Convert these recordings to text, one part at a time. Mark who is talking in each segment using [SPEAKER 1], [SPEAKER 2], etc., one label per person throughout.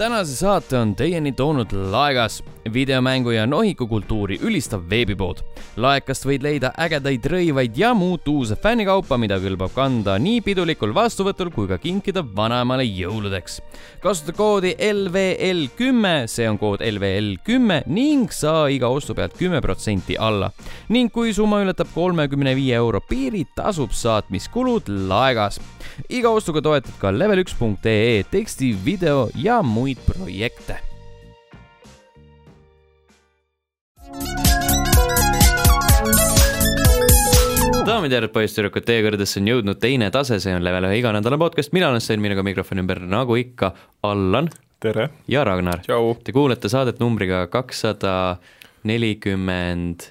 [SPEAKER 1] tänase saate on teieni toonud Laegas, videomängu ja nohikukultuuri ülistav veebipood. laekast võid leida ägedaid rõivaid ja muud uuse fännikaupa, mida kõlbab kanda nii pidulikul vastuvõtul kui ka kinkida vanaemale jõuludeks. kasuta koodi E LVL kümme, see on kood LVL kümme ning saa iga ostu pealt kümme protsenti alla. ning kui summa ületab kolmekümne viie euro piiri, tasub saatmiskulud Laegas. iga ostuga toetad ka level1.ee teksti , video ja muid projekte daamid ja härrad , poisssüdrukud , teie kõrgedesse on jõudnud teine tase , see on level ühe iganädalane podcast , mina olen Sten , minuga mikrofoni ümber , nagu ikka , Allan
[SPEAKER 2] tere .
[SPEAKER 1] ja Ragnar .
[SPEAKER 2] tšau .
[SPEAKER 1] Te kuulete saadet numbriga kakssada nelikümmend ,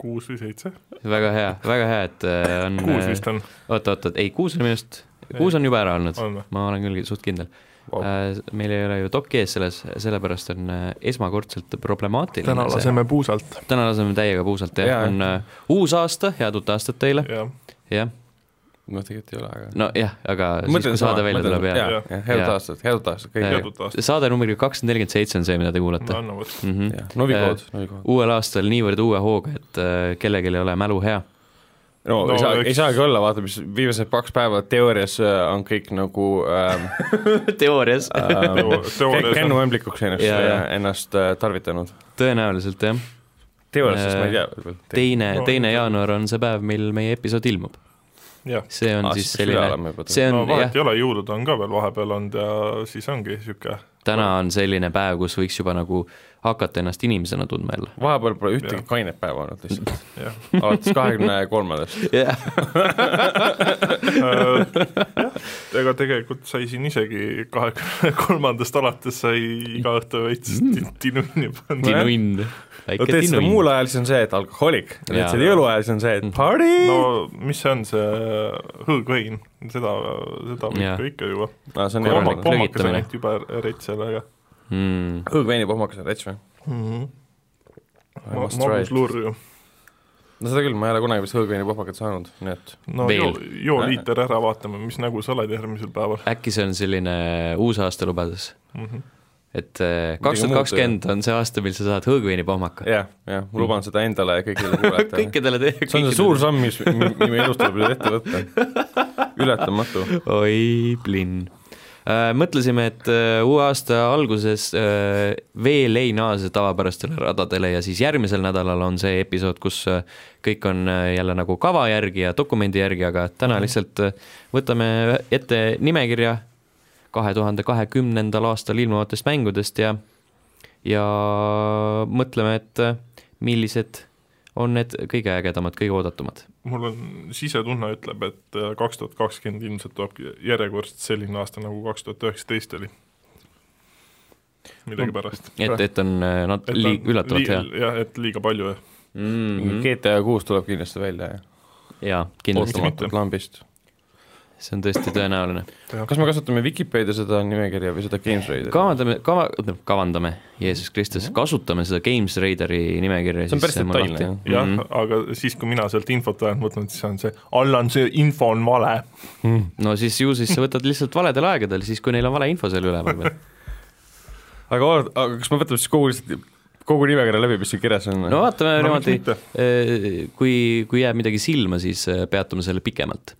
[SPEAKER 2] kuus või seitse ?
[SPEAKER 1] väga hea , väga hea , et äh, on
[SPEAKER 2] kuus vist on ,
[SPEAKER 1] oota , oota , ei kuus on minu arust , kuus on juba ära olnud ,
[SPEAKER 2] on või ?
[SPEAKER 1] ma olen küll suht kindel
[SPEAKER 2] Vau.
[SPEAKER 1] wow. . meil ei ole ju dokki ees selles , sellepärast on äh, esmakordselt problemaatiline
[SPEAKER 2] täna laseme puusalt .
[SPEAKER 1] täna laseme täiega puusalt ,
[SPEAKER 3] Jaa.
[SPEAKER 1] jah , on äh, uus aasta , head uut aastat teile ,
[SPEAKER 2] jah ,
[SPEAKER 1] jah , Äh,
[SPEAKER 3] no tegelikult ei ole , aga
[SPEAKER 1] nojah , aga siis , kui saade välja tuleb , jah .
[SPEAKER 2] Jah.
[SPEAKER 3] jah , head
[SPEAKER 1] Jaa.
[SPEAKER 3] aastat , head uut aastat
[SPEAKER 1] Jaa.
[SPEAKER 3] kõigile .
[SPEAKER 2] head uut aastat ,
[SPEAKER 1] saade numbriga kakssada nelikümmend seitse on see , mida te kuulate . Mhm.
[SPEAKER 2] anna vot .
[SPEAKER 3] Mm. novikood , novikood .
[SPEAKER 1] uuel aastal niivõrd uue hooga , et äh, kellelgi ei ole mälu hea .
[SPEAKER 3] no
[SPEAKER 2] No
[SPEAKER 3] ei saa ,
[SPEAKER 2] eks-
[SPEAKER 3] ei saagi olla , vaata , mis viimased kaks päeva teoorias äh, on kõik nagu ähm,
[SPEAKER 1] teoorias .
[SPEAKER 3] ähm,
[SPEAKER 2] Teo- teoorias on-
[SPEAKER 3] Kennu ämblikuks ennast
[SPEAKER 1] Jaa, jaa. ,
[SPEAKER 3] ennast äh, tarvitanud .
[SPEAKER 1] tõenäoliselt jah .
[SPEAKER 3] teoorias ,
[SPEAKER 1] Äh,
[SPEAKER 3] ma ei tea võib-olla .
[SPEAKER 1] teine
[SPEAKER 2] No, ,
[SPEAKER 1] teine
[SPEAKER 2] ilmselt.
[SPEAKER 1] jaanuar on see päev , mil meie episood ilmub .
[SPEAKER 2] jah ,
[SPEAKER 1] see on
[SPEAKER 3] Aa,
[SPEAKER 1] Ah, siis
[SPEAKER 3] siis peaks üle
[SPEAKER 1] selline
[SPEAKER 3] olema juba ,
[SPEAKER 1] see
[SPEAKER 2] no
[SPEAKER 1] on jah
[SPEAKER 2] vahet , ei ole , jõulud on ka veel vahepeal olnud ja siis ongi niisugune
[SPEAKER 1] täna on selline päev , kus võiks juba nagu hakata ennast inimesena tundma jälle .
[SPEAKER 3] vahepeal pole ühtegi
[SPEAKER 2] Jaa.
[SPEAKER 3] kainet päeva olnud lihtsalt ,
[SPEAKER 2] jah ,
[SPEAKER 3] alates kahekümne kolmandast .
[SPEAKER 1] jah ,
[SPEAKER 2] Äh, ega tegelikult sai siin isegi kahekümne kolmandast alates sai iga õhtu veits
[SPEAKER 1] Mm.
[SPEAKER 2] ti- tinunni panna .
[SPEAKER 1] tinunn .
[SPEAKER 3] no
[SPEAKER 1] väike
[SPEAKER 3] teed seda
[SPEAKER 1] tinunn .
[SPEAKER 3] muul ajal , siis on see , et alkohoolik , teed
[SPEAKER 1] Jaa. Mm.
[SPEAKER 3] seda jõuluajal , siis on see , et party no. .
[SPEAKER 2] no mis see on , see hõõgvein , seda ,
[SPEAKER 1] Jah.
[SPEAKER 2] seda võib ka ikka juua .
[SPEAKER 3] No, see on
[SPEAKER 1] Korralik
[SPEAKER 3] ebamugav .
[SPEAKER 2] pohmakas on
[SPEAKER 1] klõgitamine.
[SPEAKER 2] ainult jube rets seal , aga
[SPEAKER 1] Hmm.
[SPEAKER 3] õõgveini pohmakas on rets või ?
[SPEAKER 2] Mhm.
[SPEAKER 3] I
[SPEAKER 2] Ma-
[SPEAKER 3] must try
[SPEAKER 2] magus
[SPEAKER 3] it.
[SPEAKER 2] lurr ju .
[SPEAKER 3] no seda küll , ma ei ole kunagi vist õõgveini pohmakat saanud , nii et
[SPEAKER 2] no
[SPEAKER 1] Veel. Äh.
[SPEAKER 2] joo , joo liiter ära , vaatame , mis nägu sa oled järgmisel päeval
[SPEAKER 1] äkki see on selline uusaasta lubadus ,
[SPEAKER 2] mm . -hmm.
[SPEAKER 1] et äh, kaks tuhat kakskümmend on see aasta , mil sa saad hõõgveinipohmaka .
[SPEAKER 3] jah , jah , ma luban seda endale ja kõigile kuulajatele .
[SPEAKER 1] kõikidele teie ,
[SPEAKER 3] see on see suur samm , mis , mis minu elus tuleb nüüd ette võtta . ületamatu .
[SPEAKER 1] oi , plinn . mõtlesime , et äh, uue aasta alguses äh, veel ei naase tavapärastele radadele ja siis järgmisel nädalal on see episood , kus äh, kõik on äh, jälle nagu kava järgi ja dokumendi järgi , aga täna lihtsalt äh, võtame ette nimekirja kahe tuhande kahekümnendal aastal ilmuvatest mängudest ja , ja mõtleme , et äh, millised on need kõige ägedamad , kõige oodatumad .
[SPEAKER 2] mul on sisetunne ütleb , et äh, kaks tuhat kakskümmend ilmselt tulebki järjekordselt selline aasta , nagu kaks tuhat üheksateist oli . millegipärast .
[SPEAKER 1] Mm. et , et on äh, nad lii- , üllatavalt hea . Mhm.
[SPEAKER 2] jah , et liiga palju , jah .
[SPEAKER 3] GTA kuus tuleb kindlasti välja ja
[SPEAKER 1] jaa , kindlasti .
[SPEAKER 3] ootamatult lambist .
[SPEAKER 1] see on tõesti tõenäoline .
[SPEAKER 3] kas me kasutame Vikipeedia seda nimekirja või seda GamesRaideri ?
[SPEAKER 1] kavandame , kava , kavandame , Jeesus Kristus , kasutame seda Games Raideri nimekirja .
[SPEAKER 3] Mhm. see on päris detailne jah .
[SPEAKER 2] jah ,
[SPEAKER 1] Mhm.
[SPEAKER 2] aga siis , kui mina sealt infot olen võtnud , siis on see , Allan , see info on
[SPEAKER 1] Äh,
[SPEAKER 2] vale .
[SPEAKER 1] Mhm. no siis ju siis sa võtad lihtsalt valedel aegadel , siis kui neil on vale info seal üleval veel .
[SPEAKER 3] aga , aga kas me võtame siis kogu lihtsalt , kogu nimekirja läbi , mis siin kirjas on ?
[SPEAKER 1] no vaatame
[SPEAKER 2] No, miks
[SPEAKER 1] niimoodi
[SPEAKER 2] mitte? ,
[SPEAKER 1] kui , kui jääb midagi silma , siis eh, peatume selle pikemalt .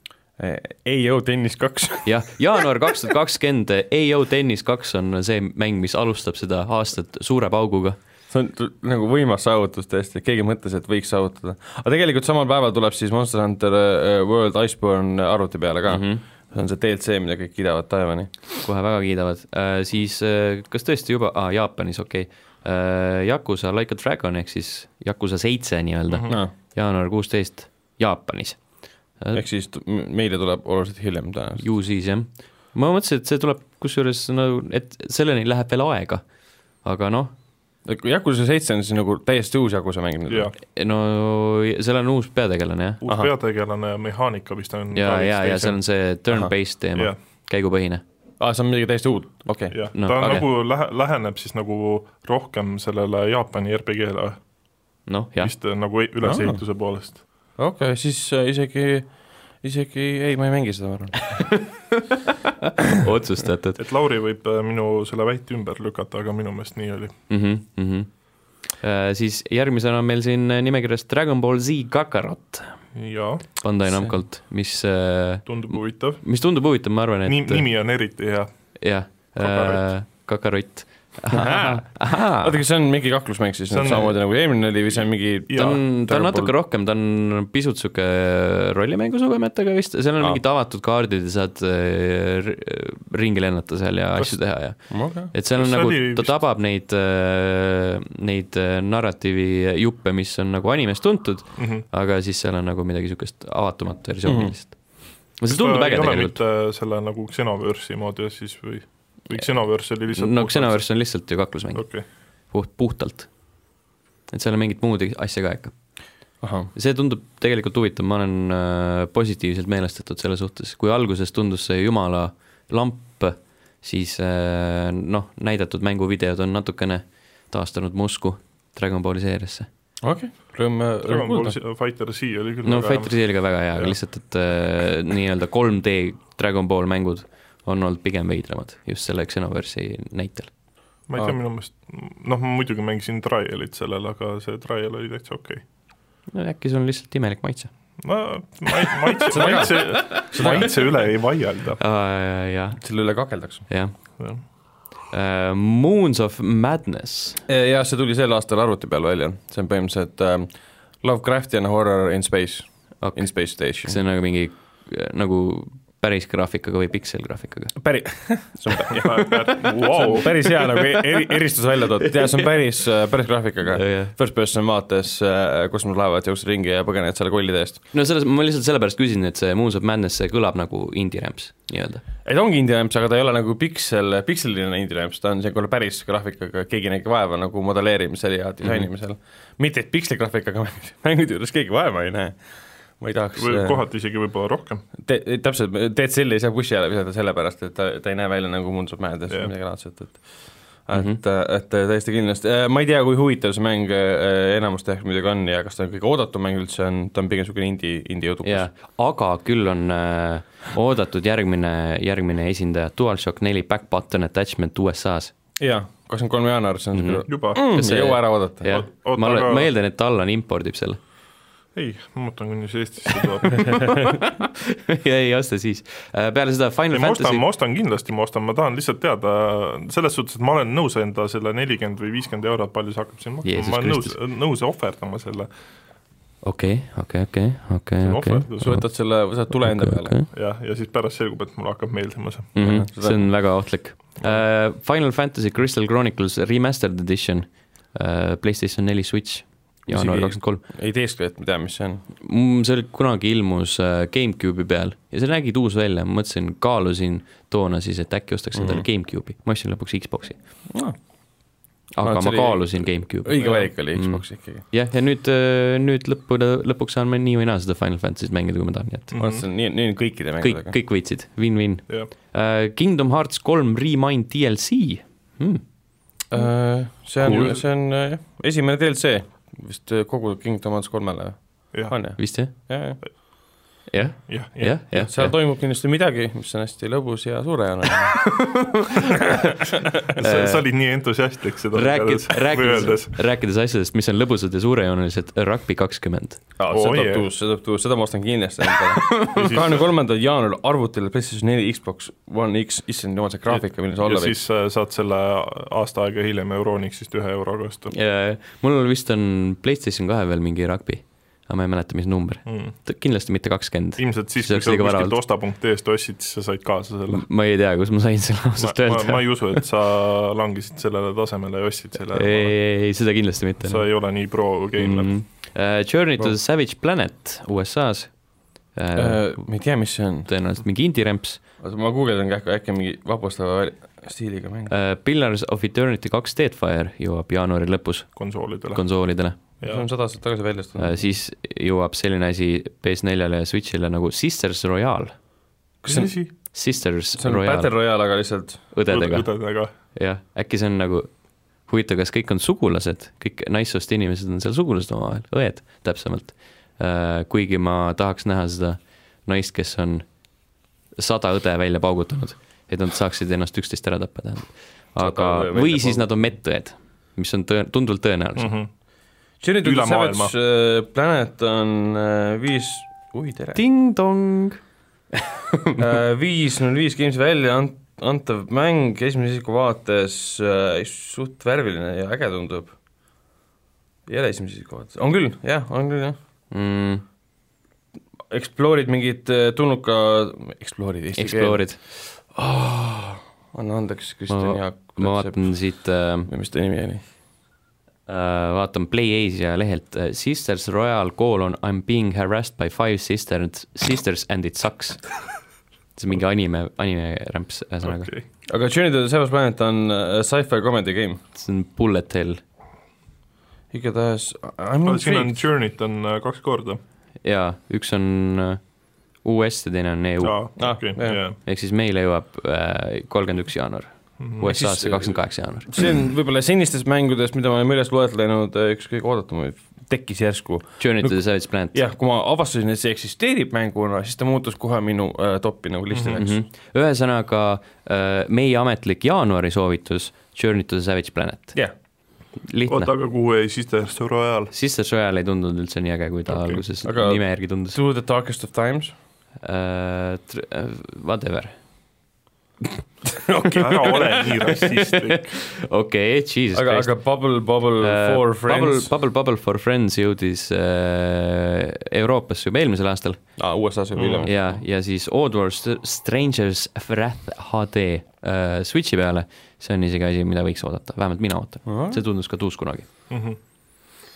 [SPEAKER 3] EO E Tennis kaks .
[SPEAKER 1] jah , jaanuar kaks tuhat kakskümmend , EO Tennis kaks on see mäng , mis alustab seda aastat suure pauguga .
[SPEAKER 3] see on t- nagu võimas saavutus tõesti , keegi mõtles , et võiks saavutada . aga tegelikult samal päeval tuleb siis Monster Hunter äh, World Iceborne arvuti peale ka mm . -hmm. see on see DLC , mida kõik kiidavad taevani .
[SPEAKER 1] kohe väga kiidavad , siis eh, kas tõesti juba ah, , Jaapanis , okei okay. , Yakuza Like a Dragon ehk siis Yakuza seitse nii-öelda
[SPEAKER 2] Mhm.
[SPEAKER 1] mm , -hmm.
[SPEAKER 3] No,
[SPEAKER 1] jaanuar kuusteist Jaapanis . Äh.
[SPEAKER 3] ehk siis t- m- meile tuleb oluliselt hiljem tõenäoliselt .
[SPEAKER 1] ju siis jah , ma mõtlesin , et see tuleb kusjuures no , et selleni läheb veel aega , aga noh ,
[SPEAKER 3] Yakuza seitse on siis nagu täiesti uus Yakuza mäng nüüd .
[SPEAKER 2] jah ,
[SPEAKER 1] no seal on uus peategelane jah ,
[SPEAKER 2] uus
[SPEAKER 3] Ahah.
[SPEAKER 2] peategelane ja mehaanika vist on
[SPEAKER 1] ja , ja , ja seal on see turn-based teema
[SPEAKER 2] Jah. ,
[SPEAKER 1] käigupõhine .
[SPEAKER 3] aa , see on midagi täiesti uut , okei okay. .
[SPEAKER 2] jah , ta
[SPEAKER 1] No,
[SPEAKER 2] okay.
[SPEAKER 1] okei.
[SPEAKER 2] nagu lähe- , läheneb siis nagu rohkem sellele Jaapani RPG-le ,
[SPEAKER 1] noh , jah , Ah.
[SPEAKER 2] vist nagu e- ülesehituse poolest .
[SPEAKER 3] okei okay, , siis äh, isegi isegi ei , ma ei mängi seda , ma arvan .
[SPEAKER 1] otsustatud
[SPEAKER 2] et Lauri võib äh, minu selle väite ümber lükata , aga minu meelest nii oli .
[SPEAKER 1] mm . -hmm, mm -hmm. siis järgmisena on meil siin nimekirjas Dragon Ball Z Kakarot
[SPEAKER 2] jaa ,
[SPEAKER 1] Bandai
[SPEAKER 3] See-
[SPEAKER 1] Namcolt , mis äh,
[SPEAKER 2] tundub huvitav .
[SPEAKER 1] mis tundub huvitav , ma arvan , et eh,
[SPEAKER 2] Ni- , nimi on eriti hea .
[SPEAKER 1] jah , äh,
[SPEAKER 2] Kakarott.
[SPEAKER 1] kakarott .
[SPEAKER 3] oota , kas see on mingi kaklusmäng siis
[SPEAKER 2] See on-
[SPEAKER 3] nüüd samamoodi nagu eelmine oli või see on mingi
[SPEAKER 2] Ja-
[SPEAKER 1] ta on , ta on
[SPEAKER 3] Dragon
[SPEAKER 1] natuke
[SPEAKER 3] Ball.
[SPEAKER 1] rohkem , ta on pisut sihuke rollimängusugemetega vist , seal on
[SPEAKER 3] Aa.
[SPEAKER 1] mingid avatud kaardid ja saad äh, r- ringi lennata seal ja
[SPEAKER 2] Kas-
[SPEAKER 1] asju teha ja
[SPEAKER 3] okay.
[SPEAKER 1] et seal on
[SPEAKER 2] kas
[SPEAKER 1] nagu
[SPEAKER 2] oli ,
[SPEAKER 1] ta
[SPEAKER 2] vist-
[SPEAKER 1] tabab neid , neid äh, narratiivi juppe , mis on nagu animes tuntud ,
[SPEAKER 2] Mhm.
[SPEAKER 1] aga siis seal on nagu midagi sihukest avatumat versiooni
[SPEAKER 3] Mhm.
[SPEAKER 1] lihtsalt . see tundub äge tegelikult ,
[SPEAKER 2] mitte selle nagu Xenoverse'i moodi siis või , või Xenoverse oli lihtsalt
[SPEAKER 1] no Nagu Xenoverse on lihtsalt ju kaklusmäng ,
[SPEAKER 2] okei okay. ,
[SPEAKER 1] puht , puhtalt . et seal on mingit muud asja ka ikka .
[SPEAKER 3] ahah ,
[SPEAKER 1] see tundub tegelikult huvitav , ma olen äh, positiivselt meelestatud selle suhtes , kui alguses tundus see jumala lamp , siis äh, noh , näidatud mänguvideod on natukene taastanud mu usku Dragon Balli seeriasse .
[SPEAKER 3] okei , rõõm , rõõm
[SPEAKER 2] Dragon Ball
[SPEAKER 3] kuulda .
[SPEAKER 2] Z- Fighter Z oli küll
[SPEAKER 1] no
[SPEAKER 2] väga hea.
[SPEAKER 1] Fighter Z oli ka väga hea , aga
[SPEAKER 2] Jah.
[SPEAKER 1] lihtsalt , et äh, nii-öelda 3D Dragon Ball mängud on olnud pigem veidramad just selle Xenoverse'i näitel .
[SPEAKER 2] ma ei tea ,
[SPEAKER 3] Aa.
[SPEAKER 2] minu meelest , noh , ma muidugi mängisin trial'it sellel , aga see trial oli täitsa okei okay. .
[SPEAKER 1] no äkki sul on lihtsalt imelik maitse
[SPEAKER 2] no ma ei , ma ei , ma ei , ma ei , see üle ei vaielda .
[SPEAKER 1] uh, ? jah ,
[SPEAKER 3] selle üle kakeldakse .
[SPEAKER 1] jah uh, . Moons of Madness
[SPEAKER 3] jaa , see tuli sel aastal arvuti peal välja , see on põhimõtteliselt ähm, Lovecraftian horror in space
[SPEAKER 1] Okei.
[SPEAKER 3] okay. , in space
[SPEAKER 1] Kas
[SPEAKER 3] station .
[SPEAKER 1] see on nagu mingi äh, nagu päris graafikaga või pikselgraafikaga ?
[SPEAKER 3] päri- , see on pä- see on päris hea nagu e- eri , eristus välja toodud , jaa , see on päris , päris graafikaga . First person vaates äh, kosmoselaevad jooksevad ringi ja põgenevad selle kollide eest .
[SPEAKER 1] no selles , ma lihtsalt sellepärast küsin , et see Moons of Madness , see kõlab nagu indie rämps nii-öelda .
[SPEAKER 3] ei ta ongi indie rämps , aga ta ei ole nagu piksel , pikseline indie rämps , ta on niisugune päris graafikaga , keegi nägi vaeva nagu modelleerimisel ja disainimisel mm . -hmm. mitte , et piksligraafikaga mängud- mängude juures keegi vaeva ei näe . ma ei tahaks äh,
[SPEAKER 2] või kohati isegi võib-olla rohkem .
[SPEAKER 3] te, täpselt , DCL ei saa bussi alla visata sellepärast , et ta , ta ei näe välja nagu Mundsov mäedes
[SPEAKER 2] Jah.
[SPEAKER 3] või midagi laadset , et
[SPEAKER 1] Mhm.
[SPEAKER 3] et mm , -hmm. et täiesti kindlasti , ma ei tea , kui huvitav see mäng äh, enamuste jaoks muidugi on ja kas ta on kõige oodatum mäng üldse on , ta on pigem niisugune indie , indie õudukas
[SPEAKER 1] jaa , aga küll on äh, oodatud järgmine , järgmine esindaja , DualShock neli back button attachment USA-s .
[SPEAKER 3] jaa , kakskümmend kolm jaanuar , see on niisugune mm
[SPEAKER 2] juba
[SPEAKER 3] -hmm.
[SPEAKER 2] mm. ,
[SPEAKER 1] Mhm. Kas see-
[SPEAKER 3] ei jõua ära oodata .
[SPEAKER 1] jah ,
[SPEAKER 2] Oot-
[SPEAKER 1] ma
[SPEAKER 2] aga-
[SPEAKER 1] olen , ma eeldan , et Allan impordib selle
[SPEAKER 2] ei , ma ootan , kuni see Eestisse tuleb .
[SPEAKER 1] ja ei osta siis . peale seda Final
[SPEAKER 2] ei , ma ostan ,
[SPEAKER 1] Fantasy ,
[SPEAKER 2] ma ostan kindlasti , ma ostan , ma tahan lihtsalt teada selles suhtes , et ma olen nõus enda selle nelikümmend või viiskümmend eurot , palju see hakkab siin maksma ,
[SPEAKER 1] Jeesus
[SPEAKER 2] ma olen nõus
[SPEAKER 1] Kristus. ,
[SPEAKER 2] nõus ohverdama selle ,
[SPEAKER 1] okei , okei , okei , okei ,
[SPEAKER 2] on
[SPEAKER 1] okei .
[SPEAKER 2] ohverdus.
[SPEAKER 3] sa võtad selle , võtad tule enda peale .
[SPEAKER 2] jah , ja siis pärast selgub , et mulle hakkab meeldima see .
[SPEAKER 1] mm . -hmm.
[SPEAKER 3] Jah, seda-
[SPEAKER 1] see on väga ohtlik uh, . Final Fantasy Crystal Chronicles Remastered Edition uh, , PlayStation neli Switch , jaanuar
[SPEAKER 3] Isegi-
[SPEAKER 1] kakskümmend kolm .
[SPEAKER 3] ei teeskle , et ma tean , mis see on .
[SPEAKER 1] see oli kunagi ilmus uh, GameCube'i peal ja see nägi uus välja , ma mõtlesin , kaalusin toona siis , et äkki ostaks
[SPEAKER 3] Mhm.
[SPEAKER 1] endale mm -hmm. GameCube'i , ma ostsin lõpuks Xbox'i , aga
[SPEAKER 3] et Ah. see
[SPEAKER 1] ma
[SPEAKER 3] oli-
[SPEAKER 1] kaalusin GameCube'i .
[SPEAKER 3] õige valik
[SPEAKER 1] Mm.
[SPEAKER 3] oli Xbox ikkagi .
[SPEAKER 1] jah , ja nüüd , nüüd lõppu , lõpuks saan ma nii või naa seda Final Fantasy't mängida , kui ma tahan , nii et
[SPEAKER 3] ma mõtlesin , nii , nii on kõikide
[SPEAKER 1] Mhm. kõik
[SPEAKER 3] mängudega ,.
[SPEAKER 1] kõik võitsid , win-win
[SPEAKER 2] jah ,
[SPEAKER 1] uh, . Kingdom Hearts kolm Remind DLC hmm. ,
[SPEAKER 3] Äh, See on
[SPEAKER 1] Cool. ,
[SPEAKER 3] see on äh, jah, esimene DLC vist äh, kogu Kingdom Hearts kolmele
[SPEAKER 2] jah ,
[SPEAKER 3] on ju ?
[SPEAKER 1] vist jah ?
[SPEAKER 3] jah ,
[SPEAKER 1] jah ,
[SPEAKER 2] jah , jah
[SPEAKER 1] jah , jah .
[SPEAKER 3] seal toimub kindlasti midagi , mis on hästi lõbus ja suurejooneline .
[SPEAKER 2] sa, sa olid nii entusiastlik seda
[SPEAKER 1] rääkides , rääkides
[SPEAKER 2] öeldes .,
[SPEAKER 1] rääkides asjadest , mis on lõbusad ja suurejoonelised , Rugby kakskümmend .
[SPEAKER 3] see
[SPEAKER 2] Oo,
[SPEAKER 3] tuleb
[SPEAKER 2] jee.
[SPEAKER 3] tuus , see tuleb tuus , seda ma ostan kindlasti endale . kahekümne kolmandal jaanuaril arvutile PlayStation neli , Xbox One X , issand jumal , see graafika , milline see
[SPEAKER 2] ja
[SPEAKER 3] olla võiks .
[SPEAKER 2] siis äh, saad selle aasta aega hiljem Euronixist ühe euroga osta
[SPEAKER 1] eh, mul vist on PlayStation kahe veel mingi Rugby , aga ma ei mäleta , mis number .
[SPEAKER 2] mm. .
[SPEAKER 1] kindlasti mitte kakskümmend .
[SPEAKER 2] ilmselt siis ,
[SPEAKER 1] See
[SPEAKER 2] kui
[SPEAKER 1] oleks
[SPEAKER 2] sa
[SPEAKER 1] liiga Mm.
[SPEAKER 2] kuskilt
[SPEAKER 1] varavalt.
[SPEAKER 2] osta.ee-st ostsid , siis sa said kaasa selle .
[SPEAKER 1] ma ei tea , kus ma sain selle
[SPEAKER 2] ma,
[SPEAKER 1] ausalt
[SPEAKER 2] ma, ma
[SPEAKER 1] öelda .
[SPEAKER 2] ei usu , et sa langesid sellele tasemele ja ostsid selle
[SPEAKER 1] ei ,
[SPEAKER 2] ära ,
[SPEAKER 1] ei , ei , seda kindlasti mitte .
[SPEAKER 2] sa ei ole nii pro gamer mm. .
[SPEAKER 1] Journey to
[SPEAKER 3] Wow.
[SPEAKER 1] the Savage Planet USA-s .
[SPEAKER 2] Äh.
[SPEAKER 3] ma Äh, ei tea , mis see on ,
[SPEAKER 1] Eh, tõenäoliselt mingi indie-rämps .
[SPEAKER 3] oota ma guugeldan kähku , äkki on mingi vapustava väl- stiiliga mäng .
[SPEAKER 2] Äh,
[SPEAKER 1] Eh, Pillars of Eternity kaks Deadfire jõuab jaanuari lõpus
[SPEAKER 2] konsoolidele .
[SPEAKER 1] konsoolidele .
[SPEAKER 3] see on sada aastat tagasi välja astunud
[SPEAKER 1] Äh, . siis jõuab selline asi PS4-le ja Switch'ile nagu Sisters Royale ,
[SPEAKER 3] kas see on ,
[SPEAKER 2] asi ?
[SPEAKER 1] Sisters
[SPEAKER 3] see on
[SPEAKER 1] Royale
[SPEAKER 3] Battle Royale , aga lihtsalt
[SPEAKER 1] õdedega ,
[SPEAKER 2] õdedega .
[SPEAKER 1] jah , äkki see on nagu huvitav , kas kõik on sugulased , kõik naissoost inimesed on seal sugulased omavahel , õed täpsemalt . Äh, kuigi ma tahaks näha seda naist , kes on sada õde välja paugutanud et nad saaksid ennast üksteist ära tappa , tähendab . aga
[SPEAKER 3] Saadavad , välja Mhm.
[SPEAKER 1] või siis
[SPEAKER 3] poole.
[SPEAKER 1] nad on mettujad , mis on tõen- , tunduvalt tõenäolisem mm .
[SPEAKER 2] -hmm.
[SPEAKER 3] Journey to the
[SPEAKER 2] Üle maailma.
[SPEAKER 3] Savage äh, Planet on äh, viis , oi tere ,
[SPEAKER 1] ting-dong .
[SPEAKER 3] Äh, viis null viis Games välja ant- , antav mäng esimese isiku vaates äh, suht värviline ja äge tundub . ei ole esimese isiku vaates , on küll , jah , on küll , jah .
[SPEAKER 1] Mm,
[SPEAKER 3] Explore'id mingid äh, tulnuka , Explore'id eesti
[SPEAKER 1] Explore'id ,
[SPEAKER 3] keel , anna andeks , Kristjan
[SPEAKER 1] Ma-
[SPEAKER 3] Jaak .
[SPEAKER 1] ma vaatan siit äh,
[SPEAKER 3] või mis ta nimi oli ?
[SPEAKER 1] Äh, vaatan PlayAsia lehelt , Sisters Royal colon I m being harassed by five sisters , sisters and it sucks . see on mingi anime , anime rämps , ühesõnaga okay. .
[SPEAKER 2] okei ,
[SPEAKER 3] aga Journey to the Savage Planet on äh, sci-fi comedy game ,
[SPEAKER 1] see on bullet hell
[SPEAKER 3] igatahes I m
[SPEAKER 2] siin on
[SPEAKER 3] intrigued ,
[SPEAKER 2] Journey't on äh, kaks korda .
[SPEAKER 1] ja üks on äh, US ja teine on EU ,
[SPEAKER 3] Ah,
[SPEAKER 2] okei ,
[SPEAKER 3] jah.
[SPEAKER 2] jaa .
[SPEAKER 1] ehk siis meile jõuab äh, kolmkümmend üks jaanuar , USA-sse kakskümmend kaheksa jaanuar .
[SPEAKER 3] see on võib-olla senistest mängudest , mida me oleme üles loetlenud , äh, üks kõige oodatumaid , tekkis järsku
[SPEAKER 1] Journey to the Savage Planet .
[SPEAKER 3] jah , kui ma avastasin , et see eksisteerib mänguna , siis ta muutus kohe minu äh, topi nagu listile ,
[SPEAKER 1] Mhm.
[SPEAKER 3] eks mm . -hmm.
[SPEAKER 1] ühesõnaga äh, meie ametlik jaanuari soovitus , Journey to the Savage Planet ,
[SPEAKER 3] jah ,
[SPEAKER 1] lihtne
[SPEAKER 2] oota , aga kuhu jäi siis Destroy Royal ?
[SPEAKER 1] Sister Soyal ei tundunud üldse nii äge , kui ta okay. alguses aga...
[SPEAKER 3] aga-
[SPEAKER 1] nime järgi tundus uh, .
[SPEAKER 3] Through the darkest of times .
[SPEAKER 1] Whatever ,
[SPEAKER 2] ära ole nii rassistlik .
[SPEAKER 1] okei , jesus
[SPEAKER 3] aga ,
[SPEAKER 1] christ .
[SPEAKER 3] aga Bubble Bubble uh, for
[SPEAKER 1] Äh, Bubble ,
[SPEAKER 3] friends .
[SPEAKER 1] Bubble , Bubble for Friends jõudis uh, Euroopasse juba eelmisel aastal
[SPEAKER 3] aa , USA-s juba hiljem .
[SPEAKER 1] ja , ja siis Oddworld St- Strangers of Wrath HD uh, Switchi peale , see on isegi asi , mida võiks oodata , vähemalt mina ootan uh . -huh. see tundus ka tuus kunagi .
[SPEAKER 2] Mhm.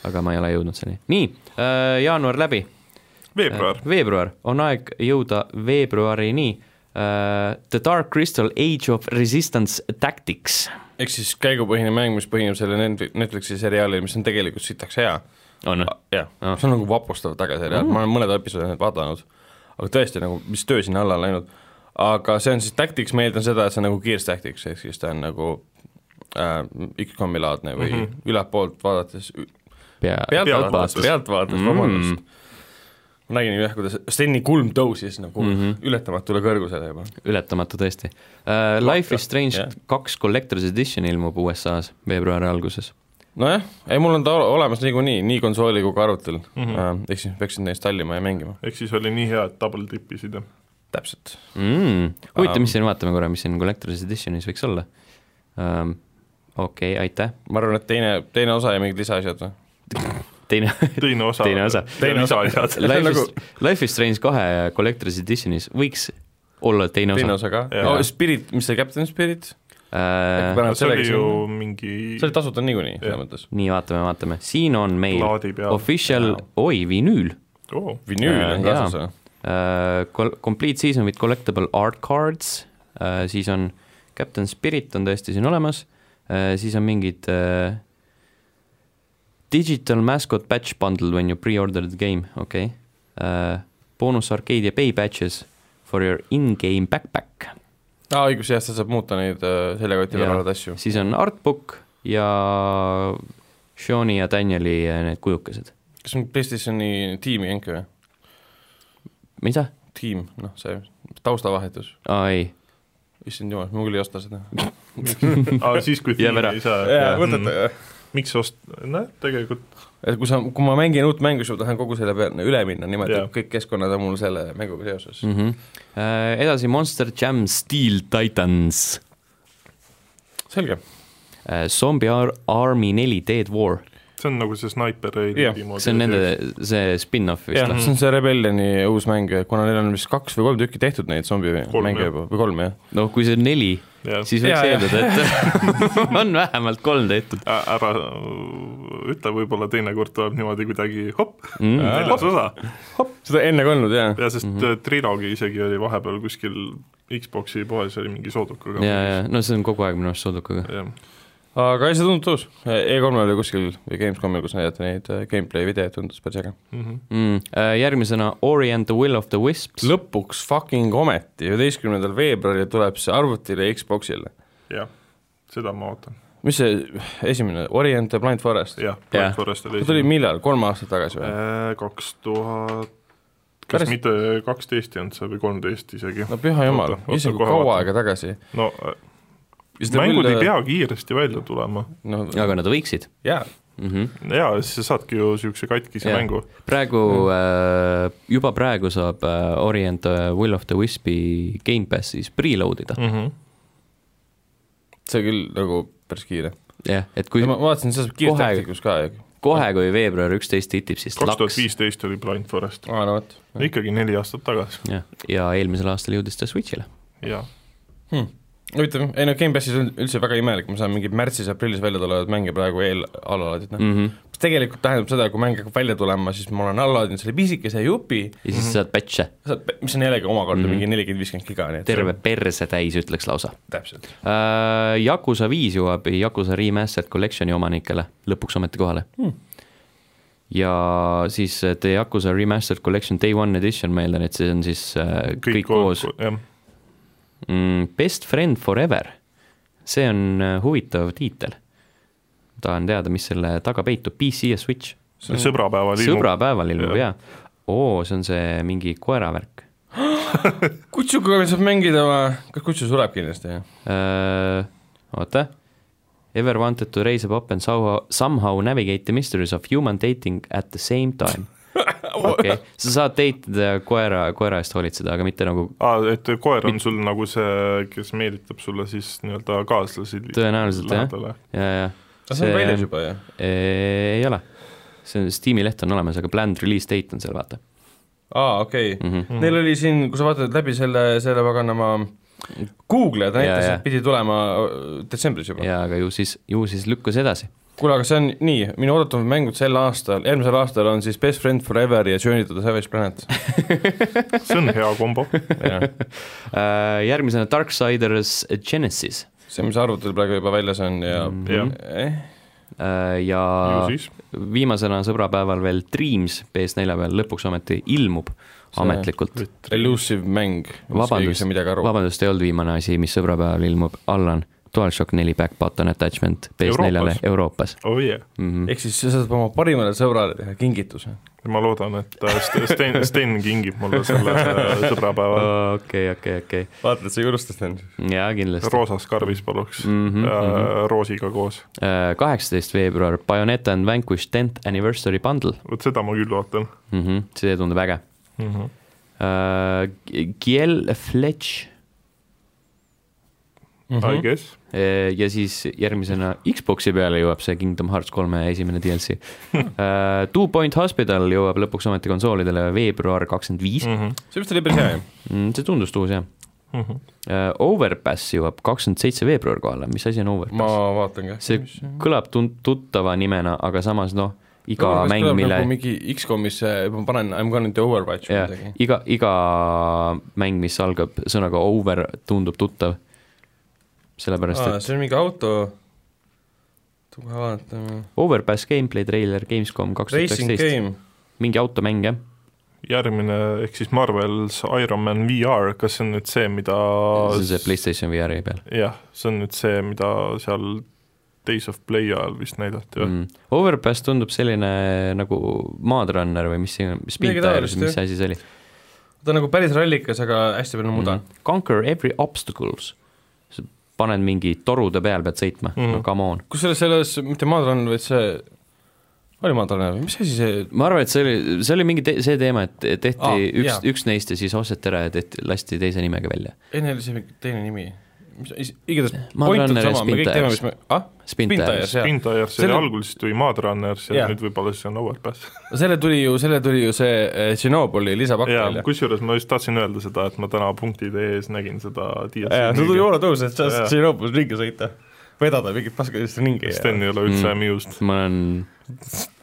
[SPEAKER 1] aga ma ei ole jõudnud selleni . nii uh, , jaanuar läbi
[SPEAKER 2] veebruar ,
[SPEAKER 1] Eh, veebruar , on aeg jõuda veebruarini uh, . The Dark Crystal Age of Resistance Tactics .
[SPEAKER 3] ehk siis käigupõhine mäng , mis põhineb selle Netfli- Netflixi seriaalil , mis on tegelikult sitaks hea .
[SPEAKER 1] on
[SPEAKER 3] jah
[SPEAKER 1] Ah. ,
[SPEAKER 3] see on nagu vapustav tagasiseriaal mm. , ma olen mõned episoodid vaadanud , aga tõesti nagu , mis töö sinna alla on läinud . aga see on siis tactics , ma eeldan seda , et see on nagu Gears Tactics , ehk siis ta on nagu äh, XCOM-i laadne või mm -hmm. ülevalt vaadates
[SPEAKER 1] pea ,
[SPEAKER 3] pealtvaates ,
[SPEAKER 2] Pealtvaates.
[SPEAKER 3] pealtvaates mm. , vabandust . ma nägin jah , kuidas Steni kulm tõusis nagu mm -hmm. ületamatule kõrgusele juba .
[SPEAKER 1] ületamatu tõesti uh, . Life is Strange
[SPEAKER 3] jah.
[SPEAKER 1] kaks Collector's Edition ilmub USA-s veebruari alguses .
[SPEAKER 3] nojah , ei mul on ta ole- olemas niikuinii , nii konsooli kui ka arvutil mm -hmm. , ehk siis peaksin neist tallima ja mängima ,
[SPEAKER 2] ehk siis oli nii hea , et double tippisid , jah .
[SPEAKER 3] täpselt .
[SPEAKER 1] Mm. huvitav ,
[SPEAKER 3] Um.
[SPEAKER 1] mis siin , vaatame korra , mis siin Collector's Editionis võiks olla um, . okei okay, , aitäh ,
[SPEAKER 3] ma arvan , et teine , teine osa ja mingid lisaasjad või ?
[SPEAKER 1] teine
[SPEAKER 2] teine osa .
[SPEAKER 1] Teine osa.
[SPEAKER 2] teine osa lisad .
[SPEAKER 1] Life is
[SPEAKER 3] Nagu- ,
[SPEAKER 1] Life is Strange kahe Collector's Editionis võiks olla teine
[SPEAKER 3] teine
[SPEAKER 1] osa .
[SPEAKER 3] osa ka ,
[SPEAKER 2] Jaa.
[SPEAKER 3] no Spirit , mis see Captain Spirit ?
[SPEAKER 1] Uh,
[SPEAKER 2] Nagu see oli ju mingi
[SPEAKER 3] see oli tasuta niikuinii , selles
[SPEAKER 2] Jah.
[SPEAKER 3] mõttes .
[SPEAKER 1] nii , vaatame , vaatame , siin on meil
[SPEAKER 2] plaadi peal .
[SPEAKER 1] Official , oi , vinüül
[SPEAKER 2] Oh,
[SPEAKER 3] vinüül
[SPEAKER 1] Äh,
[SPEAKER 3] on
[SPEAKER 1] jaa.
[SPEAKER 3] kaasas või ?
[SPEAKER 1] uh, , Col- , Complete Season with Collectible Art Cards uh, , siis on Captain Spirit on tõesti siin olemas uh, , siis on mingid uh, Digital Mascot Patch Bundle when you pre-order the game , okei okay. uh, . boonus arcade ja pay patches for your in-game backpack ,
[SPEAKER 3] aa , õigus , jah , sa saad muuta neid äh, seljakoti
[SPEAKER 1] Jaa.
[SPEAKER 3] peal olevaid asju .
[SPEAKER 1] siis on artbook ja Shoni ja Danieli äh, need kujukesed ,
[SPEAKER 3] kas on PlayStationi tiimi jänk või ?
[SPEAKER 1] mida ?
[SPEAKER 3] tiim , noh , see taustavahetus ,
[SPEAKER 1] aa ei ,
[SPEAKER 3] issand jumal , ma küll ei osta seda .
[SPEAKER 2] aga Ah, siis , kui
[SPEAKER 1] Jääb
[SPEAKER 2] tiimi
[SPEAKER 1] ära.
[SPEAKER 2] ei saa , Mhm. miks ost- , noh , tegelikult
[SPEAKER 3] et kui sa , kui ma mängin uut mängu , siis ma tahan kogu selle peale üle minna , niimoodi
[SPEAKER 2] Jaa. Mhm.
[SPEAKER 3] et kõik keskkonnad on mul selle mänguga seoses mm. .
[SPEAKER 1] mm . -hmm. edasi Monster Jam Steel Titans ,
[SPEAKER 3] selge .
[SPEAKER 1] Zombie Ar Army neli Dead War ,
[SPEAKER 2] see on nagu see Sniper
[SPEAKER 3] Jah,
[SPEAKER 2] Raidi moodi .
[SPEAKER 1] see on nende , see spin-off vist noh.
[SPEAKER 2] mhm.
[SPEAKER 3] jah ,
[SPEAKER 1] või ?
[SPEAKER 3] see on see Rebellioni uus mäng , kuna neil on vist kaks või kolm tükki tehtud neid
[SPEAKER 2] Kolm,
[SPEAKER 3] zombimänge
[SPEAKER 2] jah.
[SPEAKER 3] juba , või kolm jah .
[SPEAKER 1] no kui see on neli ,
[SPEAKER 2] jah ,
[SPEAKER 1] siis võiks
[SPEAKER 3] Jaa, jah.
[SPEAKER 1] eeldada , et on vähemalt kolm tehtud
[SPEAKER 2] ära uh, ütle , võib-olla teinekord tuleb niimoodi kuidagi hopp ,
[SPEAKER 1] mm. . Mhm.
[SPEAKER 2] neljas osa
[SPEAKER 3] seda enne ka olnud jah .
[SPEAKER 2] ja sest mm -hmm. triloogi isegi oli vahepeal kuskil Xbox'i poes oli mingi soodukaga .
[SPEAKER 1] ja , ja no see on kogu aeg minu arust soodukaga .
[SPEAKER 2] jah ,
[SPEAKER 3] aga ei , see tundub tõus . E3-l oli kuskil või Gamescomil , kus näidati neid äh, gameplay videoid , tundus päris äge .
[SPEAKER 2] Mhm.
[SPEAKER 1] Mm. Äh, Järgmisena Orient the Will of the Wisps ,
[SPEAKER 3] lõpuks fucking ometi , üheteistkümnendal veebruaril tuleb see arvutile ja Xboxile .
[SPEAKER 2] jah , seda ma ootan ,
[SPEAKER 3] mis see esimene , Orient ja Blind Forest ?
[SPEAKER 2] jah ,
[SPEAKER 1] Jah.
[SPEAKER 2] Black Forest oli
[SPEAKER 3] see tuli millal , kolm aastat tagasi või ?
[SPEAKER 2] kaks Äh, tuhat kas
[SPEAKER 3] Päris-
[SPEAKER 2] mitte kaksteist ei olnud see või kolmteist isegi
[SPEAKER 3] no püha jumal
[SPEAKER 2] Oota, , oota,
[SPEAKER 3] isegi
[SPEAKER 2] kohe
[SPEAKER 3] kaua
[SPEAKER 2] vaatan.
[SPEAKER 3] aega tagasi . äh,
[SPEAKER 2] no mängud
[SPEAKER 1] äh,
[SPEAKER 2] ei pea kiiresti välja tulema
[SPEAKER 3] no
[SPEAKER 1] aga nad võiksid
[SPEAKER 3] jaa ,
[SPEAKER 1] mm . -hmm.
[SPEAKER 2] jaa , siis sa saadki ju niisuguse katkise
[SPEAKER 1] Jaa.
[SPEAKER 2] mängu
[SPEAKER 1] praegu
[SPEAKER 3] Mhm.
[SPEAKER 1] äh, , juba praegu saab äh, Orient äh, Will of the Wispi Gamepassis preload ida ,
[SPEAKER 3] Mhm.
[SPEAKER 2] mm . -hmm.
[SPEAKER 3] see küll nagu päris kiire .
[SPEAKER 1] jah , et kui
[SPEAKER 3] ma ma vaatasin , see saab kiirelt
[SPEAKER 1] Kohe-
[SPEAKER 3] tähtikus ka ju .
[SPEAKER 1] kohe , kui veebruar üksteist hitib , siis
[SPEAKER 2] kaks tuhat
[SPEAKER 1] laks
[SPEAKER 2] viisteist oli Blind Forest ,
[SPEAKER 3] aa , no vot .
[SPEAKER 2] ikkagi neli aastat tagasi
[SPEAKER 1] jah , ja eelmisel aastal jõudis ta Switch'ile .
[SPEAKER 2] ja
[SPEAKER 3] Hmm. huvitav , ei no Gamepassis on üldse väga imelik , ma saan mingi märtsis-aprillis välja tulevaid mänge praegu eel- , allalaadid , noh .
[SPEAKER 1] -hmm.
[SPEAKER 3] mis tegelikult tähendab seda , kui mäng hakkab välja tulema , siis ma olen allalaadinud selle pisikese jupi ,
[SPEAKER 1] ja siis saad patch'e ,
[SPEAKER 3] saad , mis on jällegi omakorda mm
[SPEAKER 1] Mhm.
[SPEAKER 3] -hmm. mingi nelikümmend , viiskümmend giga , nii et
[SPEAKER 1] terve perse täis , ütleks lausa
[SPEAKER 3] see on täpselt .
[SPEAKER 1] äh, . Yakuza viis jõuab Yakuza Remastered Collection'i omanikele lõpuks ometi kohale hmm. . ja siis äh, The Yakuza Remastered Collection Day One Edition , ma eeldan , et see on siis äh, kõik, kõik koos .
[SPEAKER 2] jah ,
[SPEAKER 1] mm, . Best Friend Forever , see on äh, huvitav tiitel . tahan teada , mis selle taga peitub , PC ja Switch .
[SPEAKER 2] sõbrapäeval ilmub ,
[SPEAKER 1] sõbrapäeval ilmub jaa .
[SPEAKER 2] Jah.
[SPEAKER 1] oo , see on see mingi koeravärk
[SPEAKER 3] kutsuga veel saab mängida , kas kutsu sureb kindlasti , jah ?
[SPEAKER 1] uh, . oota . Ever wanted to raise a pop and somehow, somehow navigate the mysteries of human dating at the same time . okei , sa saad date ida ja koera , koera eest hoolitseda , aga mitte nagu
[SPEAKER 2] aa , et koer on sul nagu see , kes meelitab sulle siis nii-öelda kaaslasi
[SPEAKER 1] tõenäoliselt jah ,
[SPEAKER 2] lähedale .
[SPEAKER 1] ja , ja
[SPEAKER 3] aga see on väljas juba ju .
[SPEAKER 1] ei ole , see on , Steam'i leht on olemas , aga planned release date on seal , vaata
[SPEAKER 3] aa , okei okay. .
[SPEAKER 1] mm . -hmm.
[SPEAKER 3] Neil oli siin , kui sa vaatad läbi selle , selle paganama Google'i , ta näitas ,
[SPEAKER 1] jaa.
[SPEAKER 3] et pidi tulema öö, detsembris juba .
[SPEAKER 1] ja , aga ju siis , ju siis lükkus edasi .
[SPEAKER 3] kuule , aga see on nii , minu oodatavad mängud sel aastal , eelmisel aastal on siis Best Friend Forever ja Journey to the Savage Planet .
[SPEAKER 2] see on hea kombo ,
[SPEAKER 1] Mhm. Äh, järgmisena Darksiders Genesis
[SPEAKER 3] see , mis arvutil praegu juba väljas on ja mm
[SPEAKER 2] jah ,
[SPEAKER 3] -hmm.
[SPEAKER 1] äh, ja
[SPEAKER 2] ju siis .
[SPEAKER 1] viimasena sõbrapäeval veel Dreams PS4 peal lõpuks ometi ilmub
[SPEAKER 3] See-
[SPEAKER 1] ametlikult .
[SPEAKER 3] elusive mäng ,
[SPEAKER 1] Vabandust.
[SPEAKER 3] keegi ei saa midagi aru .
[SPEAKER 1] vabandust , ei olnud viimane asi , mis sõbrapäeval ilmub , Allan , DualShock neli back button attachment PS4-le
[SPEAKER 2] Euroopas.
[SPEAKER 1] Euroopas
[SPEAKER 2] oh yeah ,
[SPEAKER 1] mm . -hmm.
[SPEAKER 3] ehk siis sa saad oma parimale sõbrale teha kingituse .
[SPEAKER 2] ma loodan , et äh, Sten- Sten , Sten kingib mulle selle äh, sõbrapäeval
[SPEAKER 1] okei , okei , okei ,
[SPEAKER 3] vaata , et sa ei unusta seda nüüd .
[SPEAKER 1] jaa , kindlasti .
[SPEAKER 2] roosas karvis paluks mm ,
[SPEAKER 1] Mhm,
[SPEAKER 3] Äh.
[SPEAKER 1] Äh,
[SPEAKER 2] -hmm. roosiga koos .
[SPEAKER 1] kaheksateist veebruar , Bayoneta and Vanquish tenth anniversary bundle
[SPEAKER 2] vot seda ma küll vaatan
[SPEAKER 1] mm , -hmm. see tundub äge
[SPEAKER 2] mm . -hmm.
[SPEAKER 1] uh, . Giel Fletch
[SPEAKER 3] Mhm.
[SPEAKER 1] Mhm.
[SPEAKER 2] I guess ,
[SPEAKER 1] eh, ja siis järgmisena Xbox'i peale jõuab see Kingdom Hearts kolme esimene DLC
[SPEAKER 3] Hmm.
[SPEAKER 1] uh, . Two Point Hospital jõuab lõpuks ometi konsoolidele veebruar kakskümmend viis ,
[SPEAKER 3] Hmm. see vist oli päris hea ju .
[SPEAKER 1] see tundus tuus jah
[SPEAKER 2] Mhm.
[SPEAKER 1] uh, . Overpass jõuab kakskümmend seitse veebruar kohale , mis asi on Overpass
[SPEAKER 3] ma
[SPEAKER 1] Ma... ?
[SPEAKER 3] vaatan ka .
[SPEAKER 1] see kõlab tun- , tuttava nimena , aga samas noh , iga mäng , mille
[SPEAKER 3] nagu mingi X-komis , ma panen I m gonna do Overwatch või
[SPEAKER 1] jah
[SPEAKER 3] midagi ,.
[SPEAKER 1] iga , iga mäng , mis algab sõnaga over , tundub tuttav . sellepärast ,
[SPEAKER 3] aa ,
[SPEAKER 1] et
[SPEAKER 3] see on mingi auto , kohe vaatame .
[SPEAKER 1] Overpass gameplay treiler Gamescom kaks tuhat
[SPEAKER 3] Racing
[SPEAKER 1] üheksateist ,
[SPEAKER 3] game ,
[SPEAKER 1] mingi automäng jah ,
[SPEAKER 2] järgmine ehk siis Marvel's Iron Man VR , kas see on nüüd see , mida
[SPEAKER 1] see on see Playstation VR-i peal
[SPEAKER 2] jah , see on nüüd see , mida seal Days of Play ajal vist näidati või mm. ?
[SPEAKER 1] mm. . Overpass tundub selline nagu Maadrunner või mis see ,
[SPEAKER 3] Midagi
[SPEAKER 1] Spin Tires ,
[SPEAKER 3] taolist,
[SPEAKER 1] mis
[SPEAKER 3] jah.
[SPEAKER 1] asi see oli
[SPEAKER 3] ta on nagu päris rallikas , aga hästi palju muda mm .
[SPEAKER 1] mm. ? Conquer every obstacles , sa paned mingi torude peal , pead sõitma
[SPEAKER 2] Mhm.
[SPEAKER 1] mm. , no come on .
[SPEAKER 3] -hmm. kusjuures selles , mitte Maadrun , vaid see , oli Maadrun või mis asi see ,
[SPEAKER 1] ma arvan , et see oli , see oli mingi te see teema , et tehti
[SPEAKER 3] Aa,
[SPEAKER 1] ah, üks
[SPEAKER 3] jaa. ,
[SPEAKER 1] üks neist ja siis osteti ära ja tehti , lasti teise nimega välja .
[SPEAKER 3] enne oli see mingi teine nimi , mis , igatahes
[SPEAKER 1] Maad
[SPEAKER 3] point on
[SPEAKER 1] Runner ja
[SPEAKER 3] sama ,
[SPEAKER 1] Spin
[SPEAKER 3] me kõik teame ,
[SPEAKER 1] Tires.
[SPEAKER 3] mis me , ah ,
[SPEAKER 1] Spin
[SPEAKER 3] Spin
[SPEAKER 1] Tires
[SPEAKER 3] Tires, jah.
[SPEAKER 2] Spintires
[SPEAKER 3] Selle-
[SPEAKER 2] selle... algul siis tuli Madrunners ja
[SPEAKER 3] Jaa.
[SPEAKER 2] yeah. nüüd võib-olla siis on Overpass .
[SPEAKER 3] selle tuli ju , selle tuli ju see eh, Tšernobõli lisapakk
[SPEAKER 2] ja
[SPEAKER 3] välja .
[SPEAKER 2] kusjuures ma just tahtsin öelda seda , et ma täna punktid.ee-s nägin seda
[SPEAKER 3] jaa , see tuli
[SPEAKER 2] DLC-d .
[SPEAKER 3] hooletõus , et saad
[SPEAKER 2] Jaa.
[SPEAKER 3] Tšernobõlis ringi sõita , vedada mingit paskadest ringi ja
[SPEAKER 2] Sten ei ole üldse
[SPEAKER 1] Mm.
[SPEAKER 2] mm. amused .
[SPEAKER 1] ma olen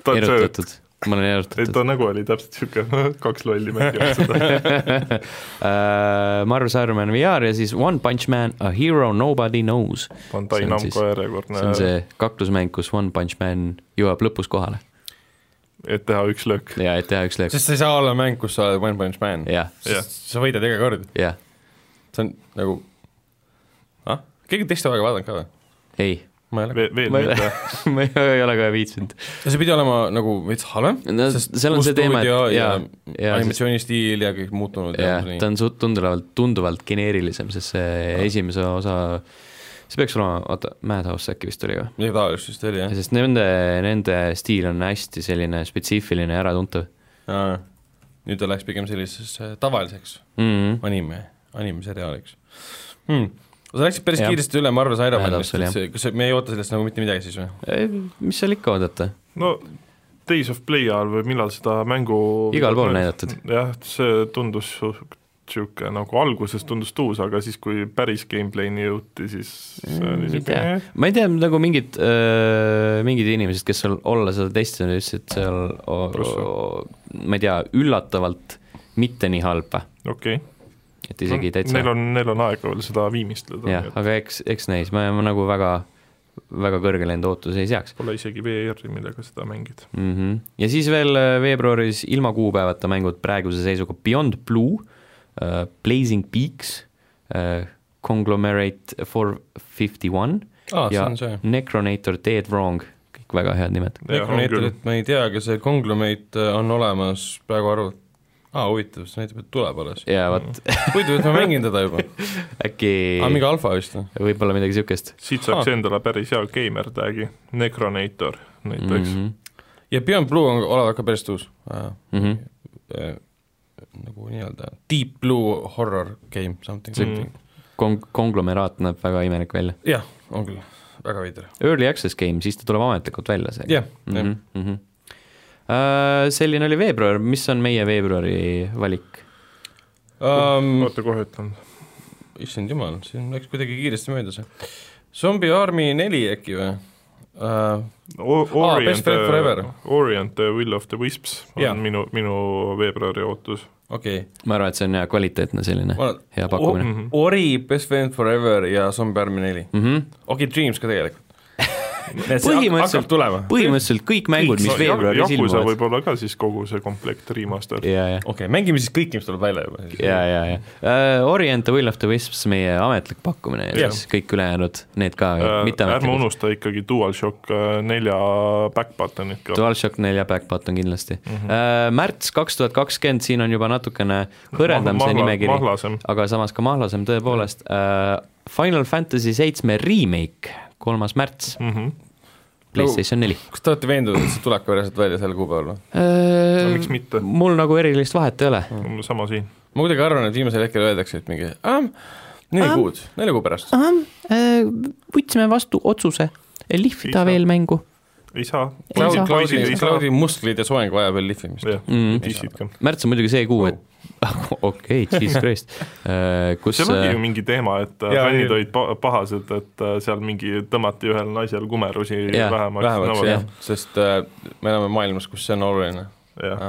[SPEAKER 2] ta on see ,
[SPEAKER 1] erutatud , ma olen
[SPEAKER 2] et ta
[SPEAKER 1] erutatud .
[SPEAKER 2] nägu oli täpselt niisugune kaks lolli mängivad seda .
[SPEAKER 1] Marv Saarman VR ja siis One Punch Man , A Hero Nobody Knows .
[SPEAKER 2] Bandai
[SPEAKER 1] See on siis-
[SPEAKER 2] Namco järjekordne
[SPEAKER 1] see on , see kaklusmäng , kus One Punch Man jõuab lõpus kohale
[SPEAKER 2] et teha üks löök .
[SPEAKER 1] ja et teha üks lõik ,
[SPEAKER 3] sest see ei saa olla mäng , kus sa oled One Punch Man .
[SPEAKER 1] jah ,
[SPEAKER 2] Jah.
[SPEAKER 3] sa võidad iga kord ,
[SPEAKER 1] jah ,
[SPEAKER 3] see on nagu ah? , keegi teist on väga vaadanud ka või ?
[SPEAKER 1] ei ,
[SPEAKER 3] ma ei ole
[SPEAKER 2] veel , veel
[SPEAKER 1] Ma ei-
[SPEAKER 2] mitte .
[SPEAKER 1] ma ei- ei ole ka viitsinud .
[SPEAKER 3] ja see pidi olema nagu veits halvem
[SPEAKER 1] no seal on see teema , et
[SPEAKER 3] ja, ja,
[SPEAKER 1] jaa ,
[SPEAKER 3] ja
[SPEAKER 1] jaa ,
[SPEAKER 3] animatsioonistiil ja kõik muutunud ja,
[SPEAKER 1] jah ,
[SPEAKER 3] nii Ah.
[SPEAKER 1] ta on suht- tunduvalt , tunduvalt geneerilisem , sest see esimese osa , see peaks olema , oota , Madhouse äkki vist oli või ?
[SPEAKER 3] midagi taolist vist oli jah
[SPEAKER 1] sest nende , nende stiil on hästi selline spetsiifiline ja äratuntav
[SPEAKER 3] ja. . nüüd ta läks pigem sellisesse tavaliseks
[SPEAKER 1] mm . -hmm.
[SPEAKER 3] anime , animeseriaaliks hmm. . sa läksid päris
[SPEAKER 1] Jah.
[SPEAKER 3] ja. kiiresti üle , ma arvasin Iron
[SPEAKER 1] Vähe
[SPEAKER 3] Manist
[SPEAKER 1] täpselt, ,
[SPEAKER 3] et see , kas see- me ei oota sellest nagu mitte midagi siis või ?
[SPEAKER 1] mis seal ikka oodata ,
[SPEAKER 2] no Days of Play ajal või millal seda mängu
[SPEAKER 1] igal pool näidatud .
[SPEAKER 2] jah , see tundus niisugune nagu alguses tundus tuus , aga siis , kui päris gameplay'ni jõuti , siis see
[SPEAKER 1] Mm,
[SPEAKER 2] oli
[SPEAKER 1] ei
[SPEAKER 2] niisugune
[SPEAKER 1] tea.
[SPEAKER 2] eh,
[SPEAKER 1] ma ei tea , nagu mingid äh, , mingid inimesed , kes seal olla seda testinud , ütlesid et seal , ma ei tea , üllatavalt mitte nii halb ,
[SPEAKER 2] okei
[SPEAKER 1] et isegi täitsa
[SPEAKER 2] Neil on , neil on aega veel seda viimistleda
[SPEAKER 1] jah ,
[SPEAKER 2] et
[SPEAKER 1] aga eks , eks näis , ma , ma nagu väga , väga kõrgele enda ootusi ei seaks
[SPEAKER 2] pole isegi VR-i , millega seda mängida .
[SPEAKER 1] mm . -hmm. ja siis veel äh, veebruaris ilma kuupäevata mängud praeguse seisuga Beyond Blue uh, , Blazing Peaks uh, , Conglomerate four fifty one
[SPEAKER 3] aa , see
[SPEAKER 1] Ja-
[SPEAKER 3] on see .
[SPEAKER 1] Necronator Dead Wrong , kõik väga head nimed .
[SPEAKER 3] Necronatorit ma ei tea , aga see konglomeit äh, on olemas praegu arvult , aa huvitav , see näitab , et tuleb alles .
[SPEAKER 1] ja vot
[SPEAKER 3] huvitav , et ma mängin teda juba .
[SPEAKER 1] äkki
[SPEAKER 3] aa , mingi alfa vist või ?
[SPEAKER 1] võib-olla midagi niisugust .
[SPEAKER 2] siit saaks
[SPEAKER 3] Ah.
[SPEAKER 2] endale päris hea gamer tag'i , Necronator näiteks
[SPEAKER 3] Mhm,
[SPEAKER 2] mm .
[SPEAKER 3] ja Beyond Blue on , olevat ka päris tuus äh, .
[SPEAKER 1] Mhm.
[SPEAKER 3] äh, nagu nii-öelda deep blue horror game something ,
[SPEAKER 2] See-
[SPEAKER 1] Mhm.
[SPEAKER 3] something .
[SPEAKER 1] Kong- , konglomeraat näeb väga imelik välja .
[SPEAKER 3] jah , on küll , väga veider .
[SPEAKER 1] Early access game , siis ta tuleb ametlikult välja , see .
[SPEAKER 3] jah , jah .
[SPEAKER 1] Mhm, mhm. Äh, selline oli veebruar , mis on meie veebruari valik ?
[SPEAKER 2] -hmm.
[SPEAKER 3] Um,
[SPEAKER 2] oota , kohe ütlen .
[SPEAKER 3] issand jumal , siin läks kuidagi kiiresti mööda see . Zombie Army neli äkki või uh, ? Ah, Best
[SPEAKER 2] Orient äh,
[SPEAKER 3] Friend Forever. ,
[SPEAKER 2] Orient the Will of the Wisps on
[SPEAKER 3] Jaa.
[SPEAKER 2] minu , minu veebruari ootus .
[SPEAKER 3] okei okay. ,
[SPEAKER 1] ma arvan , et see on hea kvaliteetne selline
[SPEAKER 3] ma
[SPEAKER 1] Äh, hea pakkumine .
[SPEAKER 2] Mhm.
[SPEAKER 3] Ori , Best Friend Forever ja Zombie Army neli .
[SPEAKER 1] Mm -hmm.
[SPEAKER 3] okei , Dreams ka tegelikult .
[SPEAKER 1] Põhimõtteliselt-
[SPEAKER 3] hakkab tulema .
[SPEAKER 1] põhimõtteliselt kõik mängud , mis veebruaris
[SPEAKER 2] Jakusa
[SPEAKER 1] ilmuvad .
[SPEAKER 2] võib-olla ka siis kogu see komplekt remaster .
[SPEAKER 1] ja , ja ,
[SPEAKER 3] okei okay, , mängime siis kõik , mis tuleb välja juba siis .
[SPEAKER 1] ja , ja , ja uh, Orient the Will of the Wisps , meie ametlik pakkumine ja
[SPEAKER 2] Jah.
[SPEAKER 1] siis kõik ülejäänud , need ka
[SPEAKER 3] Äh,
[SPEAKER 1] uh,
[SPEAKER 2] Äh, ärme
[SPEAKER 1] mitteametlikud .
[SPEAKER 2] unusta ikkagi DualShock äh, nelja back button'it ka .
[SPEAKER 1] DualShock nelja backbot on kindlasti mm . -hmm. Uh, märts kaks tuhat kakskümmend , siin on juba natukene hõredam see nimekiri ,
[SPEAKER 2] mahlasem ,
[SPEAKER 1] aga samas ka mahlasem tõepoolest uh, . Final Fantasy seitsme remake , kolmas märts ,
[SPEAKER 2] Mhm.
[SPEAKER 1] Playstation neli
[SPEAKER 3] kas te olete veendunud , et see tuleb ka päriselt välja sel kuupäeval või ?
[SPEAKER 2] no
[SPEAKER 1] uh,
[SPEAKER 2] Äh, miks . mitte ,
[SPEAKER 1] mul nagu erilist vahet ei ole .
[SPEAKER 3] Äh,
[SPEAKER 2] sama siin .
[SPEAKER 3] ma kuidagi arvan , et viimasel hetkel öeldakse , et mingi um, neli um, kuud , nelja kuu pärast .
[SPEAKER 1] võtsime vastu otsuse
[SPEAKER 2] Ei
[SPEAKER 1] lihvida
[SPEAKER 2] saa. veel
[SPEAKER 1] mängu
[SPEAKER 2] ei saa .
[SPEAKER 3] Cloud ,
[SPEAKER 1] saa.
[SPEAKER 3] Cloudi , Cloudi musklid ja soeng vajab veel lihvimist .
[SPEAKER 2] jah ,
[SPEAKER 1] mm. .
[SPEAKER 2] tissid ka .
[SPEAKER 1] märts on muidugi see kuu , et okei , Jesus Christ , kus
[SPEAKER 2] seal oli ju mingi teema , et äh,
[SPEAKER 3] Jaa,
[SPEAKER 2] fännid
[SPEAKER 3] ei-
[SPEAKER 2] olid pa- pahased , et äh, seal mingi tõmmati ühel naisel kumerusi
[SPEAKER 1] Jaa,
[SPEAKER 2] vähemaks .
[SPEAKER 3] vähemaks jah , sest äh, me elame maailmas , kus see on oluline .
[SPEAKER 2] jah .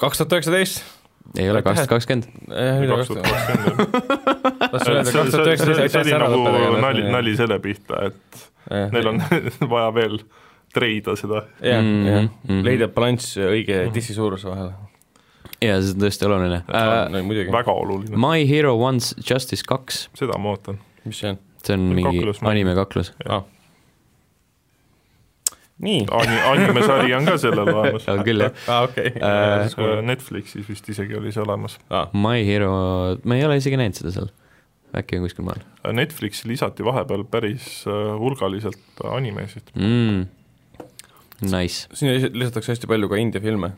[SPEAKER 3] kaks tuhat üheksateist ,
[SPEAKER 1] äh, ei ole kaks tuhat kakskümmend ,
[SPEAKER 3] mida kaks tuhat
[SPEAKER 2] see see- see- see- see oli nagu nali , nali selle pihta , et neil on Mm. vaja veel treida seda .
[SPEAKER 3] jah , jah ,
[SPEAKER 1] Mhm.
[SPEAKER 3] leida balanss õige
[SPEAKER 2] Mm.
[SPEAKER 3] dissi suuruse vahel
[SPEAKER 1] jaa , see on tõesti oluline . Äh,
[SPEAKER 3] uh, . muidugi ,
[SPEAKER 2] Äh, väga oluline ,
[SPEAKER 1] My Hero One's Justice kaks ,
[SPEAKER 2] seda ma ootan .
[SPEAKER 3] mis see on ?
[SPEAKER 1] see on mingi
[SPEAKER 2] kaklus, ma-
[SPEAKER 1] animekaklus .
[SPEAKER 3] nii ,
[SPEAKER 2] Ani- , animesari on ka sellel olemas .
[SPEAKER 1] on küll , jah .
[SPEAKER 3] aa okei .
[SPEAKER 2] Äh,
[SPEAKER 3] Äh,
[SPEAKER 2] Netflixis vist isegi oli see olemas .
[SPEAKER 1] My Hero , ma ei ole isegi näinud seda seal , äkki on kuskil mujal
[SPEAKER 2] Äh, Netflixi lisati vahepeal päris äh, hulgaliselt animesid .
[SPEAKER 1] mm. . Nice ,
[SPEAKER 3] siin lis- lisatakse hästi palju ka India filme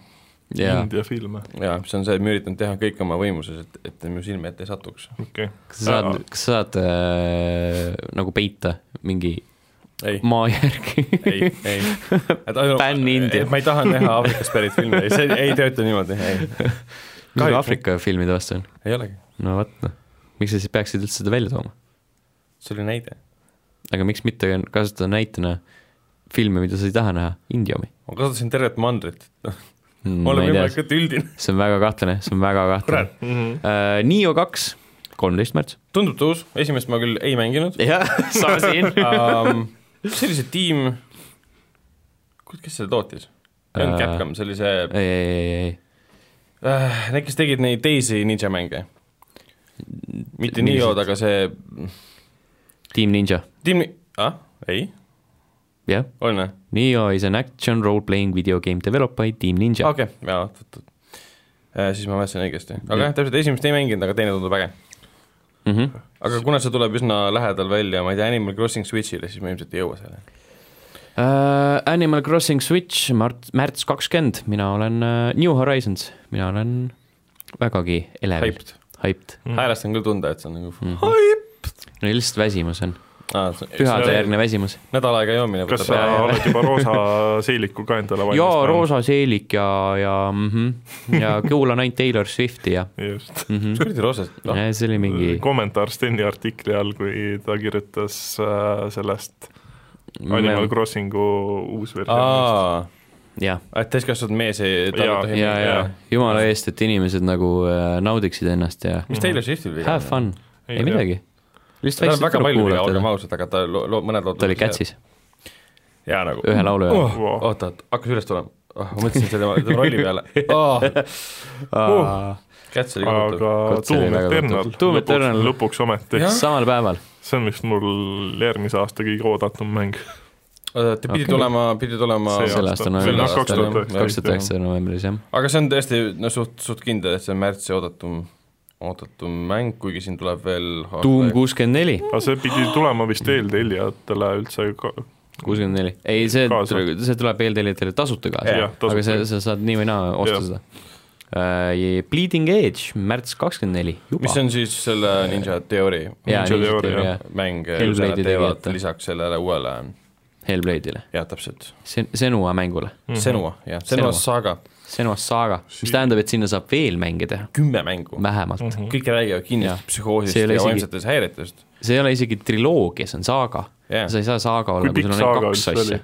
[SPEAKER 1] jaa .
[SPEAKER 2] India filme ,
[SPEAKER 3] ja see on see , et ma üritan teha kõik oma võimuses , et , et ta mu silme ette ei satuks .
[SPEAKER 2] okei okay. .
[SPEAKER 1] kas sa saad , kas sa saad äh, nagu peita mingi
[SPEAKER 3] ei ,
[SPEAKER 1] maa järgi ?
[SPEAKER 3] ei , ei .
[SPEAKER 1] Pan India.
[SPEAKER 3] ma ei taha näha Aafrikast pärit filme , ei see ei tööta niimoodi , ei .
[SPEAKER 1] mis sul Nagu Aafrika filmide vastu on ?
[SPEAKER 3] ei olegi ,
[SPEAKER 1] no vot noh , miks sa siis peaksid üldse seda välja tooma ?
[SPEAKER 3] see oli näide .
[SPEAKER 1] aga miks mitte kasutada näitena filme , mida sa ei taha näha , India omi
[SPEAKER 3] ma kasutasin tervet mandrit , ole
[SPEAKER 1] mm, .
[SPEAKER 3] võimalikult üldine .
[SPEAKER 1] see on väga kahtlane , see on väga kahtlane .
[SPEAKER 2] Mhm.
[SPEAKER 1] Uh, Nio kaks , kolmteist märts .
[SPEAKER 3] tundub tõus , esimest ma küll ei mänginud
[SPEAKER 1] jah , sama siin
[SPEAKER 3] um, . see oli see tiim , kes seda tootis ? ei olnud
[SPEAKER 1] Äh,
[SPEAKER 3] Capcom , see oli see
[SPEAKER 1] ei , ei , ei ,
[SPEAKER 3] äh, , need , kes tegid neid teisi ninja mänge .
[SPEAKER 1] Millised?
[SPEAKER 3] mitte Niod , aga see
[SPEAKER 1] ei , Team Ninja ,
[SPEAKER 3] tiim , ah , ei ,
[SPEAKER 1] jah ,
[SPEAKER 3] on või ?
[SPEAKER 1] Neo is an action role-playing video game developed by Team Ninja
[SPEAKER 3] okei , jaa , oot-oot-oot . Äh, siis ma mäletasin õigesti , aga jah , täpselt esimest ei mänginud , aga teine tundub äge .
[SPEAKER 1] mm . -hmm.
[SPEAKER 3] aga kuna see tuleb üsna lähedal välja , ma ei tea , Animal Crossing Switch'ile , siis me ilmselt ei jõua selle .
[SPEAKER 1] Uh, Animal Crossing Switch , Mart- , märts kakskümmend , mina olen uh, New Horizons , mina olen vägagi elevil ,
[SPEAKER 3] Hyped ,
[SPEAKER 1] hyped .
[SPEAKER 2] Mhm.
[SPEAKER 3] häälest on küll tunda , et see on nagu mm.
[SPEAKER 1] Mhm. no lihtsalt väsimus on ,
[SPEAKER 3] ah, see-
[SPEAKER 1] pühadejärgne väsimus .
[SPEAKER 3] see nädal aega joomine
[SPEAKER 2] kas
[SPEAKER 3] võtab
[SPEAKER 2] sa
[SPEAKER 3] ära .
[SPEAKER 2] oled juba roosa seeliku ka endale
[SPEAKER 1] Nagu jaa ,
[SPEAKER 2] valmistanud ?
[SPEAKER 1] roosa seelik ja , ja mm , -hmm. ja kuulan ainult Taylor Swifti ja
[SPEAKER 2] just ,
[SPEAKER 1] mm . -hmm.
[SPEAKER 3] mis kuradi roosest , noh ,
[SPEAKER 1] Ja see oli mingi ,
[SPEAKER 2] kommentaar Steni artikli all , kui ta kirjutas äh, sellest Animal Crossingu uus versioon .
[SPEAKER 3] aa ,
[SPEAKER 1] jah ,
[SPEAKER 3] et täiskasvanud mees ei , ta
[SPEAKER 2] Jaa.
[SPEAKER 3] ei tohi
[SPEAKER 1] ja ,
[SPEAKER 3] mängida.
[SPEAKER 1] ja
[SPEAKER 2] jaa.
[SPEAKER 1] jumala eest , et inimesed nagu äh, naudiksid ennast ja
[SPEAKER 3] mis Taylor Swiftil viga
[SPEAKER 1] have ? fun ,
[SPEAKER 2] Ei
[SPEAKER 1] ei
[SPEAKER 2] tea.
[SPEAKER 1] midagi .
[SPEAKER 3] tal
[SPEAKER 1] lihtsalt
[SPEAKER 3] on
[SPEAKER 1] väikselt
[SPEAKER 3] väga
[SPEAKER 1] tuleb
[SPEAKER 3] palju viga ,
[SPEAKER 1] kuulata
[SPEAKER 3] olgem , ausad , aga ta loo- , loo- , mõned lood
[SPEAKER 1] ta oli kätsis ,
[SPEAKER 3] jaa , nagu
[SPEAKER 1] ühe laulu ajal
[SPEAKER 2] Oh, wow.
[SPEAKER 3] oota , hakkas üles tulema oh, , ma mõtlesin selle tema rolli peale oh, .
[SPEAKER 2] Oh.
[SPEAKER 3] käts oli kohutav .
[SPEAKER 2] aga
[SPEAKER 1] Kotse oli
[SPEAKER 2] Doom
[SPEAKER 1] väga
[SPEAKER 2] Eternal
[SPEAKER 1] kohutav. Doom Eternal. ,
[SPEAKER 2] lõpuks ometi ,
[SPEAKER 1] samal päeval ,
[SPEAKER 2] see on vist mul järgmise aasta kõige oodatum mäng .
[SPEAKER 3] ta pidi okay.
[SPEAKER 1] Okei.
[SPEAKER 3] tulema , pidi tulema ,
[SPEAKER 2] See
[SPEAKER 1] selle
[SPEAKER 2] aasta.
[SPEAKER 1] aasta
[SPEAKER 2] See on
[SPEAKER 1] novembris ,
[SPEAKER 2] kaks tuhat üheksateist,
[SPEAKER 1] kaks tuhat üheksa novembris jah .
[SPEAKER 3] aga see on tõesti no suht , suht kindel , et see on märtsi oodatum , oodatum mäng , kuigi siin tuleb veel
[SPEAKER 1] Doom kuuskümmend neli ,
[SPEAKER 2] aga see pidi tulema vist eeltellijatele üldse ka ,
[SPEAKER 1] kuuskümmend neli , ei see
[SPEAKER 2] Kaasa. ,
[SPEAKER 1] see tuleb eeltellijatele tasuta kaasa
[SPEAKER 2] Jah, , tasuta.
[SPEAKER 1] aga sa , sa saad nii või naa osta
[SPEAKER 2] Jah.
[SPEAKER 1] seda . Bleeding Edge , märts kakskümmend neli , juba .
[SPEAKER 3] mis on siis selle Ninja Theory
[SPEAKER 1] jaa ,
[SPEAKER 2] Ninja
[SPEAKER 1] Ninja
[SPEAKER 2] Theory,
[SPEAKER 1] Theory
[SPEAKER 2] jah.
[SPEAKER 1] Ah. jah ,
[SPEAKER 3] mäng ,
[SPEAKER 1] Hellblade'i
[SPEAKER 3] mida nad teevad
[SPEAKER 1] tegijate.
[SPEAKER 3] lisaks sellele uuele ,
[SPEAKER 1] Hellblade'ile ,
[SPEAKER 3] jah , täpselt
[SPEAKER 1] Sen- , Senua mängule ,
[SPEAKER 2] Mhm.
[SPEAKER 3] mm , -hmm. Senua , jah ,
[SPEAKER 1] Senua.
[SPEAKER 3] Senua saaga ,
[SPEAKER 1] Senua saaga , mis tähendab , et sinna saab veel mänge teha ,
[SPEAKER 3] kümme mängu mm ,
[SPEAKER 1] vähemalt
[SPEAKER 2] Mhm.
[SPEAKER 1] mm .
[SPEAKER 3] -hmm. kõik räägivad kinnist
[SPEAKER 1] Jah.
[SPEAKER 3] psühhoosist
[SPEAKER 1] See ei ole
[SPEAKER 3] ja isegi...
[SPEAKER 1] isegi-
[SPEAKER 3] vaimsetest häiretest ,
[SPEAKER 2] Oh.
[SPEAKER 1] -hmm. see ei ole isegi triloogia , see on saaga
[SPEAKER 3] Jah.
[SPEAKER 1] yeah. , sa ei saa saaga olla ,
[SPEAKER 2] kui
[SPEAKER 1] kui
[SPEAKER 2] pikk
[SPEAKER 1] sul on
[SPEAKER 2] saaga
[SPEAKER 1] ainult kaks
[SPEAKER 2] üldse oli
[SPEAKER 1] asja ,?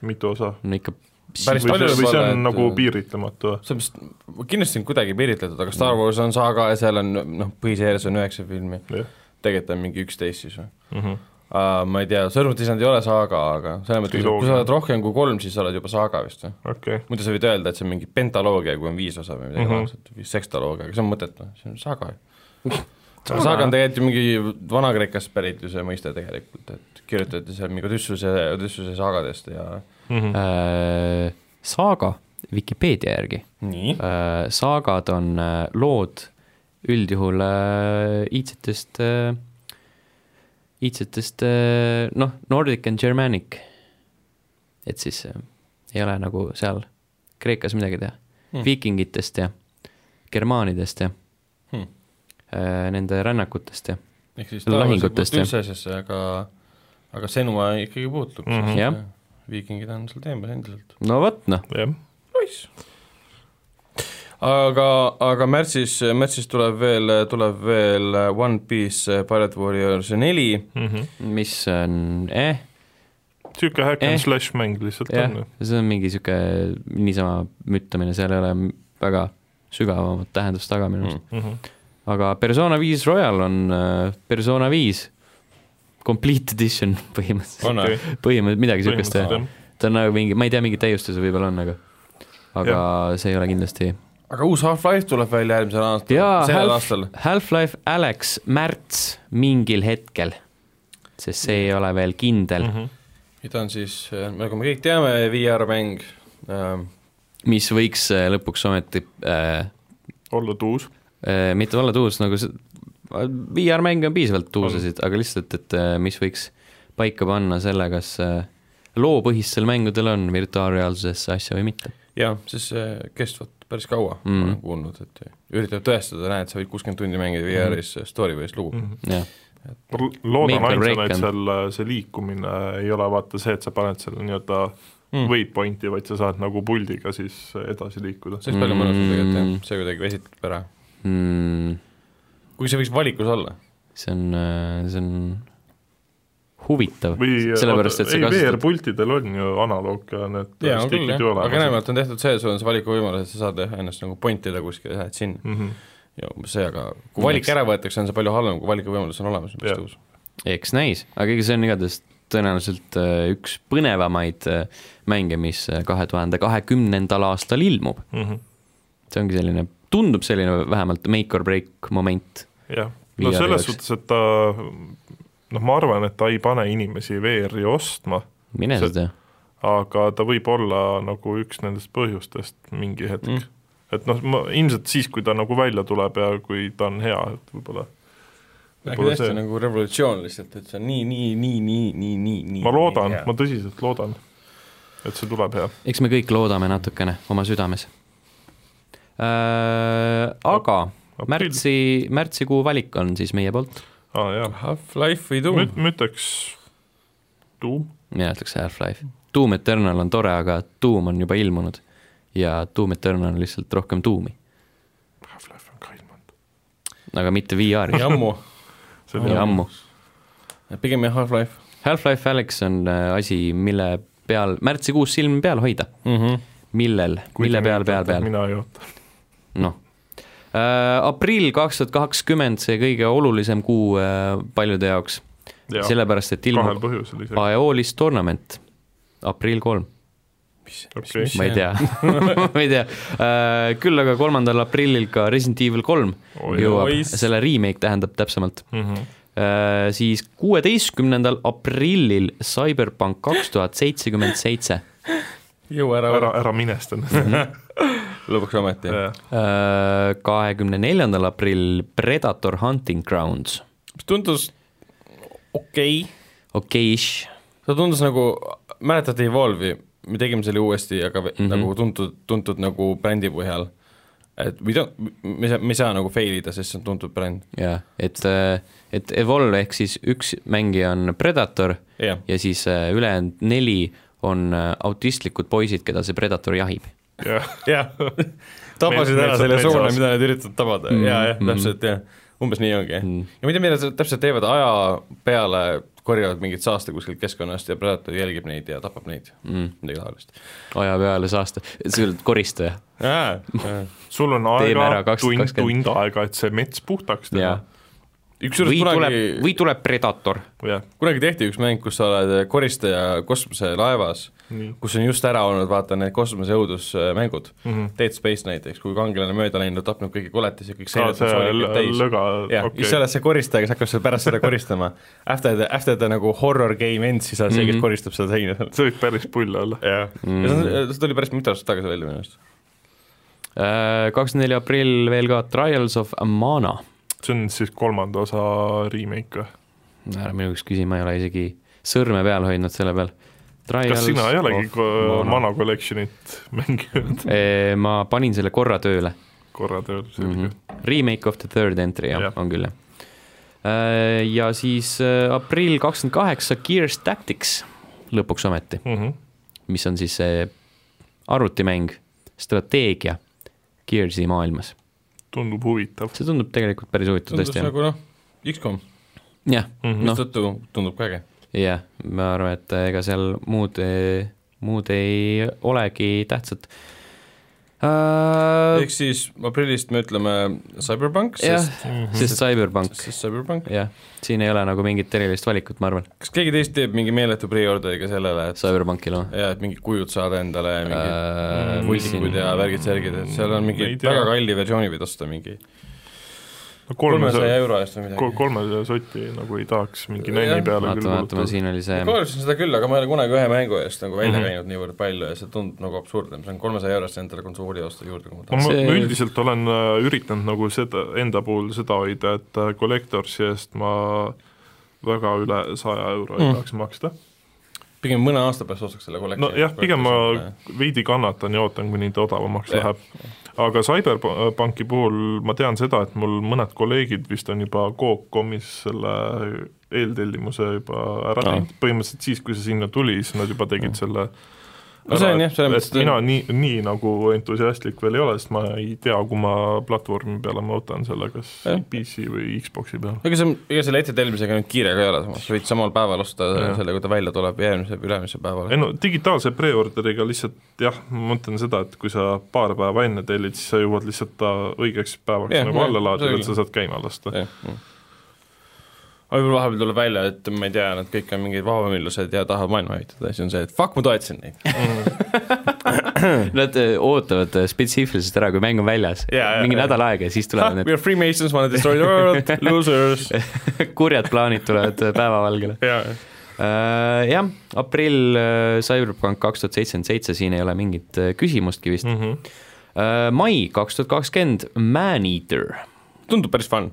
[SPEAKER 2] mitu osa ?
[SPEAKER 1] no ikka
[SPEAKER 3] Päris
[SPEAKER 2] või
[SPEAKER 3] palju
[SPEAKER 2] see , või see
[SPEAKER 3] võib-olla,
[SPEAKER 2] on
[SPEAKER 3] et- äh,
[SPEAKER 2] nagu piiritlematu ?
[SPEAKER 3] see on vist , kindlasti on kuidagi piiritletud , aga
[SPEAKER 1] Mm.
[SPEAKER 3] Star Wars on saaga ja seal on noh , põhiseeres on üheksa filmi ,
[SPEAKER 2] jah ,
[SPEAKER 3] tegelikult on mingi üksteist siis või
[SPEAKER 2] Mhm.
[SPEAKER 3] uh, ? Ma ei tea , sõrmutisand ei ole saaga , aga selles mõttes , et kui
[SPEAKER 2] Triloogia.
[SPEAKER 3] sa oled rohkem kui kolm , siis sa oled juba saaga vist või ?
[SPEAKER 2] okei .
[SPEAKER 3] muidu sa võid öelda , et see on mingi pentaloogia , kui on viis osa või midagi
[SPEAKER 2] Mhm.
[SPEAKER 3] laadset mm -hmm. , sekstoloogia , aga see on mõttetu , see on saga ju saga on tegelikult ju mingi Vana-Kreekast pärit ju see mõiste tegelikult , et kirjutati seal mingi Odüssuse , Odüssuse saagadest ja
[SPEAKER 2] Mhm.
[SPEAKER 1] äh, saaga Vikipeedia järgi
[SPEAKER 3] nii ,
[SPEAKER 1] äh, , saagad on äh, lood üldjuhul äh, iidsetest äh, , iidsetest äh, noh , Nordic and Germanic . et siis äh, ei ole nagu seal Kreekas midagi teha
[SPEAKER 3] Hmm.
[SPEAKER 2] Mhm.
[SPEAKER 1] hmm. , viikingitest ja germaanidest ja
[SPEAKER 3] Hmm.
[SPEAKER 1] hmm. äh, nende rännakutest ja
[SPEAKER 3] ehk siis
[SPEAKER 1] Lahingutest, jah.
[SPEAKER 3] üldse asjasse , aga aga Senua ikkagi puutub mm ,
[SPEAKER 2] Mhm.
[SPEAKER 3] -hmm.
[SPEAKER 1] Jah.
[SPEAKER 3] viikingid on seal teemas endiselt .
[SPEAKER 1] no vot noh ,
[SPEAKER 2] jah ,
[SPEAKER 3] poiss . aga , aga märtsis , märtsis tuleb veel , tuleb veel One Piece eh, Pirate Warriors neli
[SPEAKER 2] Mhm.
[SPEAKER 1] mis on eh, ,
[SPEAKER 2] niisugune hack and
[SPEAKER 1] Eh.
[SPEAKER 2] slash mäng lihtsalt
[SPEAKER 1] jah
[SPEAKER 2] on ju ,,
[SPEAKER 1] see on mingi sihuke niisama müttamine , seal ei ole m- väga sügavamat tähendust taga minu arust mm. .
[SPEAKER 2] Mhm.
[SPEAKER 1] aga Persona viis Royal on äh, Persona viis complete edition põhimõtteliselt ,
[SPEAKER 3] on või
[SPEAKER 2] Okei. ?
[SPEAKER 1] põhimõtteliselt midagi siukest
[SPEAKER 2] põhimõtteliselt
[SPEAKER 1] jah ,
[SPEAKER 2] jah .
[SPEAKER 1] ta on nagu mingi , ma ei tea , mingeid täiustusi võib-olla on , aga aga ja. see ei ole kindlasti
[SPEAKER 3] aga uus Half-Life tuleb välja järgmisel aastal ,
[SPEAKER 1] jaa ,
[SPEAKER 3] sellel
[SPEAKER 1] Half-
[SPEAKER 3] aastal ,
[SPEAKER 1] Half-Life Alex märts mingil hetkel , sest see ei ole veel kindel
[SPEAKER 2] Mhm.
[SPEAKER 1] mm , -hmm.
[SPEAKER 3] mida on siis , nagu me kõik teame , VR-mäng ähm, ,
[SPEAKER 1] mis võiks äh, lõpuks ometi äh,
[SPEAKER 2] olla tuus ,
[SPEAKER 1] Eh, mitte olla tuus , nagu see , VR-mänge on piisavalt tuusasid , aga lihtsalt , et eh, mis võiks paika panna selle , kas eh, loopõhistel mängudel on virtuaalreaalsusesse asja või mitte .
[SPEAKER 3] jah , siis see kestvat päris kaua mm. , ma
[SPEAKER 1] Mhm.
[SPEAKER 3] olen kuulnud , et üritab tõestada , näed , sa võid kuuskümmend tundi mängida VR-is mm. story-based lugu mm. .
[SPEAKER 1] jah ,
[SPEAKER 2] Mhm. loodan
[SPEAKER 1] Make or
[SPEAKER 2] ainsana ,
[SPEAKER 1] break
[SPEAKER 2] et
[SPEAKER 1] on.
[SPEAKER 2] seal äh, see liikumine ei ole vaata see , et sa paned selle nii-öelda
[SPEAKER 3] Mm.
[SPEAKER 2] waypointi , vaid sa saad nagu puldiga siis edasi liikuda .
[SPEAKER 3] see oleks palju mõnusam tegelikult jah
[SPEAKER 1] Mm. ,
[SPEAKER 3] see kuidagi väsitab ära .
[SPEAKER 1] mm, .
[SPEAKER 3] kuigi see võiks valikus olla .
[SPEAKER 1] see on , see on huvitav ,
[SPEAKER 2] või äh,
[SPEAKER 1] sellepärast et sa
[SPEAKER 2] ei ,
[SPEAKER 1] kasutad ,
[SPEAKER 2] VR-pultidel on ju analoog , need
[SPEAKER 3] jaa , on küll
[SPEAKER 2] stikid
[SPEAKER 3] jah
[SPEAKER 2] ju , olemas .
[SPEAKER 3] aga enamjaolt on tehtud see , et sul on see valikuvõimalus , et sa saad jah ennast nagu point ida kuskile , lähed sinna
[SPEAKER 2] enam .
[SPEAKER 3] ja umbes see , aga kui valik ära võetakse , on see palju halvem , kui valikuvõimalus on olemas , mis
[SPEAKER 2] Jah.
[SPEAKER 3] tõus .
[SPEAKER 1] eks näis , aga ega see on igatahes tõenäoliselt eh, üks põnevamaid eh, mänge , mis kahe tuhande kahekümnendal aastal ilmub .
[SPEAKER 2] Mhm.
[SPEAKER 1] see ongi selline , tundub selline vähemalt make or break moment
[SPEAKER 2] jah , no
[SPEAKER 1] VR-i
[SPEAKER 2] selles
[SPEAKER 1] jaoks.
[SPEAKER 2] suhtes , et ta noh, ma arvan, et ta ei pane inimesi VR-i ostma,
[SPEAKER 1] mine
[SPEAKER 2] See-
[SPEAKER 1] sa tea .
[SPEAKER 2] aga ta võib olla nagu üks nendest põhjustest mingi hetk mm.
[SPEAKER 3] Mm. .
[SPEAKER 2] et noh, ma ilmselt siis, kui ta nagu välja tuleb ja kui ta on hea , et võib-olla
[SPEAKER 3] äkki
[SPEAKER 2] Võib-olla
[SPEAKER 3] tõesti
[SPEAKER 2] see-
[SPEAKER 3] nagu revolutsioon lihtsalt , et see on nii , nii , nii , nii , nii , nii , nii .
[SPEAKER 2] ma loodan , ma tõsiselt loodan , et see tuleb hea .
[SPEAKER 1] eks me kõik loodame natukene oma südames . aga märtsi , märtsikuu valik on siis meie poolt .
[SPEAKER 2] aa jaa ,
[SPEAKER 3] Half-Life või Doom
[SPEAKER 2] ma ütleks tuum ,
[SPEAKER 1] mina ütleks Half-Life . Doom Eternal on tore , aga Doom on juba ilmunud ja Doom Eternal on lihtsalt rohkem tuumi ,
[SPEAKER 2] Half-Life on ka ilmunud .
[SPEAKER 1] aga mitte VR-is
[SPEAKER 3] ja ammu ,
[SPEAKER 2] see
[SPEAKER 1] ja
[SPEAKER 2] oli
[SPEAKER 1] ammu .
[SPEAKER 3] pigem jah Half-Life
[SPEAKER 1] Half-Life Alyx on äh, asi , mille peal , märtsikuus silm peal hoida ,
[SPEAKER 3] mm . -hmm.
[SPEAKER 1] millel , mille peal , peal , peal ,
[SPEAKER 2] mina ei oota ,
[SPEAKER 1] noh . aprill kaks tuhat kakskümmend , see kõige olulisem kuu äh, paljude jaoks ,
[SPEAKER 2] jaa ,
[SPEAKER 1] sellepärast et
[SPEAKER 2] kahel
[SPEAKER 1] ilmub
[SPEAKER 2] põhjusel isegi ,
[SPEAKER 1] Aeolis tournament , aprill kolm ,
[SPEAKER 2] okei
[SPEAKER 3] mis-
[SPEAKER 1] ma ei tea , ma ei tea . küll aga kolmandal aprillil ka Resident Evil kolm
[SPEAKER 2] Oi,
[SPEAKER 1] jõuab ,
[SPEAKER 3] oi.
[SPEAKER 1] selle remake tähendab täpsemalt .
[SPEAKER 2] Mhm.
[SPEAKER 1] Äh, siis kuueteistkümnendal aprillil Cyberpunk kaks tuhat seitsekümmend seitse .
[SPEAKER 3] jõua ära ,
[SPEAKER 2] ära
[SPEAKER 3] ära ,,
[SPEAKER 2] ära minesta nüüd ,
[SPEAKER 1] Mhm.
[SPEAKER 3] lõpuks ometi .
[SPEAKER 1] Äh, kahekümne neljandal aprillil Predator Hunting Grounds ,
[SPEAKER 3] mis tundus okei okay. ,
[SPEAKER 1] okei-ish ,
[SPEAKER 3] ta tundus nagu , mäletate Evolve'i , me tegime selle uuesti , aga mm
[SPEAKER 1] Mhm.
[SPEAKER 3] -hmm. nagu tuntud , tuntud nagu brändi põhjal . et me ei tea , me ei saa , me ei saa nagu fail ida , sest see on tuntud bränd ,
[SPEAKER 1] jaa , et , et Evolve ehk siis üks mängija on Predator
[SPEAKER 3] jah .
[SPEAKER 1] ja siis äh, ülejäänud neli on äh, autistlikud poisid , keda see Predator jahib .
[SPEAKER 2] jah ,
[SPEAKER 3] jah , tabasid
[SPEAKER 2] Mees-
[SPEAKER 3] ära
[SPEAKER 2] mees-
[SPEAKER 3] selle
[SPEAKER 2] mees-
[SPEAKER 3] suuna ,
[SPEAKER 2] mees-
[SPEAKER 3] mida nad üritavad tabada mm, , jaa , jah , täpselt , jah . umbes nii ongi mm. . ja mida meile täpselt teevad , aja peale korjavad mingit saasta kuskilt keskkonnast ja Predator jälgib neid ja tapab neid mm. , midagi taolist .
[SPEAKER 1] aja peale saasta , see on koristaja .
[SPEAKER 2] sul on
[SPEAKER 1] Teeme ära
[SPEAKER 2] aega
[SPEAKER 1] kaks- ,
[SPEAKER 2] tund ,
[SPEAKER 1] kakskümmend-
[SPEAKER 2] tund aega , et see mets puhtaks teha
[SPEAKER 1] või ,
[SPEAKER 3] ükskord
[SPEAKER 1] tuleb ,
[SPEAKER 3] kunagi ,
[SPEAKER 1] või tuleb Predator .
[SPEAKER 2] jah ,
[SPEAKER 3] kunagi tehti üks mäng , kus sa oled eh, koristaja kosmoselaevas ,
[SPEAKER 2] nii ,
[SPEAKER 3] kus on just ära olnud , vaata need kosmoseõudusmängud mm , -hmm. Dead Space näiteks , kui kangelane mööda läinud , tapnud kõiki koletisi , kõik
[SPEAKER 2] aa
[SPEAKER 3] seljad on
[SPEAKER 2] see
[SPEAKER 3] soolikud
[SPEAKER 2] lõ-
[SPEAKER 3] täis .
[SPEAKER 2] lõga ,
[SPEAKER 3] jah okay. , siis
[SPEAKER 2] okei ,
[SPEAKER 3] sa oled see koristaja , kes hakkab seal pärast seda koristama . After the , after the nagu horror game ends , siis sa oled see , kes koristab seda seina seal .
[SPEAKER 2] see võib päris pull olla .
[SPEAKER 3] Mhm. jah , ja see
[SPEAKER 1] Mhm.
[SPEAKER 3] on- see tuli päris mitu aastat tagasi välja minu arust .
[SPEAKER 1] kakskümmend neli aprill veel ka Trials of Mana
[SPEAKER 2] see on siis kolmanda osa remake või ?
[SPEAKER 1] ära minu käest küsi , ma ei ole isegi sõrme peal hoidnud selle peal .
[SPEAKER 2] kas sina ei olegi ko- Mana Collectionit mänginud
[SPEAKER 1] E, ma panin selle korra tööle .
[SPEAKER 2] korra tööl
[SPEAKER 1] Mm
[SPEAKER 2] selge
[SPEAKER 1] -hmm. Remake of the third entry , jah
[SPEAKER 2] Jah.
[SPEAKER 1] yeah. , on küll , jah . Ja siis äh, aprill kakskümmend kaheksa , Gears Tactics lõpuks ometi ,
[SPEAKER 2] mm ? -hmm.
[SPEAKER 1] mis on siis see arvutimäng , strateegia Gearsi maailmas .
[SPEAKER 2] tundub huvitav .
[SPEAKER 1] see tundub tegelikult päris huvitav
[SPEAKER 3] tundus
[SPEAKER 1] tõesti , jah .
[SPEAKER 3] nagu noh , X-kom ,
[SPEAKER 1] jah ,
[SPEAKER 2] Mhm.
[SPEAKER 1] noh ,
[SPEAKER 3] mistõttu tundub ka äge .
[SPEAKER 1] jah , ma arvan , et äh, ega seal muud , muud ei olegi tähtsat äh, .
[SPEAKER 3] ehk siis aprillist me ütleme Cyberpunk ,
[SPEAKER 1] jah
[SPEAKER 3] sest ,,
[SPEAKER 1] sest Cyberpunk ,
[SPEAKER 3] sest Cyberpunk .
[SPEAKER 1] jah , siin ei ole nagu mingit erilist valikut , ma arvan ,
[SPEAKER 3] kas keegi teist teeb mingi meeletu preorderiga sellele , et
[SPEAKER 1] Cyberpunkil on .
[SPEAKER 3] ja et mingid kujud saada endale , mingid
[SPEAKER 1] Äh,
[SPEAKER 3] võltsikud Mm, ja värgid-särgid , et seal on
[SPEAKER 2] ei
[SPEAKER 3] mingi
[SPEAKER 2] tea.
[SPEAKER 3] väga kalli versiooni võid osta mingi kolmesaja
[SPEAKER 2] kolmesaja ,
[SPEAKER 3] euro eest või midagi .
[SPEAKER 2] kolmesaja sotti nagu ei tahaks mingi
[SPEAKER 3] Jah.
[SPEAKER 2] nänni peale
[SPEAKER 1] vaata ,
[SPEAKER 2] küll
[SPEAKER 1] vaatame ,
[SPEAKER 2] kulutada .
[SPEAKER 1] siin oli see Mhm.
[SPEAKER 3] ma korjasin seda küll , aga ma ei ole kunagi ühe mängu eest nagu välja käinud niivõrd palju ja see tundub nagu absurdne , ma saan kolmesaja eurost endale konsooli osta juurde , kui ma
[SPEAKER 2] ma
[SPEAKER 3] tahan .
[SPEAKER 2] ma-
[SPEAKER 1] see-
[SPEAKER 2] ma üldiselt olen äh, üritanud nagu seda , enda puhul seda hoida , et äh, Collectorsi eest ma väga üle saja euro ei tahaks maksta .
[SPEAKER 3] pigem mõne aasta pärast ostaks selle kollektsiooni .
[SPEAKER 2] nojah , pigem ma veidi kannatan ja ootan , kuni ta odavamaks
[SPEAKER 3] Jah.
[SPEAKER 2] läheb . aga CyberPunki puhul ma tean seda , et mul mõned kolleegid vist on juba Coop.com'is selle eeltellimuse juba ära
[SPEAKER 3] Aa.
[SPEAKER 2] teinud , põhimõtteliselt siis , kui see sinna tuli , siis nad juba tegid selle
[SPEAKER 3] No see on jah, selles mõttes-
[SPEAKER 2] et mina nii , nii nagu entusiastlik veel ei ole , sest ma ei tea , kumma platvormi peale ma võtan selle , kas
[SPEAKER 3] Jah.
[SPEAKER 2] PC või Xboxi peale .
[SPEAKER 3] ega see on , ega selle ettetelmisega nüüd kiire ka ei ole , samas võid samal päeval osta
[SPEAKER 2] Jah.
[SPEAKER 3] selle , kui ta välja tuleb , järgmise , ülemise päeval
[SPEAKER 2] ei . no digitaalse preorderiga lihtsalt jah , ma mõtlen seda , et kui sa paar päeva enne tellid , siis sa jõuad lihtsalt ta õigeks päevaks
[SPEAKER 3] Jah,
[SPEAKER 2] yeah, nagu
[SPEAKER 3] jah,
[SPEAKER 2] alla laadida ,
[SPEAKER 3] selge.
[SPEAKER 2] et sa saad käima lasta .
[SPEAKER 3] aga võib-olla vahepeal tuleb välja , et ma ei tea , nad kõik on mingid vabamillused ja tahavad maailma ehitada ja siis on see , et fuck , ma toetasin neid .
[SPEAKER 1] Nad öö, ootavad öö, spetsiifiliselt ära , kui mäng on väljas
[SPEAKER 3] Jaa, jaa,
[SPEAKER 1] mingi
[SPEAKER 3] jaa. Ah,
[SPEAKER 1] nädal aega ja siis
[SPEAKER 3] Ha,
[SPEAKER 1] tulevad
[SPEAKER 3] we are freemasons , wanna destroy the world , losers .
[SPEAKER 1] need kurjad plaanid tulevad öö, päevavalgele . Äh, jah , aprill , Cyberpunk kaks tuhat seitsekümmend seitse , siin ei ole mingit öö, küsimustki vist .
[SPEAKER 3] Mhm.
[SPEAKER 1] mai kaks tuhat kakskümmend , Maneater ,
[SPEAKER 3] tundub päris fun ,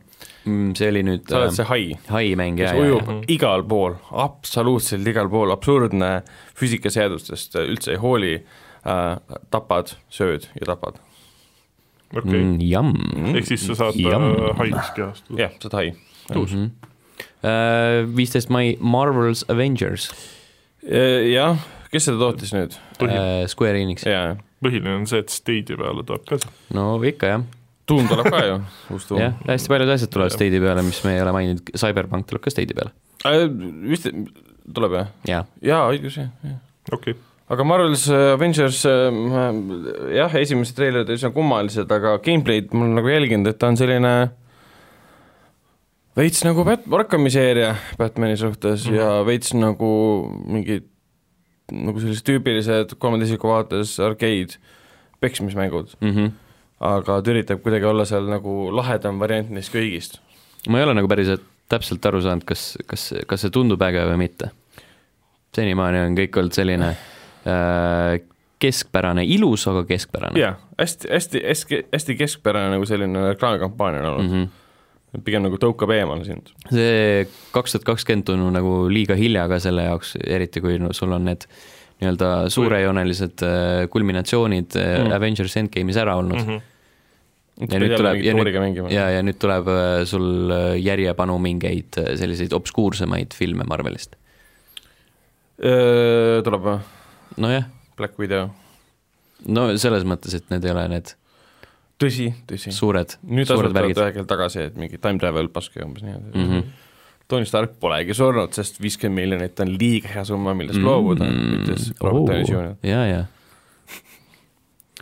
[SPEAKER 1] see oli nüüd
[SPEAKER 3] sa oled
[SPEAKER 1] öö,
[SPEAKER 3] see hai ,
[SPEAKER 1] hai mäng ja ,
[SPEAKER 3] kes
[SPEAKER 1] ja ,
[SPEAKER 3] ujub igal pool , absoluutselt igal pool , absurdne füüsikaseadustest üldse ei hooli äh, , tapad , sööd ja tapad ,
[SPEAKER 1] ja ,
[SPEAKER 2] okei ,
[SPEAKER 1] jamm .
[SPEAKER 3] Mm,
[SPEAKER 2] ehk siis sa saad
[SPEAKER 1] Jamm.
[SPEAKER 2] äh, haigus kehast .
[SPEAKER 3] jah , sa oled hai .
[SPEAKER 1] tuus . Mhm. Äh, viisteist mai , Marvel's Avengers ,
[SPEAKER 3] E, jah , kes seda tootis nüüd ?
[SPEAKER 1] Äh, Square Enix ,
[SPEAKER 3] jaa ,
[SPEAKER 2] põhiline on see , et stage'i peale tuleb ka see .
[SPEAKER 1] no ikka jah
[SPEAKER 3] tuum tuleb ka ju , uus tuum
[SPEAKER 1] jah , hästi paljud asjad tulevad Stade'i peale , mis me ei ole maininud , Cyberpunk tuleb ka Stade'i peale .
[SPEAKER 3] äh, . vist tuleb jah ?
[SPEAKER 1] jaa ,
[SPEAKER 3] jaa , õigus jah , jah .
[SPEAKER 2] okei okay. ,
[SPEAKER 3] aga Marvel's Avengers äh, jah , esimesed treilerid olid üsna kummalised , aga gameplay'd ma olen nagu jälginud , et ta on selline veits nagu Bat- , Arkhami seeria Batman'i suhtes mm -hmm. ja veits nagu mingid nagu sellised tüüpilised kolmanda isiku vaates arkeid peksmismängud ,
[SPEAKER 1] Mhm.
[SPEAKER 3] aga ta üritab kuidagi olla seal nagu lahedam variant neist kõigist .
[SPEAKER 1] ma ei ole nagu päris täpselt aru saanud , kas , kas , kas see tundub äge või mitte . senimaani on kõik olnud selline äh, keskpärane , ilus , aga keskpärane .
[SPEAKER 3] jaa , hästi , hästi , hästi , hästi keskpärane nagu selline reklaamikampaania on olnud mm ,
[SPEAKER 1] Mhm.
[SPEAKER 3] -hmm. pigem nagu tõukab eemale sind .
[SPEAKER 1] see kaks tuhat kakskümmend tundub nagu liiga hilja ka selle jaoks , eriti kui no sul on need nii-öelda suurejoonelised äh, kulminatsioonid mm. Avengers Endgame'is ära olnud mm . ja nüüd tuleb , ja nüüd , ja , ja nüüd tuleb äh, sul äh, järjepanu mingeid äh, selliseid obskuursemaid filme Marvelist .
[SPEAKER 3] tuleb või?
[SPEAKER 1] nojah ,
[SPEAKER 3] Black Widow .
[SPEAKER 1] no selles mõttes , et need ei ole need
[SPEAKER 3] tõsi , tõsi .
[SPEAKER 1] suured ,
[SPEAKER 3] nüüd
[SPEAKER 1] suured
[SPEAKER 3] asuvad
[SPEAKER 1] värgid .
[SPEAKER 3] aeg-ajalt tagasi , et mingi time travel paske umbes niimoodi mm .
[SPEAKER 1] Mhm.
[SPEAKER 3] -hmm. Tony Stark polegi surnud , sest viiskümmend miljonit on liiga hea summa ,
[SPEAKER 1] Mhm.
[SPEAKER 3] millest mm -hmm. loobuda , ütles Robert Downey Jr .
[SPEAKER 1] ja , ja .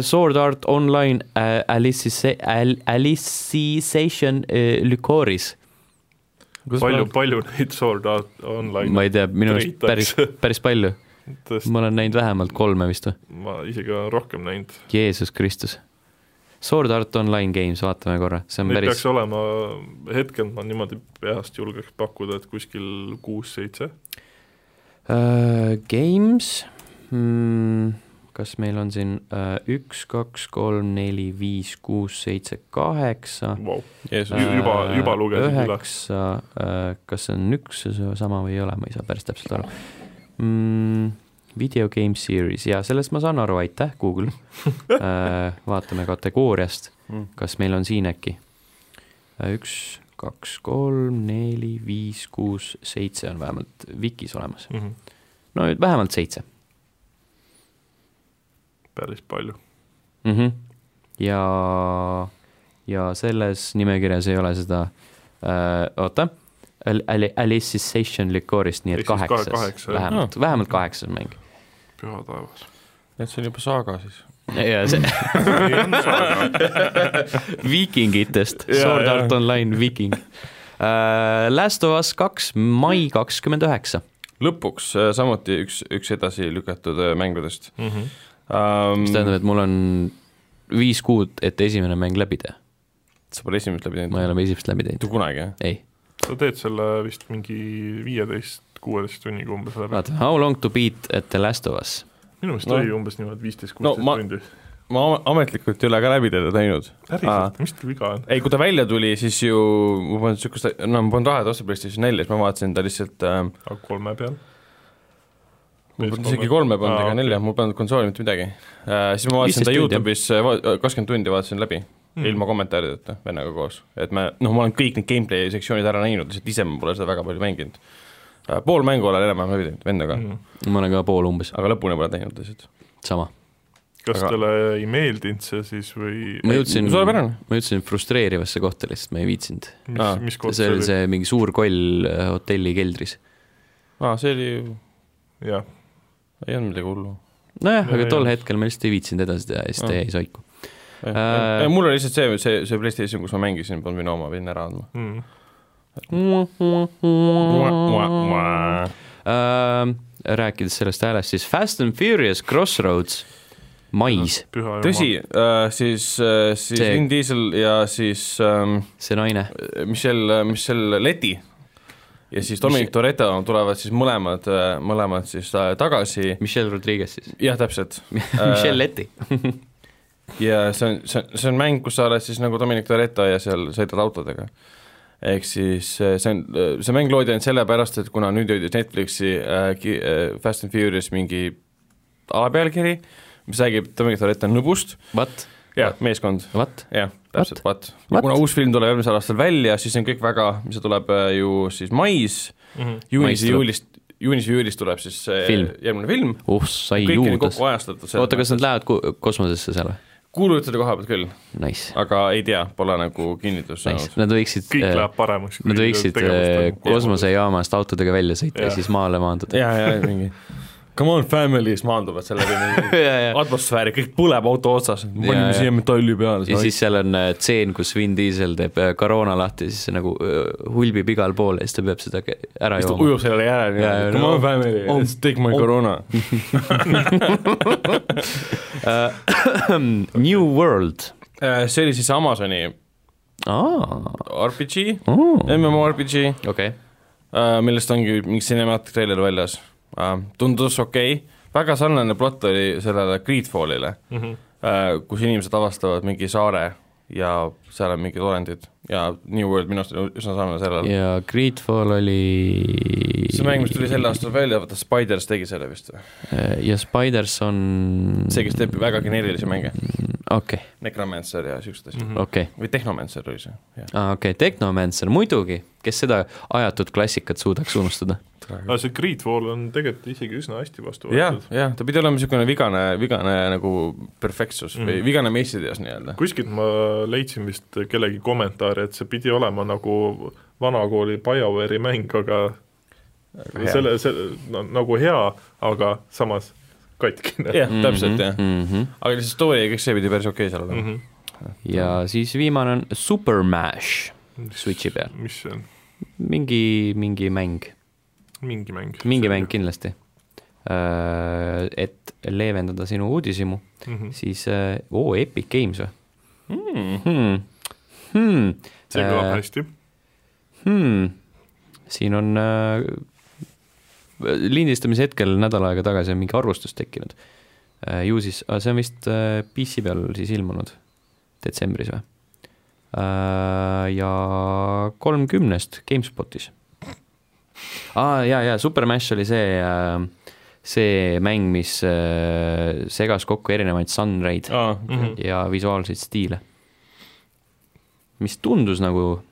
[SPEAKER 1] Sword Art Online äh, Alice , Alicization äh, Lycoris .
[SPEAKER 2] palju , palju neid Sword Art Online
[SPEAKER 1] ma ei tea , minu arust päris
[SPEAKER 2] Treitakse. ,
[SPEAKER 1] päris palju .
[SPEAKER 2] tõest-
[SPEAKER 1] ma olen näinud vähemalt kolme vist või ?
[SPEAKER 2] ma isegi olen rohkem näinud .
[SPEAKER 1] Jeesus Kristus . Sword Art Online Games , vaatame korra , see on
[SPEAKER 2] Neid
[SPEAKER 1] päris
[SPEAKER 2] peaks olema , hetkel ma niimoodi peast julgeks pakkuda , et kuskil kuus-seitse .
[SPEAKER 1] Äh, Games mm, , kas meil on siin äh, üks , kaks , kolm , neli , viis , kuus , seitse , kaheksa .
[SPEAKER 2] Vau ,
[SPEAKER 3] Jeesus
[SPEAKER 2] Ju- Äh, juba- juba lugesin üle.
[SPEAKER 1] üheksa , kas see on üks ja see on sama või ei ole , ma ei saa päris täpselt aru mm, . Video game series ja sellest ma saan aru , aitäh Google äh, . vaatame kategooriast ,
[SPEAKER 2] Hmm.
[SPEAKER 3] Mm.
[SPEAKER 1] kas meil on siin äkki Äh, üks , kaks , kolm , neli , viis , kuus , seitse on vähemalt Vikis olemas .
[SPEAKER 2] Mhm.
[SPEAKER 1] no nüüd vähemalt seitse
[SPEAKER 2] päris palju .
[SPEAKER 1] mm . -hmm. ja , ja selles nimekirjas ei ole seda äh, , oota , Alicization Licorist , nii et
[SPEAKER 2] Ehk siis kahe-
[SPEAKER 1] kaheksas ,
[SPEAKER 2] kaheksa, jah.
[SPEAKER 1] vähemalt no. , vähemalt kaheksas mäng .
[SPEAKER 2] püha taevas .
[SPEAKER 3] et see on juba saaga siis .
[SPEAKER 1] ja see viikingitest ,
[SPEAKER 3] Jaa,
[SPEAKER 1] Sword
[SPEAKER 3] jaa.
[SPEAKER 1] Art Online viiking uh, . Last of Us kaks , mai kakskümmend üheksa .
[SPEAKER 3] lõpuks äh, samuti üks , üks edasi lükatud äh, mängudest
[SPEAKER 1] mis
[SPEAKER 3] um, .
[SPEAKER 1] tähendab , et mul on viis kuud , et esimene mäng läbi teha .
[SPEAKER 3] sa pole esimest läbi teinud
[SPEAKER 1] ma ? ei ole esimest läbi teinud
[SPEAKER 3] mitte . kunagi , jah ?
[SPEAKER 1] ei ,
[SPEAKER 2] sa teed selle vist mingi viieteist , kuueteist tunniga umbes läbi .
[SPEAKER 1] vaata , How long to beat at the last of us .
[SPEAKER 2] minu meelest
[SPEAKER 3] No.
[SPEAKER 2] oli umbes niimoodi viisteist ,
[SPEAKER 3] No
[SPEAKER 2] kuusteist
[SPEAKER 3] ma-
[SPEAKER 2] tundi .
[SPEAKER 3] ma am- ametlikult ei ole ka läbi teda teinud .
[SPEAKER 2] päriselt , mis tal viga on ?
[SPEAKER 3] ei , kui ta välja tuli , siis ju ma polnud niisugust , no ma polnud raha et osta PlayStation nelja , siis ma vaatasin ta lihtsalt ähm,
[SPEAKER 2] aga kolme peal ?
[SPEAKER 3] ma polnud isegi kolme pannud ega . nelja , mul polnud konsooli mitte midagi äh, . siis ma
[SPEAKER 1] 15
[SPEAKER 3] vaatasin ta
[SPEAKER 1] tundi,
[SPEAKER 3] Youtube'is äh, kakskümmend tundi vaatasin läbi mm. , ilma kommentaarideta vennaga koos . et me , noh , ma olen kõik need gameplay sektsioonid ära näinud , lihtsalt ise ma pole seda väga palju mänginud äh, . pool mängu olen enam-vähem läbi teinud vennaga mm. ,
[SPEAKER 1] ma olen ka pool umbes ,
[SPEAKER 3] aga lõpuni pole teinud lihtsalt .
[SPEAKER 1] sama .
[SPEAKER 2] kas
[SPEAKER 3] Aga-
[SPEAKER 2] talle ei meeldinud see siis või
[SPEAKER 1] ma jõudsin ,
[SPEAKER 3] suurepärane.
[SPEAKER 1] ma jõudsin frustreerivasse kohta lihtsalt , ma ei viitsinud .
[SPEAKER 2] mis
[SPEAKER 3] Aa, ,
[SPEAKER 2] mis kord
[SPEAKER 1] see oli ? see mingi suur koll äh, hotelli keldris .
[SPEAKER 3] aa , see oli ju ,
[SPEAKER 2] jah ,
[SPEAKER 3] ei olnud midagi hullu
[SPEAKER 1] nojah ,
[SPEAKER 2] Ja,
[SPEAKER 1] aga tol
[SPEAKER 2] ja.
[SPEAKER 1] hetkel ma lihtsalt ei viitsinud edasi teha ja siis ta
[SPEAKER 3] Ah.
[SPEAKER 1] jäi soiku .
[SPEAKER 3] Jah,
[SPEAKER 1] Äh,
[SPEAKER 3] jah. mul oli lihtsalt see , see , see PlayStation , kus ma mängisin , polnud minu oma , pidin ära andma .
[SPEAKER 2] mm.
[SPEAKER 1] Mm. Äh, rääkides sellest häälest , siis Fast and Furious Crossroads , mais ,
[SPEAKER 2] püha
[SPEAKER 3] tõsi , siis , siis
[SPEAKER 1] See-
[SPEAKER 3] Vin Diesel ja siis ähm,
[SPEAKER 1] see naine .
[SPEAKER 3] Michelle , Michelle äh, Leti ja siis Dominic Toretto tulevad siis mõlemad , mõlemad siis äh, tagasi ,
[SPEAKER 1] Michelle Rodriguez siis .
[SPEAKER 3] jah , täpselt .
[SPEAKER 1] Michelle Leti .
[SPEAKER 3] ja see on , see on , see on mäng , kus sa oled siis nagu Dominic Toretto ja seal sõidad autodega . ehk siis äh, see on , see mäng loodi ainult sellepärast , et kuna nüüd jõudis Netflixi äh, ki- äh, Fast and Furious mingi A-pealkiri , mis räägib Dominic Toretto nõbust ,
[SPEAKER 1] What ,
[SPEAKER 3] jah , meeskond ,
[SPEAKER 1] what ?
[SPEAKER 3] jah , täpselt , vaat .
[SPEAKER 1] What?
[SPEAKER 3] kuna uus film tuleb järgmisel aastal välja , siis see on kõik väga , see tuleb äh, ju siis mais ,
[SPEAKER 1] Mais
[SPEAKER 2] Mhm.
[SPEAKER 3] juunis ja
[SPEAKER 1] tuleb.
[SPEAKER 3] juulist , juunis ja juulis tuleb siis see
[SPEAKER 1] Film.
[SPEAKER 3] järgmine film ,
[SPEAKER 1] oh sai
[SPEAKER 3] kõik on
[SPEAKER 1] juudes
[SPEAKER 3] kokku . ajastatud .
[SPEAKER 1] oota , kas nad lähevad ko- kosmosesse seal või ?
[SPEAKER 3] kuulujuttude koha pealt küll ,
[SPEAKER 1] Nice ,
[SPEAKER 3] aga ei tea , pole nagu kinnitust
[SPEAKER 1] nice ,
[SPEAKER 3] saanud .
[SPEAKER 1] nad võiksid , äh,
[SPEAKER 2] kõik
[SPEAKER 3] Äh,
[SPEAKER 1] nad
[SPEAKER 2] läheb paremaks .
[SPEAKER 1] võiksid äh, . kosmosejaamast autodega välja sõita ja
[SPEAKER 2] Jah.
[SPEAKER 1] siis maale maanduda .
[SPEAKER 3] ja , ja mingi come on family , siis maanduvad selle mingi atmosfääri , kõik põleb auto otsas ,
[SPEAKER 1] Ja, ja.
[SPEAKER 3] panime siia metalli peale .
[SPEAKER 1] ja siis seal on äh, tseen , kus Vin Diesel teeb äh, koroona lahti , siis see nagu äh, hulbib igal pool ja siis ta peab seda ke- ära
[SPEAKER 3] siis ta
[SPEAKER 1] jooma .
[SPEAKER 3] ujub sellele järele ,
[SPEAKER 1] Ja, ja,
[SPEAKER 3] come
[SPEAKER 1] no.
[SPEAKER 3] on family ,
[SPEAKER 1] Oh.
[SPEAKER 3] let's take my koroona .
[SPEAKER 1] New World .
[SPEAKER 3] Äh, see oli siis Amazoni
[SPEAKER 1] aa ,
[SPEAKER 3] RPG ,
[SPEAKER 1] okei
[SPEAKER 3] MMORPG ,
[SPEAKER 1] okay. ,
[SPEAKER 3] Äh, millest ongi mingi cinematic trailer väljas . tundus okei okay. , väga sarnane plott oli sellele Greedfallile mm ,
[SPEAKER 2] Mhm,
[SPEAKER 3] -hmm. kus inimesed avastavad mingi saare ja seal on mingid olendid ja New World minu arust oli üsna sarnane sellele yeah. .
[SPEAKER 1] ja Greedfall oli
[SPEAKER 3] see mäng , mis tuli sel aastal välja , vaata Spiders tegi selle vist või ?
[SPEAKER 1] Äh, ja Spiders on
[SPEAKER 3] see , kes teeb väga geneerilisi mänge ,
[SPEAKER 1] okei ,
[SPEAKER 3] Necromancer ja siuksed asjad
[SPEAKER 2] mhm.
[SPEAKER 3] mm .
[SPEAKER 1] okei ,
[SPEAKER 3] -hmm. või Tehnomancer oli see , jah .
[SPEAKER 1] okei , Technomancer muidugi , kes seda ajatut klassikat suudaks unustada .
[SPEAKER 2] aga see Greedfall on tegelikult isegi üsna hästi vastu
[SPEAKER 3] jah
[SPEAKER 2] võetud .,
[SPEAKER 3] jah , ta pidi olema niisugune vigane , vigane nagu perfektsus mm -hmm. või vigane meistriteos nii-öelda .
[SPEAKER 2] kuskilt ma leidsin vist kellegi kommentaari , et see pidi olema nagu vanakooli BioWare'i mäng , aga
[SPEAKER 3] hea.
[SPEAKER 2] selle , selle , nagu hea , aga samas katkine .
[SPEAKER 3] jah , täpselt jah .
[SPEAKER 1] mm . -hmm.
[SPEAKER 3] aga lihtsalt story ja kõik see pidi päris okei seal olema mm .
[SPEAKER 2] Mhm.
[SPEAKER 3] -hmm.
[SPEAKER 1] ja siis viimane on Super Mash Switchi peal ,
[SPEAKER 2] mis see on ,
[SPEAKER 1] mingi , mingi mäng ,
[SPEAKER 2] mingi mäng ?
[SPEAKER 1] mingi mäng . kindlasti . et leevendada sinu uudishimu mm ,
[SPEAKER 2] Mhm.
[SPEAKER 1] -hmm. siis äh, oo , Epic Games või
[SPEAKER 3] Mm.
[SPEAKER 1] hmm. ? Hmm.
[SPEAKER 2] see kõlab hästi .
[SPEAKER 1] hmm. . siin on äh, lindistamise hetkel nädal aega tagasi on mingi arvustus tekkinud äh, . ju siis , see on vist äh, PC peal siis ilmunud detsembris või äh, ? ja kolmkümnest GameSpotis . aa ah, , jaa , jaa , Super Mash oli see äh, , see mäng , mis äh, segas kokku erinevaid Sunraid
[SPEAKER 3] aa ,
[SPEAKER 2] Mhm.
[SPEAKER 1] ja visuaalseid stiile . mis tundus nagu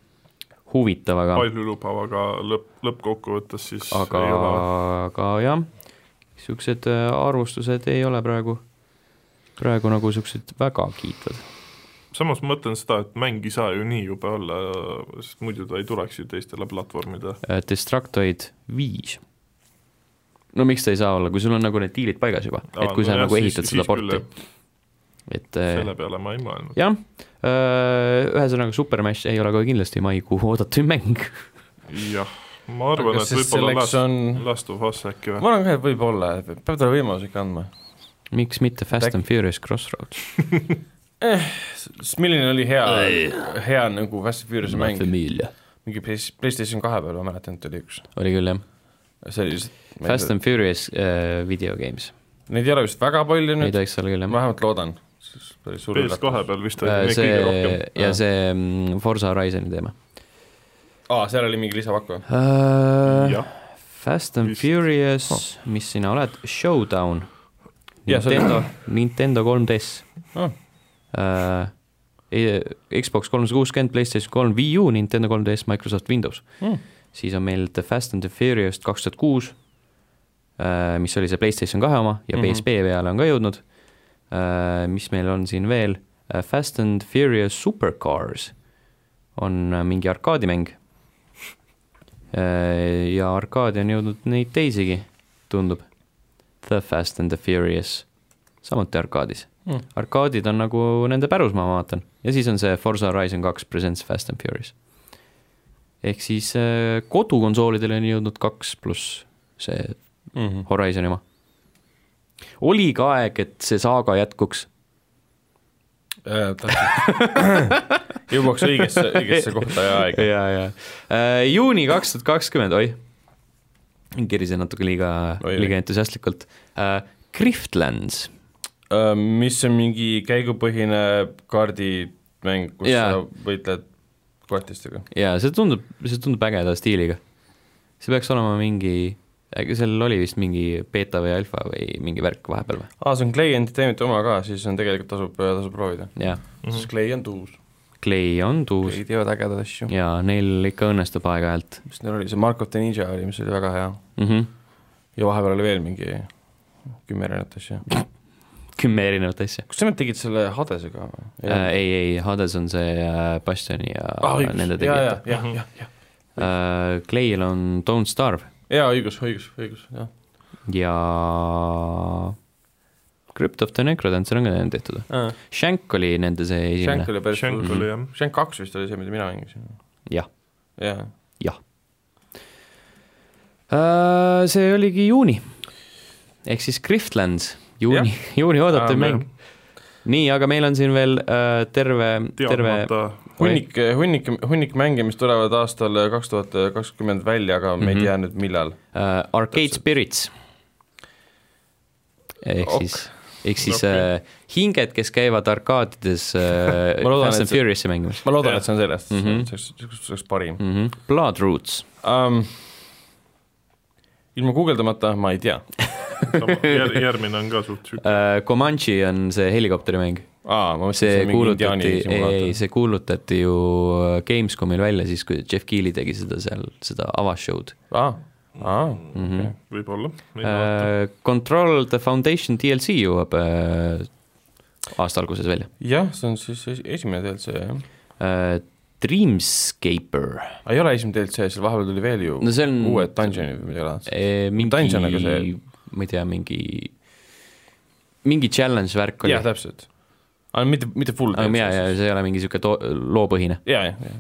[SPEAKER 1] huvitav , aga ,
[SPEAKER 2] paljulubav , aga lõpp , lõppkokkuvõttes siis
[SPEAKER 1] aga
[SPEAKER 2] ei ole ,
[SPEAKER 1] aga jah , niisugused äh, arvustused ei ole praegu , praegu nagu niisugused väga kiitvad .
[SPEAKER 2] samas ma mõtlen seda , et mäng ei saa ju nii jube olla , sest muidu ta ei tuleks ju teistele platvormidele .
[SPEAKER 1] Äh, Destructoid viis . no miks ta ei saa olla , kui sul on nagu need diilid paigas juba , et kui sa nagu ehitad seda porti ,. et äh,
[SPEAKER 2] selle peale ma ei mõelnud .
[SPEAKER 1] jah , ühesõnaga Super Mash ei ole ka kindlasti maikuu oodatuim mäng .
[SPEAKER 2] jah , ma arvan ,
[SPEAKER 3] Aga
[SPEAKER 2] et
[SPEAKER 3] siis
[SPEAKER 2] võib-olla
[SPEAKER 3] selleks
[SPEAKER 2] Last
[SPEAKER 3] on-
[SPEAKER 2] on... , Last of Us äkki või ?
[SPEAKER 3] ma arvan ka , et võib-olla , peab talle võimaluse ikka andma .
[SPEAKER 1] miks mitte Fast
[SPEAKER 3] Äkki-
[SPEAKER 1] and Furious Crossroads ?
[SPEAKER 3] sest milline oli hea , hea nagu Fast and Furious'i mäng ,
[SPEAKER 1] Familia .
[SPEAKER 3] mingi Play- PlayStation kahe peal , ma mäletan , et oli üks .
[SPEAKER 1] oli küll , jah .
[SPEAKER 3] see oli lihtsalt ,
[SPEAKER 1] Fast and Furious äh, video games ,
[SPEAKER 3] neid ei ole vist väga palju
[SPEAKER 1] ei
[SPEAKER 3] nüüd ,
[SPEAKER 1] tohiks olla küll , jah .
[SPEAKER 3] vähemalt loodan . päris suur üllatus .
[SPEAKER 2] PS2 peal vist oli neid
[SPEAKER 1] Äh, see
[SPEAKER 2] kõige rohkem .
[SPEAKER 1] ja
[SPEAKER 3] Jah.
[SPEAKER 1] see mm, Forza Horizoni teema
[SPEAKER 3] aa , seal oli mingi lisapakk või ?
[SPEAKER 1] uh, .
[SPEAKER 2] Äh, jah ,
[SPEAKER 1] Fast and
[SPEAKER 2] Vist.
[SPEAKER 1] Furious oh. , mis sina oled , Showdown .
[SPEAKER 3] Jah, see oli-
[SPEAKER 1] Nintendo , Nintendo 3DS
[SPEAKER 3] Ah.
[SPEAKER 1] oh. . Uh, Xbox kolmsada kuuskümmend , PlayStation kolm , Wii U , Nintendo 3DS , Microsoft Windows
[SPEAKER 3] Mm.
[SPEAKER 1] mm. . siis on meil The Fast and the Furious kaks tuhat kuus , mis oli see PlayStation kahe oma ja
[SPEAKER 3] Mhm.
[SPEAKER 1] mm -hmm. PSP peale on ka jõudnud . mis meil on siin veel , Fast and Furious Supercars on äh, mingi arkaadimäng . ja arkaadi on jõudnud neid teisigi , tundub . The Fast and the Furious , samuti arkaadis
[SPEAKER 3] Mm.
[SPEAKER 1] mm. . arkaadid on nagu nende pärusmaa , ma vaatan . ja siis on see Forza Horizon kaks Presents Fast and Furious . ehk siis äh, kodukonsoolidele on jõudnud kaks pluss see mm -hmm. Horizoni oma. oli ka aeg, et see saaga jätkuks
[SPEAKER 3] jõuaks õigesse, õigesse kohta ja aega.
[SPEAKER 1] ja, ja uh, juuni kaks tuhat kakskümmend, oi, kirisin natuke liiga, liiga entusiastlikult uh,, Griftlands
[SPEAKER 3] uh,. mis on mingi käigupõhine kaardimäng, kus ja. sa võitled koertistega.
[SPEAKER 1] jaa, see tundub, see tundub ägeda stiiliga. see peaks olema mingi sellel oli vist mingi beeta või alfa või mingi värk vahepeal või?
[SPEAKER 3] aa, Ah, see on Clay Entertainmenti oma ka, siis on tegelikult tasub, äh, tasub proovida.
[SPEAKER 1] jah
[SPEAKER 2] Mhm.
[SPEAKER 3] mm -hmm.. sest Clay on tuus.
[SPEAKER 1] Clay on tuus.
[SPEAKER 3] Clay teevad ägedaid asju.
[SPEAKER 1] jaa, neil ikka õnnestub aeg-ajalt.
[SPEAKER 3] mis neil oli, see Mark of the Ninja oli, mis oli väga hea
[SPEAKER 1] mm. -hmm.
[SPEAKER 3] ja vahepeal oli veel mingi kümme erinevat asja
[SPEAKER 1] kümme erinevat asja.
[SPEAKER 3] kas nemad tegid selle Hadese ka või
[SPEAKER 1] äh,? ei, ei, Hades on see äh, Bastioni ja ah, nende tegijate.
[SPEAKER 3] jah, jah, jah.
[SPEAKER 1] Clay'l on Don't Starve
[SPEAKER 3] jaa, õigus, õigus, õigus, jah.
[SPEAKER 1] ja Crypt of the Necrodancer on ka nende tehtud
[SPEAKER 3] Aa.
[SPEAKER 1] Shank oli nende see esimene.
[SPEAKER 3] Shank oli päris
[SPEAKER 2] Shank
[SPEAKER 3] hull.
[SPEAKER 2] oli, jah.
[SPEAKER 3] Shank kaks vist oli see, mida mina mängisin.
[SPEAKER 1] jah,
[SPEAKER 3] jah.
[SPEAKER 1] jah. Äh, see oligi juuni. ehk siis Griftlands, juuni, juuni oodatud
[SPEAKER 2] Aa,
[SPEAKER 1] mäng. nii, aga meil on siin veel äh, terve, terve
[SPEAKER 2] teadmata
[SPEAKER 3] hunnik , hunnik , hunnik mänge , mis tulevad aastal eh, kaks tuhat kakskümmend välja , aga
[SPEAKER 1] Mhm.
[SPEAKER 3] me ei tea nüüd , millal .
[SPEAKER 1] äh, Arcade
[SPEAKER 3] Täpselt.
[SPEAKER 1] Spirits . ehk
[SPEAKER 3] Ok.
[SPEAKER 1] siis , ehk siis
[SPEAKER 2] Okei.
[SPEAKER 1] okay. äh, hinged , kes käivad arkaadides äh,
[SPEAKER 3] Ma loodan,
[SPEAKER 1] Fast
[SPEAKER 3] et
[SPEAKER 1] and
[SPEAKER 3] see-
[SPEAKER 1] Furious'i mängimas
[SPEAKER 3] ma loodan , et see on sellest mm ,
[SPEAKER 1] Mhm.
[SPEAKER 3] -hmm. see oleks , see oleks parim
[SPEAKER 1] mm . -hmm. Bloodroots ,
[SPEAKER 3] um, . ilma guugeldamata ma ei tea .
[SPEAKER 2] sama , jär- , järgmine on ka suht sihuke ,
[SPEAKER 1] äh, Comanche on see helikopterimäng ,
[SPEAKER 3] aa , ma mõtlesin ,
[SPEAKER 1] see
[SPEAKER 3] see on mingi indiaani
[SPEAKER 1] kuulutati , ei ,
[SPEAKER 3] simulaator .
[SPEAKER 1] see kuulutati ju äh, Gamescomil välja siis , kui Jeff Keighley tegi seda seal , seda avashow'd
[SPEAKER 3] aa , aa ,
[SPEAKER 1] mm .
[SPEAKER 3] Mhm.
[SPEAKER 1] -hmm.
[SPEAKER 2] võib-olla .
[SPEAKER 1] Äh, Control the Foundation DLC jõuab äh, aasta alguses välja
[SPEAKER 3] jah , see on siis es- esimene DLC , jah .
[SPEAKER 1] äh, . Dreamscaper
[SPEAKER 3] ei ole esimene DLC , seal vahepeal tuli veel ju
[SPEAKER 1] no see on
[SPEAKER 3] uued dungeonid või midagi laadset .
[SPEAKER 1] eh, mingi
[SPEAKER 3] Dungeon aga see- ,
[SPEAKER 1] ma ei tea , mingi , mingi challenge värk oli
[SPEAKER 3] jah ,. täpselt . aga mitte , mitte full
[SPEAKER 1] aga mina ,
[SPEAKER 3] DLC .
[SPEAKER 1] see ei ole mingi niisugune to- , loopõhine ,
[SPEAKER 3] jaa , jah , jah .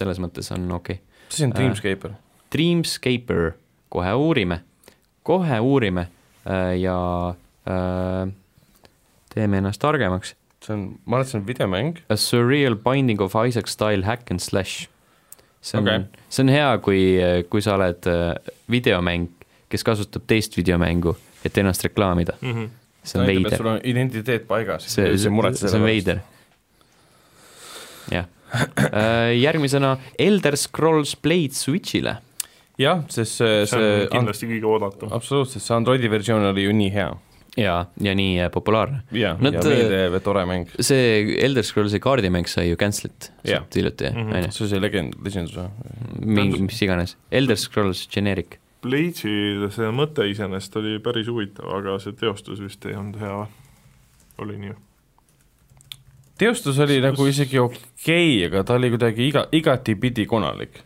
[SPEAKER 1] selles mõttes on okei okay. .
[SPEAKER 3] mis asi on
[SPEAKER 1] Äh.
[SPEAKER 3] Dreamscaper ?
[SPEAKER 1] Dreamscaper , kohe uurime , kohe uurime äh, ja äh, teeme ennast targemaks .
[SPEAKER 3] see on , ma arvan , et see on videomäng .
[SPEAKER 1] A surreal binding of Isaac style hack and slash . see on
[SPEAKER 3] Okei.
[SPEAKER 1] okay. , see on hea , kui , kui sa oled äh, videomäng , kes kasutab teist videomängu , et ennast reklaamida .
[SPEAKER 2] Mhm.
[SPEAKER 1] see on veider .
[SPEAKER 3] sul on identiteet paigas .
[SPEAKER 1] see , see , see on . veider . jah , järgmisena Elder Scrolls Blade Switch'ile ,
[SPEAKER 3] jah , sest see ,
[SPEAKER 2] see
[SPEAKER 3] see
[SPEAKER 2] on , kindlasti kõige oodatum .
[SPEAKER 3] absoluutselt , see Androidi versioon oli ju nii hea .
[SPEAKER 1] ja , ja nii äh, populaarne .
[SPEAKER 3] ja , ja
[SPEAKER 1] Nad- äh,
[SPEAKER 3] meeldiv ja tore mäng .
[SPEAKER 1] see Elder Scrollsi kaardimäng sai ju cancel'it
[SPEAKER 3] Jah.
[SPEAKER 1] suht hiljuti ,
[SPEAKER 2] Mhm.
[SPEAKER 1] on ju ,
[SPEAKER 3] see oli see legend , Legends või ?
[SPEAKER 1] mingi , mis iganes , Elder Scrolls Generic .
[SPEAKER 2] Blade'i see mõte iseenesest oli päris huvitav , aga see teostus vist ei olnud hea . oli nii ?
[SPEAKER 3] teostus oli nagu isegi okei okay, , aga ta oli kuidagi iga , igatipidi konalik .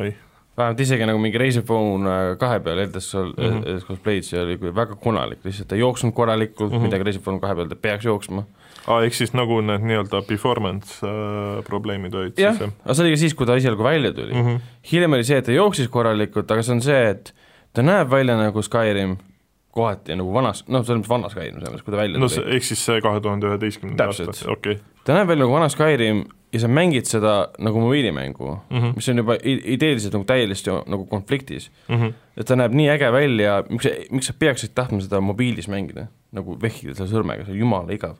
[SPEAKER 2] oi ,
[SPEAKER 3] vähemalt isegi nagu mingi Razer Phone äh, kahe peal äh, Eldes seal
[SPEAKER 2] Mhm.
[SPEAKER 3] Eldes Cosplays oli kui- väga konalik , lihtsalt ta ei jooksnud korralikult mm ,
[SPEAKER 2] Mhm.
[SPEAKER 3] -hmm. midagi Razer Phone kahe peal ta peaks jooksma .
[SPEAKER 2] aa , ehk siis nagu need nii-öelda performance äh, probleemid olid
[SPEAKER 3] jah ,
[SPEAKER 2] siis jah
[SPEAKER 3] aga see oli ka siis , kui ta esialgu välja tuli mm .
[SPEAKER 2] mm
[SPEAKER 3] -hmm.
[SPEAKER 2] -hmm.
[SPEAKER 3] hiljem oli see , et ta jooksis korralikult , aga see on see , et ta näeb välja nagu Skyrim kohati nagu vanas , noh , selles mõttes vana Skyrim , selles mõttes , kui ta välja
[SPEAKER 2] no
[SPEAKER 3] tuli
[SPEAKER 2] see , ehk siis see kahe tuhande üheteistkümnenda
[SPEAKER 3] Täpselt.
[SPEAKER 2] aasta , okei .
[SPEAKER 3] ta näeb välja nagu vana Skyrim ja sa mängid seda nagu mobiilimängu ,
[SPEAKER 2] Mhm.
[SPEAKER 3] mis on juba i- ideeliselt nagu täiesti nagu konfliktis .
[SPEAKER 2] Mhm.
[SPEAKER 3] et ta näeb nii äge välja , miks , miks sa peaksid tahtma seda mobiilis mängida , nagu vehkida selle sõrmega , see on jumala igav .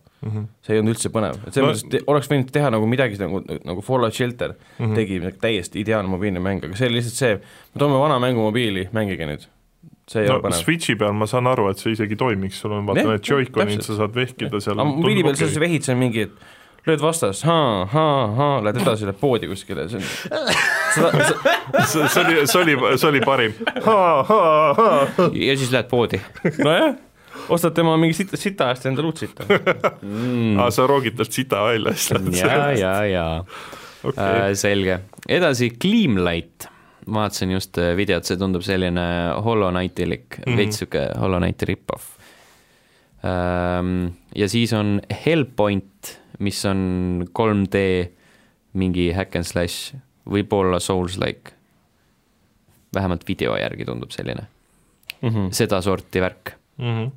[SPEAKER 3] see ei olnud üldse põnev , et selles
[SPEAKER 2] No-
[SPEAKER 3] mõttes no, oleks võinud teha nagu midagi nagu , nagu Fallout Shelter mm -hmm. tegi , täiesti ideaalne mobiilne mäng , aga see oli lihtsalt see , me toome vana mängu mobiili , mängige nüüd . see ei no, ole
[SPEAKER 2] no
[SPEAKER 3] põnev .
[SPEAKER 2] Switchi peal ma saan aru , et see isegi toimiks , sul on vaata
[SPEAKER 3] Jah,
[SPEAKER 2] need Joy-Conid ,
[SPEAKER 3] täpselt.
[SPEAKER 2] sa saad vehkida seal .
[SPEAKER 3] aga mobiili peal sa siis vehid seal mingi , et lööd vastas , haa , haa , haa , lähed edasi , lähed poodi kuskile , see on seda, seda,
[SPEAKER 2] see see oli , see oli , see oli parim ha, . ha-ha-ha .
[SPEAKER 1] ja siis lähed poodi .
[SPEAKER 3] nojah , ostad tema mingi sita , sita eest endale uut sita .
[SPEAKER 2] aa , sa roogid talt sita välja , siis lähed
[SPEAKER 1] ja ,
[SPEAKER 2] selle ,
[SPEAKER 1] ja , ja
[SPEAKER 2] okei .
[SPEAKER 1] Äh, selge , edasi Gleamlight , ma vaatasin just äh, videot , see tundub selline Hollow Knightilik mm , -hmm. veits sihuke Hollow Knighti rip-off . ja siis on Hellpoint , mis on 3D mingi hack and slash , võib-olla Souls-like . vähemalt video järgi tundub selline .
[SPEAKER 3] mm -hmm.
[SPEAKER 1] Mhm. sedasorti värk
[SPEAKER 2] mm . -hmm.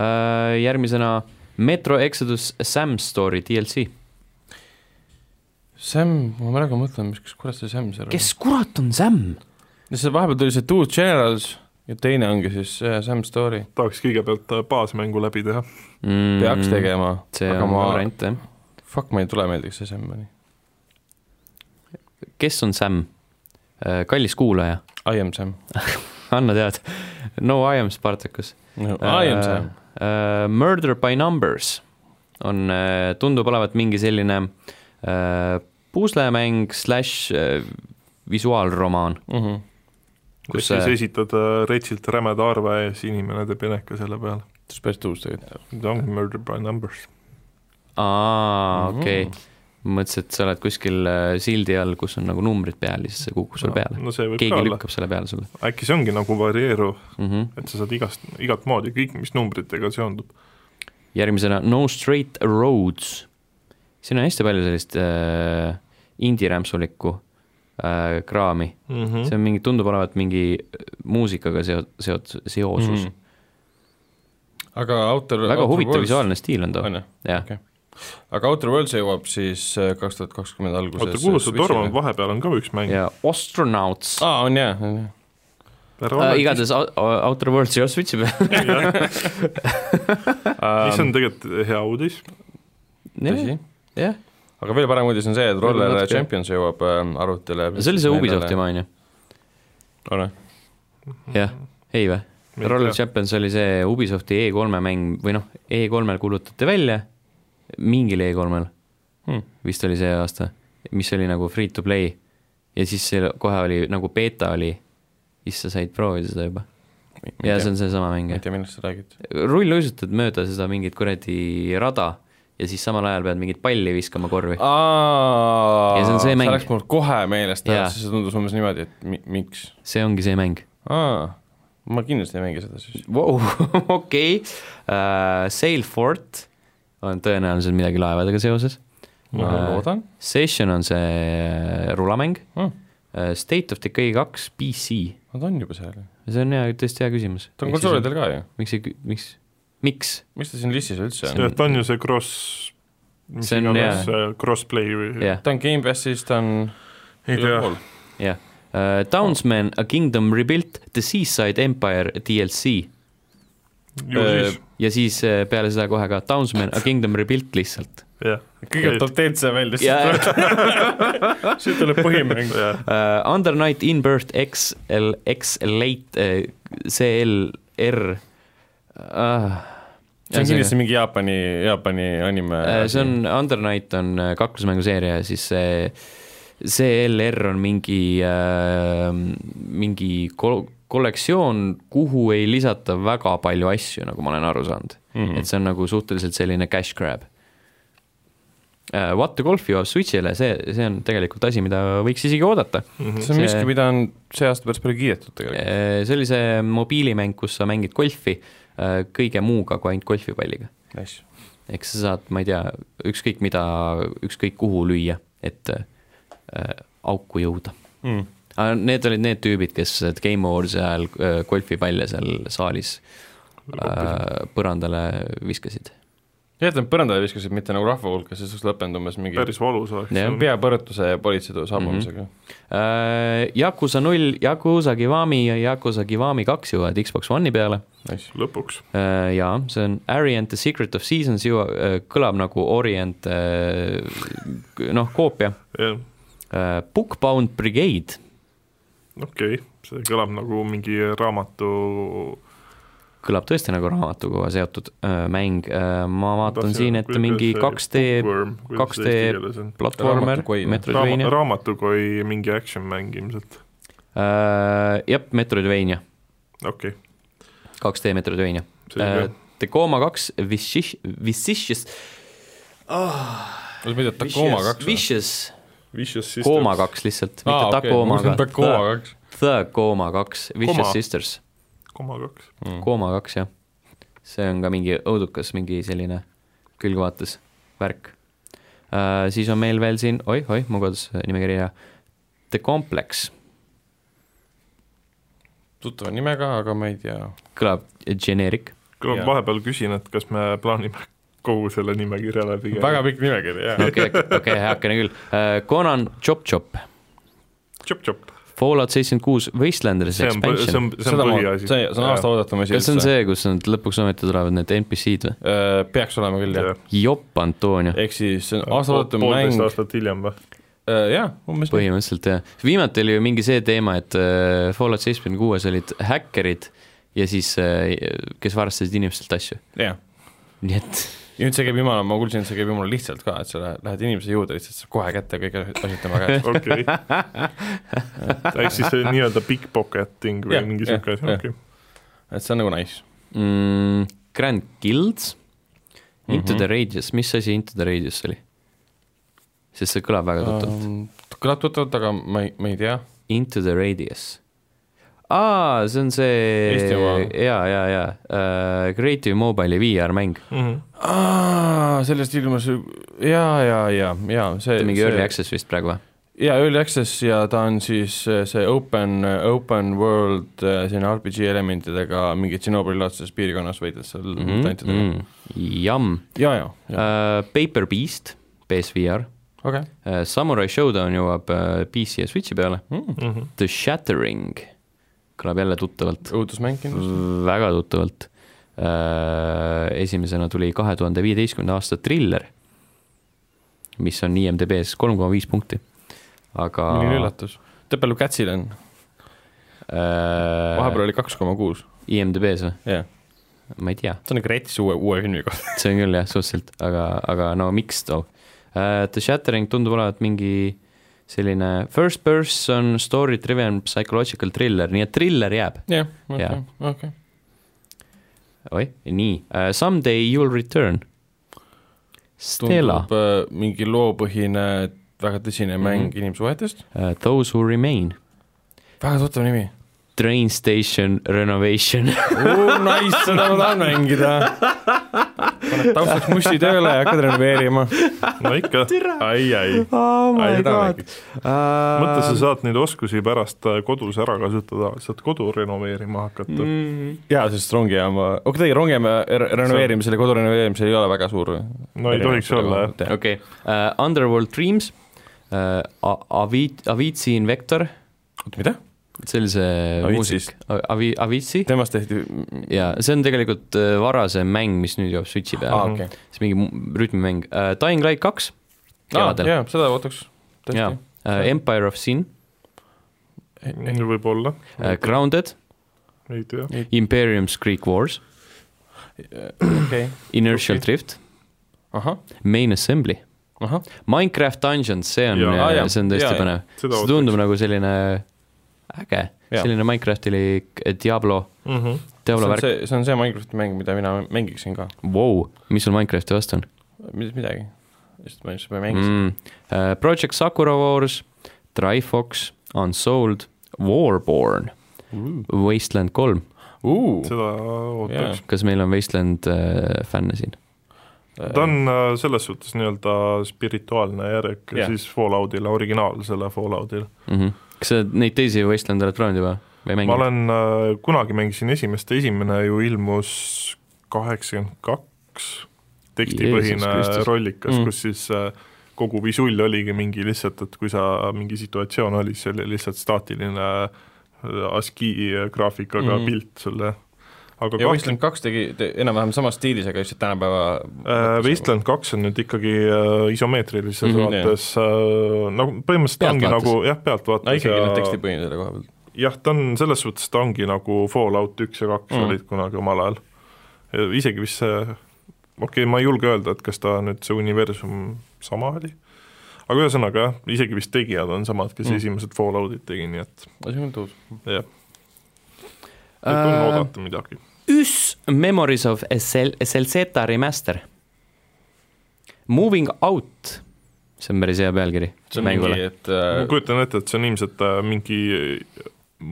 [SPEAKER 1] Äh, järgmisena Metro Exodus Sam Story DLC .
[SPEAKER 3] Sam , ma praegu mõtlen , mis , kas kurat see Sam seal
[SPEAKER 1] kes kurat on Sam ?
[SPEAKER 3] oli ? see vahepeal tuli see Two Generals ja teine ongi siis see Sam Story .
[SPEAKER 2] tahaks kõigepealt äh, baasmängu läbi teha .
[SPEAKER 3] peaks . tegema ,
[SPEAKER 1] Mm. see
[SPEAKER 3] aga
[SPEAKER 1] on
[SPEAKER 3] ma ,
[SPEAKER 1] variant jah .
[SPEAKER 3] fuck , ma ei tule meeldiks see Sam oli .
[SPEAKER 1] kes on Sam ? kallis kuulaja ,
[SPEAKER 3] I am Sam
[SPEAKER 1] anna teada . No I am Spartacus .
[SPEAKER 3] no, .
[SPEAKER 1] Äh,
[SPEAKER 3] I am Sam .
[SPEAKER 1] Murder by numbers on , tundub olevat mingi selline äh, puslemäng slaš äh, visuaalromaan ,
[SPEAKER 3] mm . -hmm.
[SPEAKER 1] Kus
[SPEAKER 2] kus siis
[SPEAKER 1] see-
[SPEAKER 2] esitad äh, retsilt rämeda arve ja siis inimene teeb eneka selle peale .
[SPEAKER 3] see on päris tuus tegelikult .
[SPEAKER 2] see ongi Murder by Numbers .
[SPEAKER 1] aa ,
[SPEAKER 3] Mhm.
[SPEAKER 1] okei okay. . mõtlesin , et sa oled kuskil äh, sildi all , kus on nagu numbrid peal ja siis see kukub sulle peale .
[SPEAKER 2] no see võib Keegi
[SPEAKER 1] keegi
[SPEAKER 2] ka olla ,
[SPEAKER 1] lükkab selle peale sulle
[SPEAKER 2] äkki see ongi nagu varieeruv ,
[SPEAKER 1] mm . -hmm.
[SPEAKER 2] et sa saad igast , igat moodi kõik , mis numbritega seondub .
[SPEAKER 1] järgmisena No Straight Roads . siin on hästi palju sellist äh, indie-rämpsulikku äh, kraami mm.
[SPEAKER 2] Mhm.
[SPEAKER 1] see on mingi , tundub olevat mingi äh, muusikaga seo- , seot- , seosus mm. .
[SPEAKER 3] Mhm. aga autor
[SPEAKER 1] väga
[SPEAKER 3] autor
[SPEAKER 1] huvitav
[SPEAKER 3] Worlds-
[SPEAKER 1] visuaalne stiil on too ,
[SPEAKER 3] on ju ,
[SPEAKER 1] jah .
[SPEAKER 3] aga Outer Worlds jõuab siis kaks tuhat kakskümmend alguses .
[SPEAKER 2] oota , kuhu see Tormund ? vahepeal on ka üks mäng ?
[SPEAKER 1] ja Astronauts ah, .
[SPEAKER 3] aa , on jaa , on jaa .
[SPEAKER 1] Äh, igatahes au- au- Outer Worlds ei ole Switchi peal .
[SPEAKER 2] mis on tegelikult hea uudis ,
[SPEAKER 3] tõsi .
[SPEAKER 1] jah ,
[SPEAKER 3] aga veel parem uudis on see , et
[SPEAKER 1] Võib-olla
[SPEAKER 3] Roller
[SPEAKER 1] natuke-
[SPEAKER 3] Champions jõuab ähm, arvutile .
[SPEAKER 1] see oli see Ubisofti oma , on ju ?
[SPEAKER 3] on ju ?
[SPEAKER 1] jah , ei või ?
[SPEAKER 2] Mitte.
[SPEAKER 1] Roller Champions oli see Ubisofti E3-e mäng või noh , E3-l kuulutati välja , mingil E3-l
[SPEAKER 3] Hmm.
[SPEAKER 1] vist oli see aasta , mis oli nagu free to play ja siis see kohe oli nagu beeta oli , siis sa said proovida seda juba . ja see on seesama mäng
[SPEAKER 3] ma ei
[SPEAKER 1] jah .
[SPEAKER 3] tea , millest sa räägid .
[SPEAKER 1] rulluisutad mööda seda mingit kuradi rada ja siis samal ajal pead mingit palli viskama korvi .
[SPEAKER 3] aa
[SPEAKER 1] Ja see on see mäng.
[SPEAKER 3] see läks mul kohe meelest ära
[SPEAKER 1] Jaa. ,
[SPEAKER 3] siis see tundus umbes niimoodi , et mi- , miks .
[SPEAKER 1] see ongi see mäng .
[SPEAKER 3] aa , ma kindlasti ei mängi seda siis .
[SPEAKER 1] Vau , okei , Sailfort on tõenäoliselt midagi laevadega seoses .
[SPEAKER 3] ma
[SPEAKER 1] Äh,
[SPEAKER 3] loodan .
[SPEAKER 1] Session on see rulamäng
[SPEAKER 3] Mm.
[SPEAKER 1] Äh, State of Decay kaks PC ,
[SPEAKER 3] Nad on juba seal ju .
[SPEAKER 1] see on hea , tõesti hea küsimus .
[SPEAKER 3] ta on konsoolidel ka ju .
[SPEAKER 1] miks see , miks , miks ?
[SPEAKER 3] miks ta siin listis üldse on ?
[SPEAKER 2] et on ju see cross , mis
[SPEAKER 1] See on hea.
[SPEAKER 2] iganes see crossplay või
[SPEAKER 1] jah ,
[SPEAKER 3] ta on Gamepassis , ta on
[SPEAKER 2] ei tea ,
[SPEAKER 1] jah . Townsman , A Kingdom Rebuilt , The Seaside Empire DLC Äh,
[SPEAKER 2] ju siis ,
[SPEAKER 1] ja siis äh, peale seda kohe ka Townsman , A Kingdom Rebuilt lihtsalt .
[SPEAKER 2] jah .
[SPEAKER 3] kõigepealt tuleb DLC välja ,
[SPEAKER 1] Äh,
[SPEAKER 3] siis tuleb põhimäng .
[SPEAKER 1] Uh, Under Night In Birth XL , XL-8 äh, CLR äh, .
[SPEAKER 3] see on kindlasti mingi Jaapani , Jaapani anime
[SPEAKER 1] Äh, see on , Under Night on äh, kaklusmänguseeria ja siis see , see LR on mingi äh, , mingi kol- , kollektsioon , kuhu ei lisata väga palju asju , nagu ma olen aru saanud mm .
[SPEAKER 3] Mhm.
[SPEAKER 1] -hmm. et see on nagu suhteliselt selline cash grab äh, . What the Golf jõuab Switch'ile , see , see on tegelikult asi , mida võiks isegi oodata
[SPEAKER 3] see on
[SPEAKER 1] see-
[SPEAKER 3] miski , mida on see aasta päris palju kiidetud tegelikult .
[SPEAKER 1] äh, . see oli see mobiilimäng , kus sa mängid golfi äh, kõige muuga kui ainult golfipalliga .
[SPEAKER 3] Nice .
[SPEAKER 1] eks sa saad , ma ei tea , ükskõik mida , ükskõik kuhu lüüa , et äh, auku jõuda .
[SPEAKER 3] Mm.
[SPEAKER 1] aga need olid need tüübid , kes Game Awards'i ajal äh, golfipalle seal saalis äh, põrandale viskasid .
[SPEAKER 3] jah , ta on põrandale viskasid , mitte nagu rahva hulka , siis oleks lõppenud umbes mingi
[SPEAKER 2] päris valus oleks
[SPEAKER 1] Jah. . Mhm.
[SPEAKER 3] peapõrutuse ja politsei saabumisega mm .
[SPEAKER 1] Äh, Yakuza null , Yakuza Kiwami ja Yakuza Kiwami kaks jõuavad Xbox One'i peale
[SPEAKER 3] -hmm. Nice .
[SPEAKER 2] lõpuks ,
[SPEAKER 1] äh, ja see on Ari and the Secret of Seasons jõua- , kõlab nagu Orient äh, noh , koopia
[SPEAKER 2] jah ,
[SPEAKER 1] äh, . Bookbound Brigade
[SPEAKER 2] okei okay. , see kõlab nagu mingi raamatu
[SPEAKER 1] kõlab tõesti nagu raamatuga seotud öö, mäng , ma vaatan
[SPEAKER 2] Tahtsin-
[SPEAKER 1] siin , et
[SPEAKER 2] kuidas
[SPEAKER 1] mingi
[SPEAKER 2] see
[SPEAKER 1] 2D 2D
[SPEAKER 2] d
[SPEAKER 1] platvormer
[SPEAKER 3] Raamatukoi, , jah.
[SPEAKER 2] raama- ,
[SPEAKER 1] Metroidvania ,
[SPEAKER 2] raamatukoi mingi action mäng ilmselt ,
[SPEAKER 1] jah , Äh, Metroidvania ,
[SPEAKER 2] okei okay. ,
[SPEAKER 1] 2D Metroidvania .
[SPEAKER 2] selge äh, .
[SPEAKER 1] Tacoma kaks , Vicious , Vicious ,
[SPEAKER 3] oota , mida , Tacoma kaks või ?
[SPEAKER 1] Vicious ,
[SPEAKER 2] Vicious Sisters
[SPEAKER 1] Kooma kaks lihtsalt , mitte Tacoma ,
[SPEAKER 3] Tacoma
[SPEAKER 1] aga
[SPEAKER 3] kaks .
[SPEAKER 1] Tacoma kaks , Vicious
[SPEAKER 2] Koma.
[SPEAKER 1] Sisters ,
[SPEAKER 2] koma kaks ,
[SPEAKER 1] Mm. Kooma kaks , jah . see on ka mingi õudukas , mingi selline külgvaates värk . siis on meil veel siin , oih-oih , mu kodus nimekiri ja The Complex
[SPEAKER 3] tuttava nimega , aga ma ei tea .
[SPEAKER 1] kõlab generic .
[SPEAKER 2] küll ma
[SPEAKER 3] Jaa.
[SPEAKER 2] vahepeal küsin , et kas me plaanime kogu selle nimekirja läbi
[SPEAKER 3] väga pikk nimekiri , jah .
[SPEAKER 1] okei , okei , heakene küll . Conan Chop Chop ,
[SPEAKER 2] tšop-tšop ,
[SPEAKER 1] Fallout seitsekümmend kuus , Wastelanders
[SPEAKER 2] see on , see
[SPEAKER 1] expansion .
[SPEAKER 2] on , see on põhiasi .
[SPEAKER 3] see see on aasta . oodatama asi
[SPEAKER 1] kas see on see , kus nad lõpuks ometi tulevad need NPC-d või ?
[SPEAKER 3] Äh, peaks olema küll , jah .
[SPEAKER 1] jopp , Antonio ,
[SPEAKER 3] ehk siis see on aasta oodatum
[SPEAKER 2] poolteist
[SPEAKER 3] mäng ,
[SPEAKER 2] aastat hiljem või ?
[SPEAKER 3] jah , umbes nii .
[SPEAKER 1] põhimõtteliselt jah . viimati oli ju mingi see teema , et äh, Fallout seitsmekümne kuues olid häkkerid ja siis , kes varastasid inimestelt asju ,
[SPEAKER 3] jah ,
[SPEAKER 1] nii et
[SPEAKER 3] ja nüüd see käib jumala , ma kuulsin , et see käib jumala lihtsalt ka , et sa lähed, lähed inimese juurde , lihtsalt saab kohe kätte kõik asjad tema käest .
[SPEAKER 2] okei okay. . ehk siis see nii-öelda pickpocketing või
[SPEAKER 3] Jah,
[SPEAKER 2] mingi
[SPEAKER 3] jah,
[SPEAKER 2] sihuke asi ,
[SPEAKER 3] jah.
[SPEAKER 2] okei .
[SPEAKER 3] et see on nagu nice .
[SPEAKER 1] mm, Grand Guilds ,
[SPEAKER 3] Mhm.
[SPEAKER 1] Into mm -hmm. the Rages , mis asi Into the Rages oli ? sest see kõlab väga tuttavalt um. .
[SPEAKER 3] kõlab Ähm, tuttavalt , aga ma ei , ma ei tea .
[SPEAKER 1] Into the Radius . aa , see on see
[SPEAKER 3] Eesti oma.
[SPEAKER 1] jaa , jaa , jaa uh, , Creative Mobile'i VR-mäng ,
[SPEAKER 2] Mhm,
[SPEAKER 3] sellest ilmus , jaa , jaa , jaa , jaa , see
[SPEAKER 1] mingi Early
[SPEAKER 3] see-
[SPEAKER 1] Access vist praegu või ?
[SPEAKER 3] jaa , Early Access ja ta on siis äh, see open , open world äh, selline RPG elementidega mingi Tšernobõli laadses piirkonnas võidad seal mm -hmm.
[SPEAKER 1] Mhm,
[SPEAKER 3] tantidega mm -hmm. .
[SPEAKER 1] Jamm
[SPEAKER 3] jaa , jaa , jaa ,
[SPEAKER 1] uh, , Paper Beast , PSVR
[SPEAKER 3] okei .
[SPEAKER 1] uh, , Samurai Showdown jõuab uh, PC ja Switchi peale ,
[SPEAKER 2] mhm.
[SPEAKER 1] The Shattering kõlab jälle tuttavalt .
[SPEAKER 3] õudusmäng kindlasti .
[SPEAKER 1] väga tuttavalt . esimesena tuli kahe tuhande viieteistkümnenda aasta Thriller , mis on IMDB-s kolm koma viis punkti , aga
[SPEAKER 3] milline üllatus . Tepelu Kätsil on , vahepeal Äh.
[SPEAKER 1] vahepeal
[SPEAKER 3] oli kaks koma kuus ,
[SPEAKER 1] äh, IMDB-s või ,
[SPEAKER 3] jah .
[SPEAKER 1] ma ei tea ,
[SPEAKER 3] see on nagu rets uue , uue filmi kohta .
[SPEAKER 1] see on küll jah , suhteliselt , aga , aga no miks too . The Shattering tundub olevat mingi selline first person story driven psychological thriller , nii et thriller jääb .
[SPEAKER 3] jah ,
[SPEAKER 1] Jaa.
[SPEAKER 3] okei , okei .
[SPEAKER 1] oih , nii , Someday you will return . Stella .
[SPEAKER 3] tundub äh, mingi loopõhine , väga tõsine mm -hmm. mäng inimsuhetest ,
[SPEAKER 1] Uh, Those Who Remain ,
[SPEAKER 3] väga tuttav nimi .
[SPEAKER 1] Train Station Renovation .
[SPEAKER 3] Nice , seda ma tahan mängida . paned taustaks musti tööle ja hakkad renoveerima .
[SPEAKER 2] no ikka , ai , ai .
[SPEAKER 1] oh
[SPEAKER 2] mõtle ,
[SPEAKER 3] Ähm.
[SPEAKER 2] sa saad neid oskusi pärast äh, kodus ära kasutada , saad kodu renoveerima hakata mm. .
[SPEAKER 3] jaa , sest rongijaama , okei okay, , rongijaama re- renoveerimisel ja kodu renoveerimisel ei ole väga suur .
[SPEAKER 2] no ei tohiks olla jah .
[SPEAKER 3] jah .
[SPEAKER 1] okei , Uh, Underworld Dreams uh, , Avi- , Avicii Invector ,
[SPEAKER 3] mida ?
[SPEAKER 1] see oli see
[SPEAKER 3] Aviciist.
[SPEAKER 1] muusik , Avi- , Avicii
[SPEAKER 3] temast tehti ,
[SPEAKER 1] ja see on tegelikult uh, varasem mäng , mis nüüd jõuab Switchi
[SPEAKER 3] aa
[SPEAKER 1] peale ah. ,
[SPEAKER 3] okei .
[SPEAKER 1] see mingi mu- rütmimäng uh, , Dying Light kaks , kevadel ,
[SPEAKER 3] jaa , seda ootaks .
[SPEAKER 1] jaa , Empire of Sin
[SPEAKER 2] võib-olla ,
[SPEAKER 1] uh, , Grounded ,
[SPEAKER 2] ei tea .
[SPEAKER 1] Imperium's Greek Wars ,
[SPEAKER 3] okei ,
[SPEAKER 1] Inertial
[SPEAKER 3] Okei.
[SPEAKER 1] okay. Drift ,
[SPEAKER 3] ahah ,
[SPEAKER 1] Main Assembly
[SPEAKER 3] ahah ,
[SPEAKER 1] Minecraft Dungeons , see on
[SPEAKER 2] Jaa.
[SPEAKER 3] Aa, jaa. ,
[SPEAKER 1] see on tõesti
[SPEAKER 3] Jaa, jaa.
[SPEAKER 1] põnev .
[SPEAKER 2] Seda
[SPEAKER 1] see tundub nagu selline äge ,
[SPEAKER 3] Jaa.
[SPEAKER 1] selline Minecraftili k- Diablo ,
[SPEAKER 2] Mhm.
[SPEAKER 3] see
[SPEAKER 1] Diablo
[SPEAKER 3] on
[SPEAKER 1] värk ,
[SPEAKER 3] see , see on see Minecrafti mäng , mida mina mängiksin ka ,
[SPEAKER 1] vau , mis sul Minecrafti vastu on
[SPEAKER 3] mitte midagi . just , ma just mängisin
[SPEAKER 1] mm. ? Uh, Project Sakura Wars , Trifox , Unsold , Warborn ,
[SPEAKER 3] mm. .
[SPEAKER 1] Wasteland kolm ,
[SPEAKER 3] Uh,
[SPEAKER 2] seda ootaks .
[SPEAKER 1] kas meil on Wasteland uh, fänne siin ?
[SPEAKER 2] ta on äh, selles suhtes nii-öelda spirituaalne järg
[SPEAKER 3] Jah.
[SPEAKER 2] yeah. siis Falloutile , originaalsele Falloutile .
[SPEAKER 1] Mhm. kas sa neid teisi Wasteland'e oled proovinud juba või
[SPEAKER 2] ma
[SPEAKER 1] mänginud ?
[SPEAKER 2] olen äh, , kunagi mängisin esimest , esimene ju ilmus kaheksakümmend kaks , tekstipõhine
[SPEAKER 1] Jeesus Kristus.
[SPEAKER 2] rollikas
[SPEAKER 3] Mm.
[SPEAKER 2] mm. , kus siis äh, kogu visull oligi mingi lihtsalt , et kui sa mingi situatsioon oli , siis oli lihtsalt staatiline äh, ASCII graafikaga
[SPEAKER 3] Mm.
[SPEAKER 2] mm. pilt sulle . aga
[SPEAKER 3] ja
[SPEAKER 2] nagu kaks
[SPEAKER 3] Wasteland kaks tegi te, enam-vähem samas stiilis , aga lihtsalt tänapäeva
[SPEAKER 2] Äh, Wasteland kaks on nüüd ikkagi äh, isomeetrilises mm
[SPEAKER 3] Mhm,
[SPEAKER 2] -hmm, vaates äh, nagu põhimõtteliselt ta ongi
[SPEAKER 1] Pealtvaates.
[SPEAKER 2] nagu jah ,
[SPEAKER 3] no
[SPEAKER 2] pealtvaates
[SPEAKER 3] ikkagi ja...
[SPEAKER 2] ja
[SPEAKER 3] tekstipõhine selle koha pealt .
[SPEAKER 2] jah , ta on selles suhtes , ta ongi nagu Fallout üks ja kaks
[SPEAKER 3] Mhm.
[SPEAKER 2] mm. olid kunagi omal ajal . isegi vist see , okei okay, , ma ei julge öelda , et kas ta nüüd see universum sama oli , aga ühesõnaga jah , isegi vist tegijad on samad , kes
[SPEAKER 3] Mhm.
[SPEAKER 2] mm. esimesed Falloutid tegi , nii et
[SPEAKER 3] asi on tõus .
[SPEAKER 2] jah , et
[SPEAKER 3] Äh,
[SPEAKER 2] on uh... oodata midagi .
[SPEAKER 1] Ys Memories of Sel- , Selzeta Remaster . Moving Out , see on päris hea pealkiri
[SPEAKER 3] see on mingi ,
[SPEAKER 1] mängule .
[SPEAKER 3] et
[SPEAKER 2] ma
[SPEAKER 3] äh,
[SPEAKER 2] kujutan ette , et see on ilmselt äh, mingi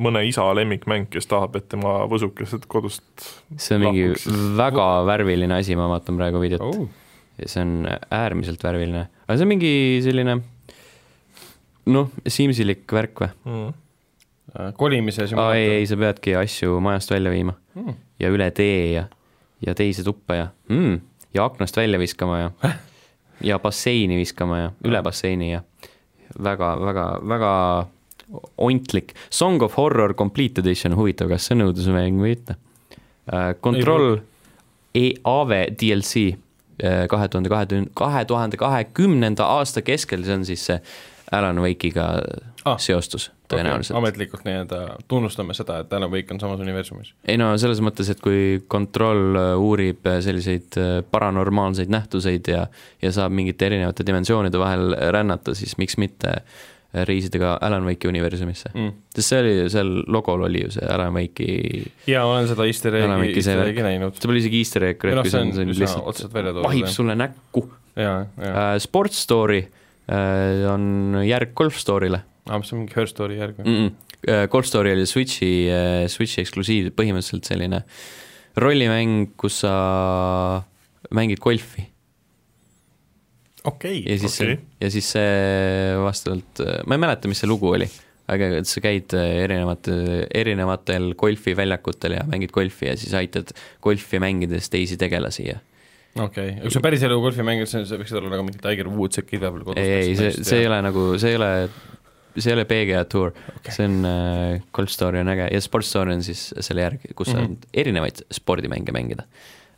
[SPEAKER 2] mõne isa lemmikmäng , kes tahab , et tema võsukesed kodust
[SPEAKER 1] see on mingi
[SPEAKER 2] lahkuks siis.
[SPEAKER 1] väga värviline asi , ma vaatan praegu videot oh. .
[SPEAKER 3] oh,
[SPEAKER 1] see on äärmiselt värviline , aga see on mingi selline noh , Simsilik värk või ?
[SPEAKER 2] mm.
[SPEAKER 3] Äh, kolimise
[SPEAKER 1] aa ei ,
[SPEAKER 3] simulaator .
[SPEAKER 1] ei , sa peadki asju majast välja viima
[SPEAKER 3] Hmm.
[SPEAKER 1] ja üle tee ja , ja teise tuppa ja mm. , ja aknast välja viskama ja , ja basseini viskama ja üle basseini ja väga , väga , väga ontlik . Song of Horror Complete Edition , huvitav , kas see on õudusmäng või mitte ? Control E EAV DLC äh, kahe tuhande kahekümne , kahe tuhande kahekümnenda aasta keskel , see on siis see Alan Wake'iga
[SPEAKER 3] Ah.
[SPEAKER 1] ah, seostus tõenäoliselt okay. .
[SPEAKER 3] ametlikult nii-öelda tunnustame seda , et Alan Wake on samas universumis .
[SPEAKER 1] ei no selles mõttes , et kui kontroll äh, uurib äh, selliseid äh, paranormaalseid nähtuseid ja ja saab mingite erinevate dimensioonide vahel äh, rännata , siis miks mitte äh, reisida ka Alan Wake'i universumisse mm. . sest see oli , seal logol oli ju see Alan Wake'i ,
[SPEAKER 3] ja olen seda easter
[SPEAKER 1] Alan
[SPEAKER 3] egg'i ,
[SPEAKER 1] Wake'i see
[SPEAKER 3] easter
[SPEAKER 1] värk.
[SPEAKER 3] egg'i näinud .
[SPEAKER 1] see pole isegi easter egg ,
[SPEAKER 3] ei noh ,
[SPEAKER 1] kui see
[SPEAKER 3] see on
[SPEAKER 1] on selline
[SPEAKER 3] üsna
[SPEAKER 1] lihtsalt
[SPEAKER 3] otseselt välja
[SPEAKER 1] vahib
[SPEAKER 3] toodud .
[SPEAKER 1] sulle näkku .
[SPEAKER 3] jaa ,
[SPEAKER 1] Äh.
[SPEAKER 3] jaa .
[SPEAKER 1] Sports Story äh, on järg Golf Story'le
[SPEAKER 3] aa , Ah, see on mingi Her Story järg või ?
[SPEAKER 1] mm . -mm. Äh, Golf Story oli Switchi , Switchi eksklusiiv , põhimõtteliselt selline rollimäng , kus sa mängid golfi
[SPEAKER 2] okei
[SPEAKER 1] ja siis okay.
[SPEAKER 2] okei ,
[SPEAKER 1] ja siis see vastavalt , ma ei mäleta , mis see lugu oli , aga et sa käid äh, erinevate , erinevatel golfiväljakutel ja mängid golfi ja siis aitad golfi mängides teisi tegelasi ja
[SPEAKER 3] okei , kui sa päris elu golfi mängid , siis võiks seda olla nagu mingi Tiger Woods äkki igal pool kodus .
[SPEAKER 1] ei , ei , see , see ei ole nagu , see ei ole , see ei ole PGA Tour
[SPEAKER 3] Okei.
[SPEAKER 1] okay. , see on äh, Golf Story on äge ja Sports Story on siis selle järgi , kus mm -hmm. on erinevaid spordimänge mängida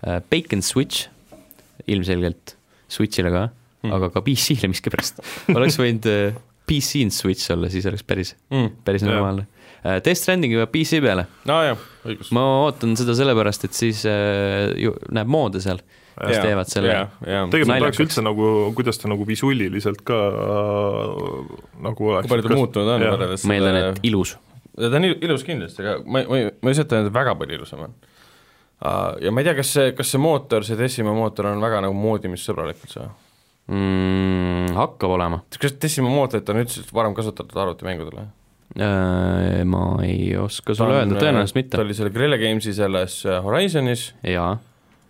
[SPEAKER 1] äh, . Bacon Switch ilmselgelt , Switch'ile ka mm , -hmm. aga ka PC-le miskipärast . oleks võinud äh, PC n Switch olla , siis oleks päris
[SPEAKER 3] Mm.
[SPEAKER 1] mm. , päris
[SPEAKER 2] Jah.
[SPEAKER 1] normaalne äh, . Death Stranding jõuab PC peale ,
[SPEAKER 3] aa jah , õigus .
[SPEAKER 1] ma ootan seda sellepärast , et siis äh, ju, näeb moodi seal , kes
[SPEAKER 2] Jaa,
[SPEAKER 1] teevad selle yeah.
[SPEAKER 3] tegelikult
[SPEAKER 2] tegelikult ma
[SPEAKER 1] Naljakaks.
[SPEAKER 2] tahaks üldse nagu , kuidas ta nagu visuuliliselt ka äh, nagu oleks .
[SPEAKER 3] kui palju ta muutunud on
[SPEAKER 2] Jah.
[SPEAKER 3] võrreldes
[SPEAKER 1] ma eeldan , et ilus .
[SPEAKER 3] ta on ilu- ilus kindlasti , aga ma , ma ei , ma ei saa ütelda , et väga palju ilusam on . Ja ma ei tea , kas see , kas see mootor , see Decima mootor on väga nagu moodimissõbralik üldse või ?
[SPEAKER 1] Mm, hakkab olema
[SPEAKER 3] kas Decima mootorit on üldse varem kasutatud arvutimängudele ?
[SPEAKER 1] Äh, ma ei oska sulle öelda , tõenäoliselt
[SPEAKER 3] ta
[SPEAKER 1] mitte .
[SPEAKER 3] oli selle Guerrilla Gamesi selles äh, Horizonis ,
[SPEAKER 1] jaa ,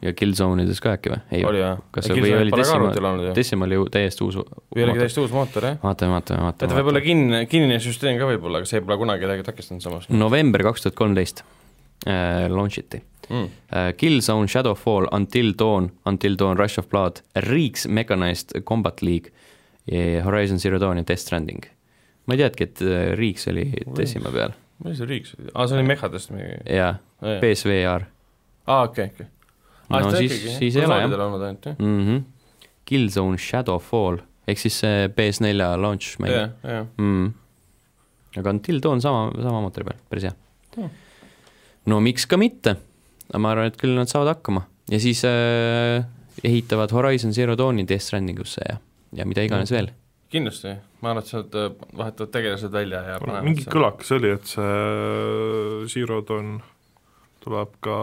[SPEAKER 1] ja Killzone'ides ka äkki või ?
[SPEAKER 3] oli jah ?
[SPEAKER 1] kas see või oli Decima ,
[SPEAKER 3] Decima ?
[SPEAKER 1] Decima oli ju täiesti uus .
[SPEAKER 3] või oligi
[SPEAKER 1] vaatame ,
[SPEAKER 3] täiesti uus mootor , jah ?
[SPEAKER 1] vaatame ,
[SPEAKER 3] et ta
[SPEAKER 1] vaatame ,
[SPEAKER 3] võib olla
[SPEAKER 1] vaatame .
[SPEAKER 3] kinni , kinnine süsteem ka võib-olla , aga see pole kunagi kedagi takistanud samas
[SPEAKER 1] Mm. november kaks tuhat kolmteist äh, launch iti .
[SPEAKER 3] mm. .
[SPEAKER 1] Killzone , Shadowfall , Until Dawn , Until Dawn , Rush of Blood , Reeks Mechanized Combat League , Horizon Zero Dawn ja Death Stranding . ma ei teadki , et äh, Reeks oli Decima peal
[SPEAKER 3] mis see riik see oli ? aa , see oli mehhadest mingi .
[SPEAKER 1] ja
[SPEAKER 3] aa ,
[SPEAKER 1] PSVR
[SPEAKER 3] okei , okei . Ah,
[SPEAKER 1] no siis , siis ei ole jah .
[SPEAKER 3] olnud ainult , jah ?
[SPEAKER 1] mm . -hmm. Killzone Shadowfall ehk siis see PS4 launch mäng
[SPEAKER 3] jah
[SPEAKER 1] yeah. ,
[SPEAKER 3] jah .
[SPEAKER 1] mm. . aga Until Dawn sama , sama mootori peal , päris hea
[SPEAKER 3] Hmm.
[SPEAKER 1] mm. . no miks ka mitte , ma arvan , et küll nad saavad hakkama ja siis äh, ehitavad Horizon Zero Dawni Death Stranding usse ja , ja mida iganes veel .
[SPEAKER 3] kindlasti , ma arvan , et sealt äh, vahetavad tegelased välja ja
[SPEAKER 2] Mul mingi . kõlakas oli , et see Zero Dawn tuleb ka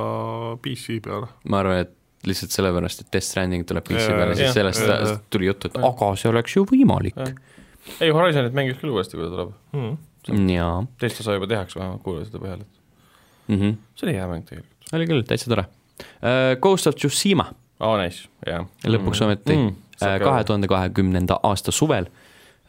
[SPEAKER 2] PC peale .
[SPEAKER 1] ma arvan , et lihtsalt sellepärast , et Death Stranding tuleb PC
[SPEAKER 2] Jaa,
[SPEAKER 1] peale ,
[SPEAKER 3] jaa,
[SPEAKER 1] siis
[SPEAKER 2] jaa,
[SPEAKER 1] sellest
[SPEAKER 2] jaa.
[SPEAKER 1] tuli juttu , et
[SPEAKER 3] Jaa.
[SPEAKER 1] aga see oleks ju võimalik
[SPEAKER 3] Jaa. . ei , Horizonit mängis küll uuesti , kui ta tuleb .
[SPEAKER 2] Hmm.
[SPEAKER 1] jaa
[SPEAKER 3] teist osa juba tehakse vähemalt kuulajate põhjal , et
[SPEAKER 1] mm , -hmm.
[SPEAKER 3] see oli hea mäng tegelikult .
[SPEAKER 1] oli küll , täitsa tore . Ghost of Tsushima
[SPEAKER 3] aa , nice , jah .
[SPEAKER 1] lõpuks ometi mm, kahe . tuhande kahekümnenda aasta suvel .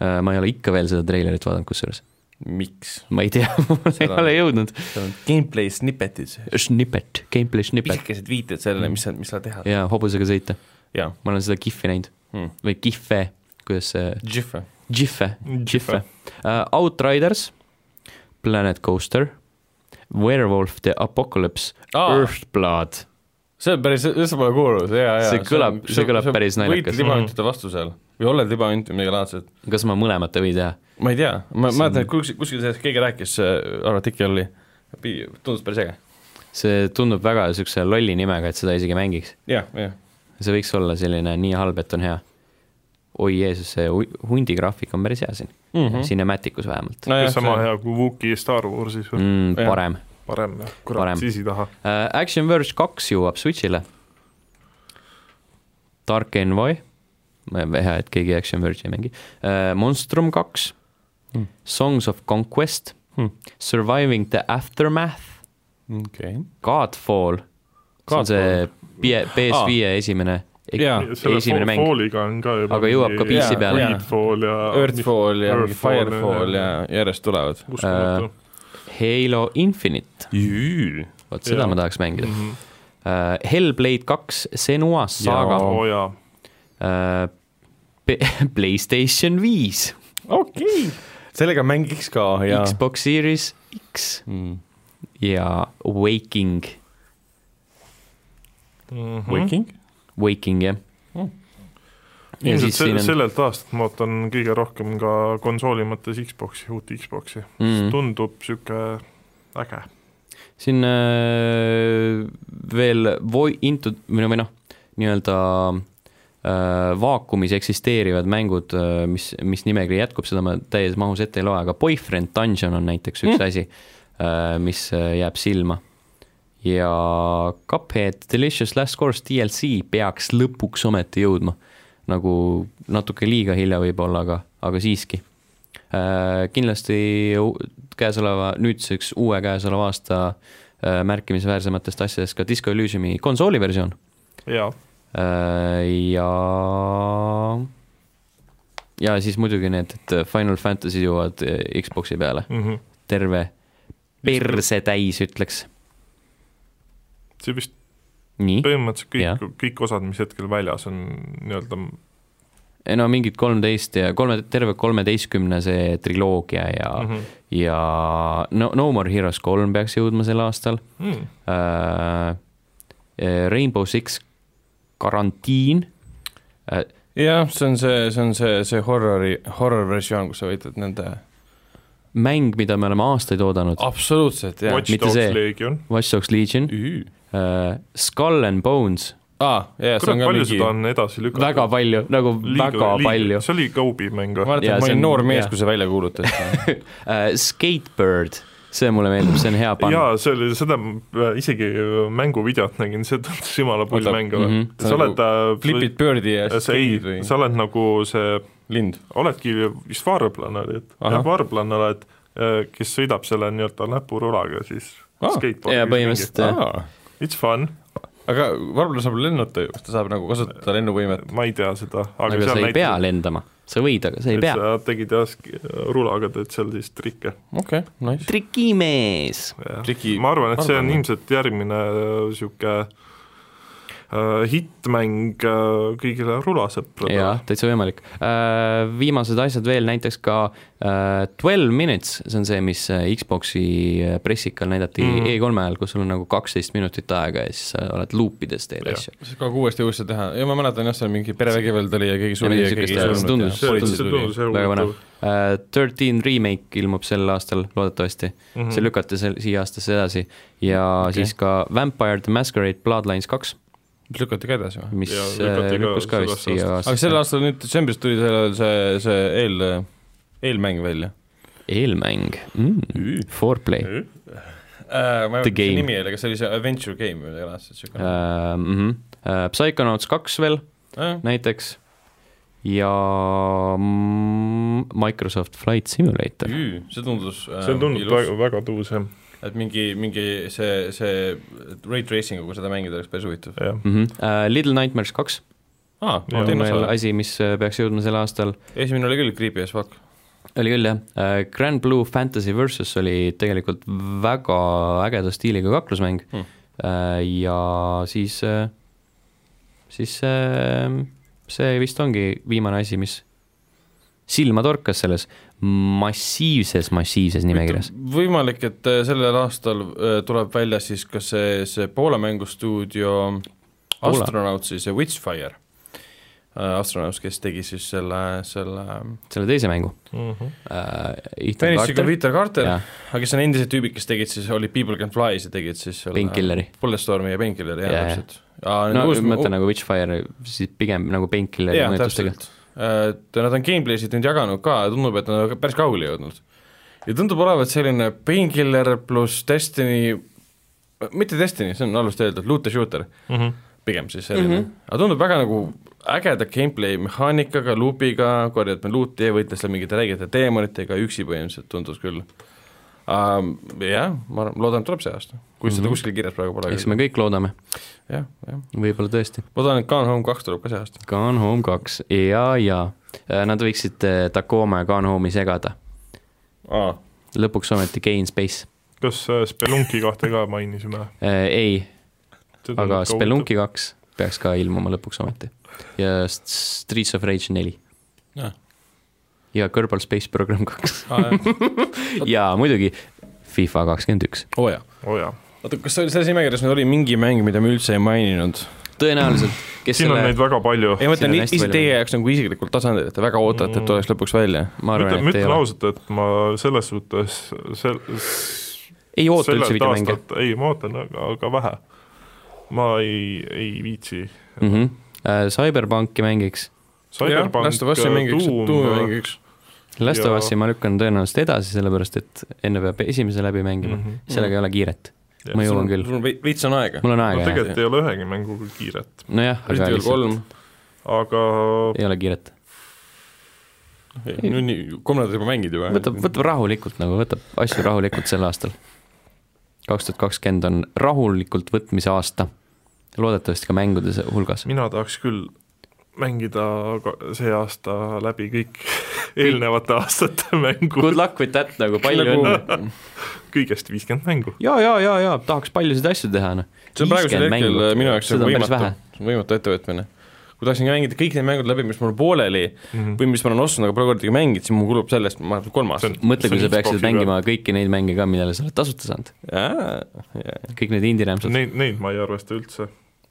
[SPEAKER 1] ma ei ole ikka veel seda treilerit vaadanud , kusjuures
[SPEAKER 3] miks ?
[SPEAKER 1] ma ei tea , ma ei
[SPEAKER 3] Seda-
[SPEAKER 1] ole jõudnud .
[SPEAKER 3] seal on gameplay snippetid ,
[SPEAKER 1] Snippet , gameplay snippet
[SPEAKER 3] pisikesed viited sellele , mis sa , mis sa teha .
[SPEAKER 1] ja hobusega sõita ,
[SPEAKER 3] jaa .
[SPEAKER 1] ma olen seda kihvi näinud
[SPEAKER 3] Hmm.
[SPEAKER 1] või kihve , kuidas see ,
[SPEAKER 3] Jif või ?
[SPEAKER 1] jihve , jihve . Outriders , Planet Coaster , Werewolf the Apocalypse ,
[SPEAKER 3] Aa.
[SPEAKER 1] Earthblood ,
[SPEAKER 3] see on päris , see pole kuulus , jaa , jaa .
[SPEAKER 1] See kõlab- see kõlab päris naljakas. Mhm.
[SPEAKER 3] võid libahüntide vastu seal või oled libahünt või midagi laadset .
[SPEAKER 1] kas ma mõlemat ei või teha ?
[SPEAKER 3] ma ei tea , ma ma mäletan , et kuskil , kuskil sellest keegi rääkis , artikkel oli , tundus päris äge .
[SPEAKER 1] see tundub väga niisuguse lolli nimega , et seda isegi mängiks .
[SPEAKER 3] jah , jah .
[SPEAKER 1] see võiks olla selline nii halb , et on hea . oi Jeesus , see hu- hundi graafik on päris hea siin mm
[SPEAKER 3] Mhm.
[SPEAKER 1] -hmm. , Cinematicus vähemalt no, .
[SPEAKER 3] nojah ,
[SPEAKER 2] sama hea kui Wookiee Star Warsis või mm.
[SPEAKER 1] Mm,
[SPEAKER 3] Jah.
[SPEAKER 1] parem uh, .
[SPEAKER 2] parem jah ,
[SPEAKER 1] Parem.
[SPEAKER 2] kurat , siis ei taha .
[SPEAKER 1] Action Verge kaks jõuab Switch'ile . Dark Envoy , hea , et keegi Action Verge'i ei mängi uh, . Monstrum kaks mm. , Songs of Conquest
[SPEAKER 3] Mm.
[SPEAKER 1] mm. , Surviving the Aftermath ,
[SPEAKER 3] okei .
[SPEAKER 1] Godfall , see on see P- PS5 ah. esimene
[SPEAKER 3] Jaa.
[SPEAKER 1] esimene mäng ,
[SPEAKER 2] Falliga on ka juba
[SPEAKER 1] Aga jõuab ka
[SPEAKER 2] mingi
[SPEAKER 1] PC
[SPEAKER 3] peale.
[SPEAKER 2] Redfall ja
[SPEAKER 3] Earthfall ja mingi
[SPEAKER 2] Earthfall ja-
[SPEAKER 3] Firefall ja järjest tulevad .
[SPEAKER 1] Äh,
[SPEAKER 2] uskumatu .
[SPEAKER 1] Halo Infinite , vot seda
[SPEAKER 2] Jaa.
[SPEAKER 1] ma tahaks mängida .
[SPEAKER 2] Mhm.
[SPEAKER 1] Äh, Hellblade kaks , Senua saaga ,
[SPEAKER 2] oo Oh, jaa ,
[SPEAKER 1] Playstation viis ,
[SPEAKER 3] okei , sellega mängiks ka ja
[SPEAKER 1] Xbox Series X
[SPEAKER 3] mm. .
[SPEAKER 1] ja Waking ,
[SPEAKER 2] Mhm.
[SPEAKER 3] Waking
[SPEAKER 1] Waking jah . ja
[SPEAKER 2] ilmselt
[SPEAKER 1] siis siin
[SPEAKER 2] se-
[SPEAKER 1] on ,
[SPEAKER 2] sellelt aastast ma ootan kõige rohkem ka konsooli mõttes Xboxi , uut Xboxi
[SPEAKER 1] Mm.
[SPEAKER 2] mm. , tundub niisugune äge .
[SPEAKER 1] siin äh, veel voi- , intu- , või noh , või noh , nii-öelda äh, vaakumis eksisteerivad mängud , mis , mis nimekiri jätkub , seda ma täies mahus ette ei loe , aga Boyfriend Dungeon on näiteks üks mm. asi , mis äh, jääb silma . ja Cuphead Delicious Last Course DLC peaks lõpuks ometi jõudma , nagu natuke liiga hilja võib-olla , aga , aga siiski . Kindlasti u- käesoleva , nüüdseks uue käesoleva aasta äh, märkimisväärsematest asjadest ka Disco Elysiumi konsooliversioon
[SPEAKER 2] jaa ,
[SPEAKER 1] Äh, ja , ja siis muidugi need , et Final Fantasy jõuavad äh, Xbox'i peale ,
[SPEAKER 2] mhm.
[SPEAKER 1] terve perse täis , ütleks .
[SPEAKER 2] see vist
[SPEAKER 1] nii ,
[SPEAKER 2] põhimõtteliselt
[SPEAKER 1] Jah.
[SPEAKER 2] kõik , kõik osad , mis hetkel väljas on nii-öelda
[SPEAKER 1] no mingid kolmteist ja kolme , terve kolmeteistkümne see triloogia ja mm ,
[SPEAKER 2] mhm.
[SPEAKER 1] -hmm. ja no No More Heroes kolm peaks jõudma sel aastal
[SPEAKER 2] mm,
[SPEAKER 1] äh, , Rainbow Six karantiin äh, ,
[SPEAKER 3] jah , see on see , see on see , see horrori , horror versioon , kus sa võitled nende
[SPEAKER 1] mäng , mida me oleme aastaid oodanud ,
[SPEAKER 3] Ah. absoluutselt jah .
[SPEAKER 2] Watch
[SPEAKER 1] mitte
[SPEAKER 2] Dogs
[SPEAKER 1] see.
[SPEAKER 2] Legion ,
[SPEAKER 1] Watch Dogs Legion , äh, Skull and Bones ,
[SPEAKER 3] aa , jaa ,
[SPEAKER 2] kurat
[SPEAKER 3] see on , ka
[SPEAKER 2] palju mingi...
[SPEAKER 3] mingi ,
[SPEAKER 2] seda on edasi lükatud .
[SPEAKER 1] väga palju , nagu liiga, väga liiga. palju .
[SPEAKER 2] see oli Kobe mäng
[SPEAKER 3] ma
[SPEAKER 2] või ?
[SPEAKER 3] mäletan ,
[SPEAKER 1] Jaa,
[SPEAKER 3] et ma
[SPEAKER 1] see on-
[SPEAKER 3] olin noor mees
[SPEAKER 1] jah. ,
[SPEAKER 3] kui see välja kuulutati .
[SPEAKER 1] Uh, skatebird , see mulle meeldib , see on hea panna .
[SPEAKER 2] jaa , see oli , seda ma isegi äh, mänguvideot nägin , see tundus jumala pull
[SPEAKER 3] Oota,
[SPEAKER 2] mäng olevat mm .
[SPEAKER 1] mhm.
[SPEAKER 2] -hmm. sa oled äh,
[SPEAKER 3] Flipid Birdi ja
[SPEAKER 2] sa ei
[SPEAKER 3] Skid või ,
[SPEAKER 2] sa oled nagu see ,
[SPEAKER 3] lind .
[SPEAKER 2] oledki vist varblane olid ,
[SPEAKER 3] Ahah.
[SPEAKER 2] jah , varblane oled , kes sõidab selle nii-öelda näpurulaga siis
[SPEAKER 3] Aa,
[SPEAKER 2] skateboard'i
[SPEAKER 1] ja . Ah, põhimõtteliselt jah ,
[SPEAKER 3] aga
[SPEAKER 2] It's fun ,
[SPEAKER 3] varblane saab lennata ju , kas ta saab nagu kasutada lennuvõimet ?
[SPEAKER 2] ma ei tea seda , aga
[SPEAKER 1] aga sa
[SPEAKER 2] seal
[SPEAKER 1] ei pea
[SPEAKER 2] näitab ,
[SPEAKER 1] lendama , sa võid , aga sa ei
[SPEAKER 2] et
[SPEAKER 1] pea .
[SPEAKER 2] sa tegid jah , rulaga teed seal siis trikke .
[SPEAKER 3] okei okay, , nice .
[SPEAKER 1] trikimees .
[SPEAKER 3] Triki-
[SPEAKER 2] ma arvan , et see on
[SPEAKER 3] varblane.
[SPEAKER 2] ilmselt järgmine äh, niisugune hittmäng äh, kõigile rulasõpradele .
[SPEAKER 1] jah , täitsa võimalik . Viimased asjad veel , näiteks ka äh, Twelve Minutes , see on see , mis äh, Xbox'i äh, pressikal näidati mm
[SPEAKER 2] Mhm.
[SPEAKER 1] -hmm. E3-e ajal , kus sul on nagu kaksteist minutit aega ja siis sa oled luupides teed
[SPEAKER 2] Jah.
[SPEAKER 1] asju .
[SPEAKER 3] siis kogu uuesti õuesse teha ja ma mäletan jah , seal mingi perevägivald oli ja keegi suri
[SPEAKER 1] mingi
[SPEAKER 3] ja keegi
[SPEAKER 1] siukest asja.
[SPEAKER 3] ei
[SPEAKER 1] See
[SPEAKER 3] surnud ja
[SPEAKER 1] tundus-
[SPEAKER 2] see
[SPEAKER 3] politsei
[SPEAKER 2] see
[SPEAKER 3] tuli .
[SPEAKER 2] tundus jah
[SPEAKER 1] väga põnev
[SPEAKER 2] huvitav ..
[SPEAKER 1] Äh, Thirteen Remake ilmub sel aastal loodetavasti mm ,
[SPEAKER 2] Mhm.
[SPEAKER 1] -hmm. see lükati sel , siia aastasse edasi ja okay. siis ka Vampire the Masquerade Bloodlines kaks ,
[SPEAKER 3] lükati ka edasi või ?
[SPEAKER 1] mis
[SPEAKER 2] Jaa,
[SPEAKER 1] äh,
[SPEAKER 2] lükati ka
[SPEAKER 1] lükkus ka vist
[SPEAKER 2] sellesse
[SPEAKER 1] siia aastasse .
[SPEAKER 3] aga sel aastal nüüd detsembris tuli sellel see , see eel , eelmäng välja .
[SPEAKER 1] eelmäng mm. , Foreplay uh, .
[SPEAKER 3] Äh, ma
[SPEAKER 1] The Game.
[SPEAKER 3] ei mäleta , mis see nimi oli , aga see oli see adventure game või midagi laadset , siuke .
[SPEAKER 1] Mm -hmm. uh, Psychonauts kaks veel näiteks ja mm, Microsoft Flight Simulator .
[SPEAKER 3] see tundus .
[SPEAKER 2] see
[SPEAKER 1] Äh,
[SPEAKER 2] tundub väga , väga tuus jah ,
[SPEAKER 3] et mingi , mingi see , see ray tracing uga seda mängida oleks päris huvitav .
[SPEAKER 2] jah .
[SPEAKER 1] Mm -hmm. uh, Little Nightmares kaks
[SPEAKER 3] aa ,
[SPEAKER 2] Jaa.
[SPEAKER 1] on
[SPEAKER 3] teine
[SPEAKER 1] veel
[SPEAKER 3] osa ,
[SPEAKER 1] asi , mis äh, peaks jõudma sel aastal ,
[SPEAKER 3] esimene oli küll creepy as fuck .
[SPEAKER 1] oli küll jah , Grand Blue Fantasy versus oli tegelikult väga ägeda stiiliga kaklusmäng
[SPEAKER 3] Hmm.
[SPEAKER 1] Äh, ja siis , siis äh, see vist ongi viimane asi , mis silma torkas selles massiivses , massiivses nimekirjas .
[SPEAKER 3] võimalik , et äh, sellel aastal äh, tuleb välja siis ka see , see Poola mängustuudio
[SPEAKER 1] Poola.
[SPEAKER 3] Astronautsi see Witchfire . Astronauts , kes tegi siis selle , selle
[SPEAKER 1] selle teise mängu
[SPEAKER 2] Mhm.
[SPEAKER 3] Feniciga
[SPEAKER 1] äh, .
[SPEAKER 3] Peter Carter ,
[SPEAKER 1] jah ,
[SPEAKER 3] aga kes on endised tüübid , kes tegid siis , olid People Can Fly's ja tegid siis selle
[SPEAKER 1] Painkilleri .
[SPEAKER 3] Bulletstormi ja Painkilleri , jah
[SPEAKER 1] Jaa,
[SPEAKER 3] yeah. ,
[SPEAKER 1] jah.
[SPEAKER 3] täpselt . aa ,
[SPEAKER 1] no ma mõtlen nagu Witchfire , siis pigem nagu Painkilleri
[SPEAKER 3] jah ,
[SPEAKER 1] mõjutustega .
[SPEAKER 3] täpselt . et nad on gameplay'sid nüüd jaganud ka ja tundub , et nad on ka päris kaugele jõudnud . ja tundub olevat selline painkiller pluss Destiny , mitte Destiny , see on halvasti öeldud , loot the shooter pigem siis selline mm , -hmm. aga tundub väga nagu ägeda gameplay mehaanikaga , luubiga , korjad me luuti ja võitled seal mingite räigete teemonitega üksi põhimõtteliselt , tundus küll um, . jah , ma arvan- loodan , et tuleb see aasta , kui mm -hmm. seda kuskil kirjas praegu
[SPEAKER 1] eks
[SPEAKER 3] pole .
[SPEAKER 1] me kõik loodame ,
[SPEAKER 3] jah , jah ,
[SPEAKER 1] võib-olla tõesti .
[SPEAKER 3] loodan , et Gone Home kaks tuleb ka see aasta .
[SPEAKER 1] Gone Home kaks ja , ja Äh, nad võiksid eh, Tacoma ja Gone Home'i segada .
[SPEAKER 3] aa ,
[SPEAKER 1] lõpuks ometi Gain Space .
[SPEAKER 2] kas äh, Spelunki kahte ka mainisime ?
[SPEAKER 1] ei , aga Spelunki kaks peaks ka ilmuma lõpuks ometi . ja S- Streets of Rage neli
[SPEAKER 3] Jah. .
[SPEAKER 1] ja Kerbal Space Program kaks
[SPEAKER 3] oo
[SPEAKER 1] ja muidugi FIFA kakskümmend üks .
[SPEAKER 3] jaa .
[SPEAKER 2] oo Oh, jaa ,
[SPEAKER 3] oota , kas oli selles nimekirjas nüüd oli mingi mäng , mida me üldse ei maininud ?
[SPEAKER 1] tõenäoliselt , kes
[SPEAKER 2] siin on
[SPEAKER 1] selle ,
[SPEAKER 2] neid väga palju .
[SPEAKER 3] ei , ma
[SPEAKER 1] Siin on
[SPEAKER 3] ütlen
[SPEAKER 1] hästi
[SPEAKER 3] ise
[SPEAKER 1] palju
[SPEAKER 3] teie
[SPEAKER 1] mänge. Mm.
[SPEAKER 3] jaoks nagu isiklikul tasandil , et te väga ootate , et tuleks lõpuks välja .
[SPEAKER 1] ma
[SPEAKER 2] ma
[SPEAKER 1] arvan , et ei
[SPEAKER 2] ütlen
[SPEAKER 1] ole ,
[SPEAKER 2] ausalt , et ma selles suhtes sel- ,
[SPEAKER 1] ei oota üldse videomänge .
[SPEAKER 2] ei , ma ootan , aga , aga vähe . ma ei , ei viitsi .
[SPEAKER 1] mm . -hmm. Cyberpunki mängiks ,
[SPEAKER 3] Last
[SPEAKER 1] äh,
[SPEAKER 3] of Us'i
[SPEAKER 2] äh,
[SPEAKER 3] mängiks , Doom'i mängiks .
[SPEAKER 1] Last of
[SPEAKER 2] Ja-
[SPEAKER 1] Us'i ma lükkan tõenäoliselt edasi , sellepärast et enne peab esimese läbi mängima mm ,
[SPEAKER 2] Mhm.
[SPEAKER 1] -hmm. sellega ei ole kiiret .
[SPEAKER 2] Jah,
[SPEAKER 1] ma jõuan küll ,
[SPEAKER 3] sul on vei- veits on aega .
[SPEAKER 1] mul on
[SPEAKER 2] no
[SPEAKER 1] aega jah ,
[SPEAKER 2] tegelikult ei ole ühegi mänguga kiiret ,
[SPEAKER 1] nojah , aga
[SPEAKER 3] Resident Evil
[SPEAKER 1] lihtsalt
[SPEAKER 3] kolm ,
[SPEAKER 2] aga
[SPEAKER 1] ei ole kiiret .
[SPEAKER 3] nüüd nii , kolm nädalat juba mängid juba .
[SPEAKER 1] võtab , võtab rahulikult nagu , võtab asju rahulikult sel aastal . kaks tuhat kakskümmend on rahulikult võtmise aasta , loodetavasti ka mängude se- hulgas .
[SPEAKER 2] mina tahaks küll mängida ka- see aasta läbi kõik eelnevate aastate mängu ,
[SPEAKER 1] Good luck with that nagu , palju õnne .
[SPEAKER 2] kõigest viiskümmend mängu .
[SPEAKER 1] ja , ja , ja , ja tahaks paljusid asju teha , noh .
[SPEAKER 3] see on praegusel hetkel mängu. minu jaoks
[SPEAKER 1] seda
[SPEAKER 3] nagu
[SPEAKER 1] on päris
[SPEAKER 3] võimatu
[SPEAKER 1] vähe .,
[SPEAKER 3] see on võimatu ettevõtmine . kui tahaksin mängida kõik need mängud läbi , mis mul pooleli mm
[SPEAKER 2] Mhm.
[SPEAKER 3] -hmm. või mis ma olen ostnud , aga pole kordagi mänginud , siis mul kulub sellest , ma arvan , kolm aastat .
[SPEAKER 1] mõtle , kui sa peaksid mängima kõiki neid mänge ka , millele sa oled tasuta saanud . kõik need indie-rämpsud .
[SPEAKER 2] Neid , neid ma ei arvesta üldse .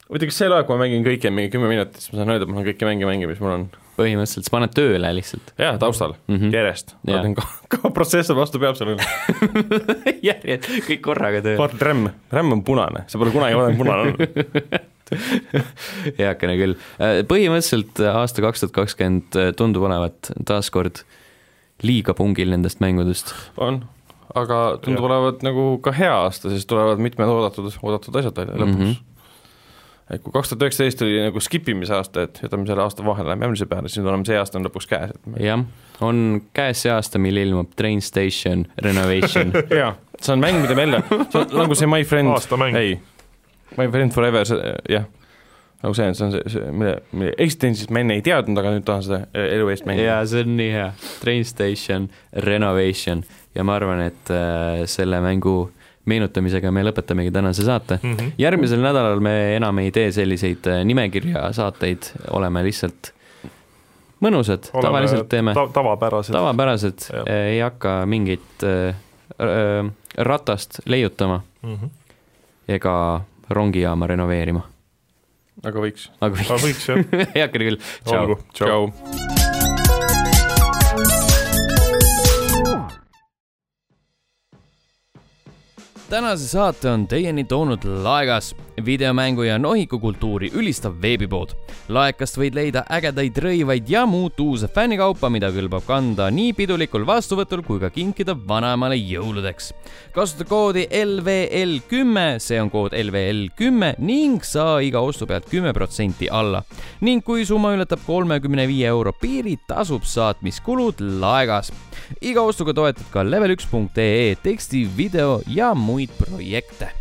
[SPEAKER 3] oota , kas see loeb , kui ma mängin kõike mingi kümme minutit , siis ma saan öelda , et ma olen kõiki mänge mänginud , mis mul on ?
[SPEAKER 1] põhimõtteliselt sa paned tööle lihtsalt . Mhm.
[SPEAKER 3] jaa , taustal mm , -hmm. järjest . ma
[SPEAKER 1] Jaa.
[SPEAKER 3] teen ka, ka protsessor vastu peab sellele ,
[SPEAKER 1] järjed , kõik korraga tööle .
[SPEAKER 3] vaatad rämm , rämm on punane , sa pole kunagi vaadanud , punane on .
[SPEAKER 1] heakene küll . põhimõtteliselt äh, aasta kaks tuhat kakskümmend äh, tundub olevat taaskord liiga pungil nendest mängudest .
[SPEAKER 3] on , aga tundub olevat nagu ka hea aasta , sest tulevad mitmed oodatud , oodatud asjad välja lõpuks mm . -hmm et kui kaks tuhat üheksateist oli nagu skip imise aasta , et jätame selle aasta vahele , lähme järgmise peale , siis nüüd oleme see aasta on lõpuks käes , et me...
[SPEAKER 1] jah , on käes see aasta , mil ilmub Train Station Renovation .
[SPEAKER 3] jaa , see on mäng , mida me jälle , see on nagu see My Friend ,
[SPEAKER 2] Aastamäng.
[SPEAKER 3] ei , My Friend Forever , see jah , nagu see on , see on see, see , mille , mille eksistentsist ma enne ei teadnud , aga nüüd tahan seda eh, elu eest mängida .
[SPEAKER 1] jaa , see on nii hea . Train Station Renovation ja ma arvan , et äh, selle mängu meenutamisega me lõpetamegi tänase saate mm . -hmm. järgmisel nädalal me enam ei tee selliseid äh, nimekirja saateid , oleme lihtsalt mõnusad , tavaliselt teeme
[SPEAKER 2] ta- , tavapärased Tava. .
[SPEAKER 1] tavapärased
[SPEAKER 2] Jah. ,
[SPEAKER 1] eh, ei hakka mingit äh, r- äh, ratast leiutama
[SPEAKER 2] Mm -hmm.
[SPEAKER 1] ega rongijaama renoveerima ,
[SPEAKER 3] aga võiks .
[SPEAKER 1] aga
[SPEAKER 2] aga
[SPEAKER 1] võiks ,
[SPEAKER 2] võiks jah ,
[SPEAKER 1] hea küll , tšau .
[SPEAKER 2] olgu , tšau .
[SPEAKER 4] tänase saate on teieni toonud Laegas , videomängu ja nohikukultuuri ülistav veebipood . laekast võid leida ägedaid rõivaid ja muud uuse fännikaupa , mida kõlbab kanda nii pidulikul vastuvõtul kui ka kinkida vanaemale jõuludeks . kasuta koodi E LVL kümme , see on kood LVL kümme ning saa iga ostu pealt kümme protsenti alla . ning kui summa ületab kolmekümne viie euro piiri , tasub saatmiskulud Laegas iga ostuga toetad ka level1.ee teksti , video ja muid projekte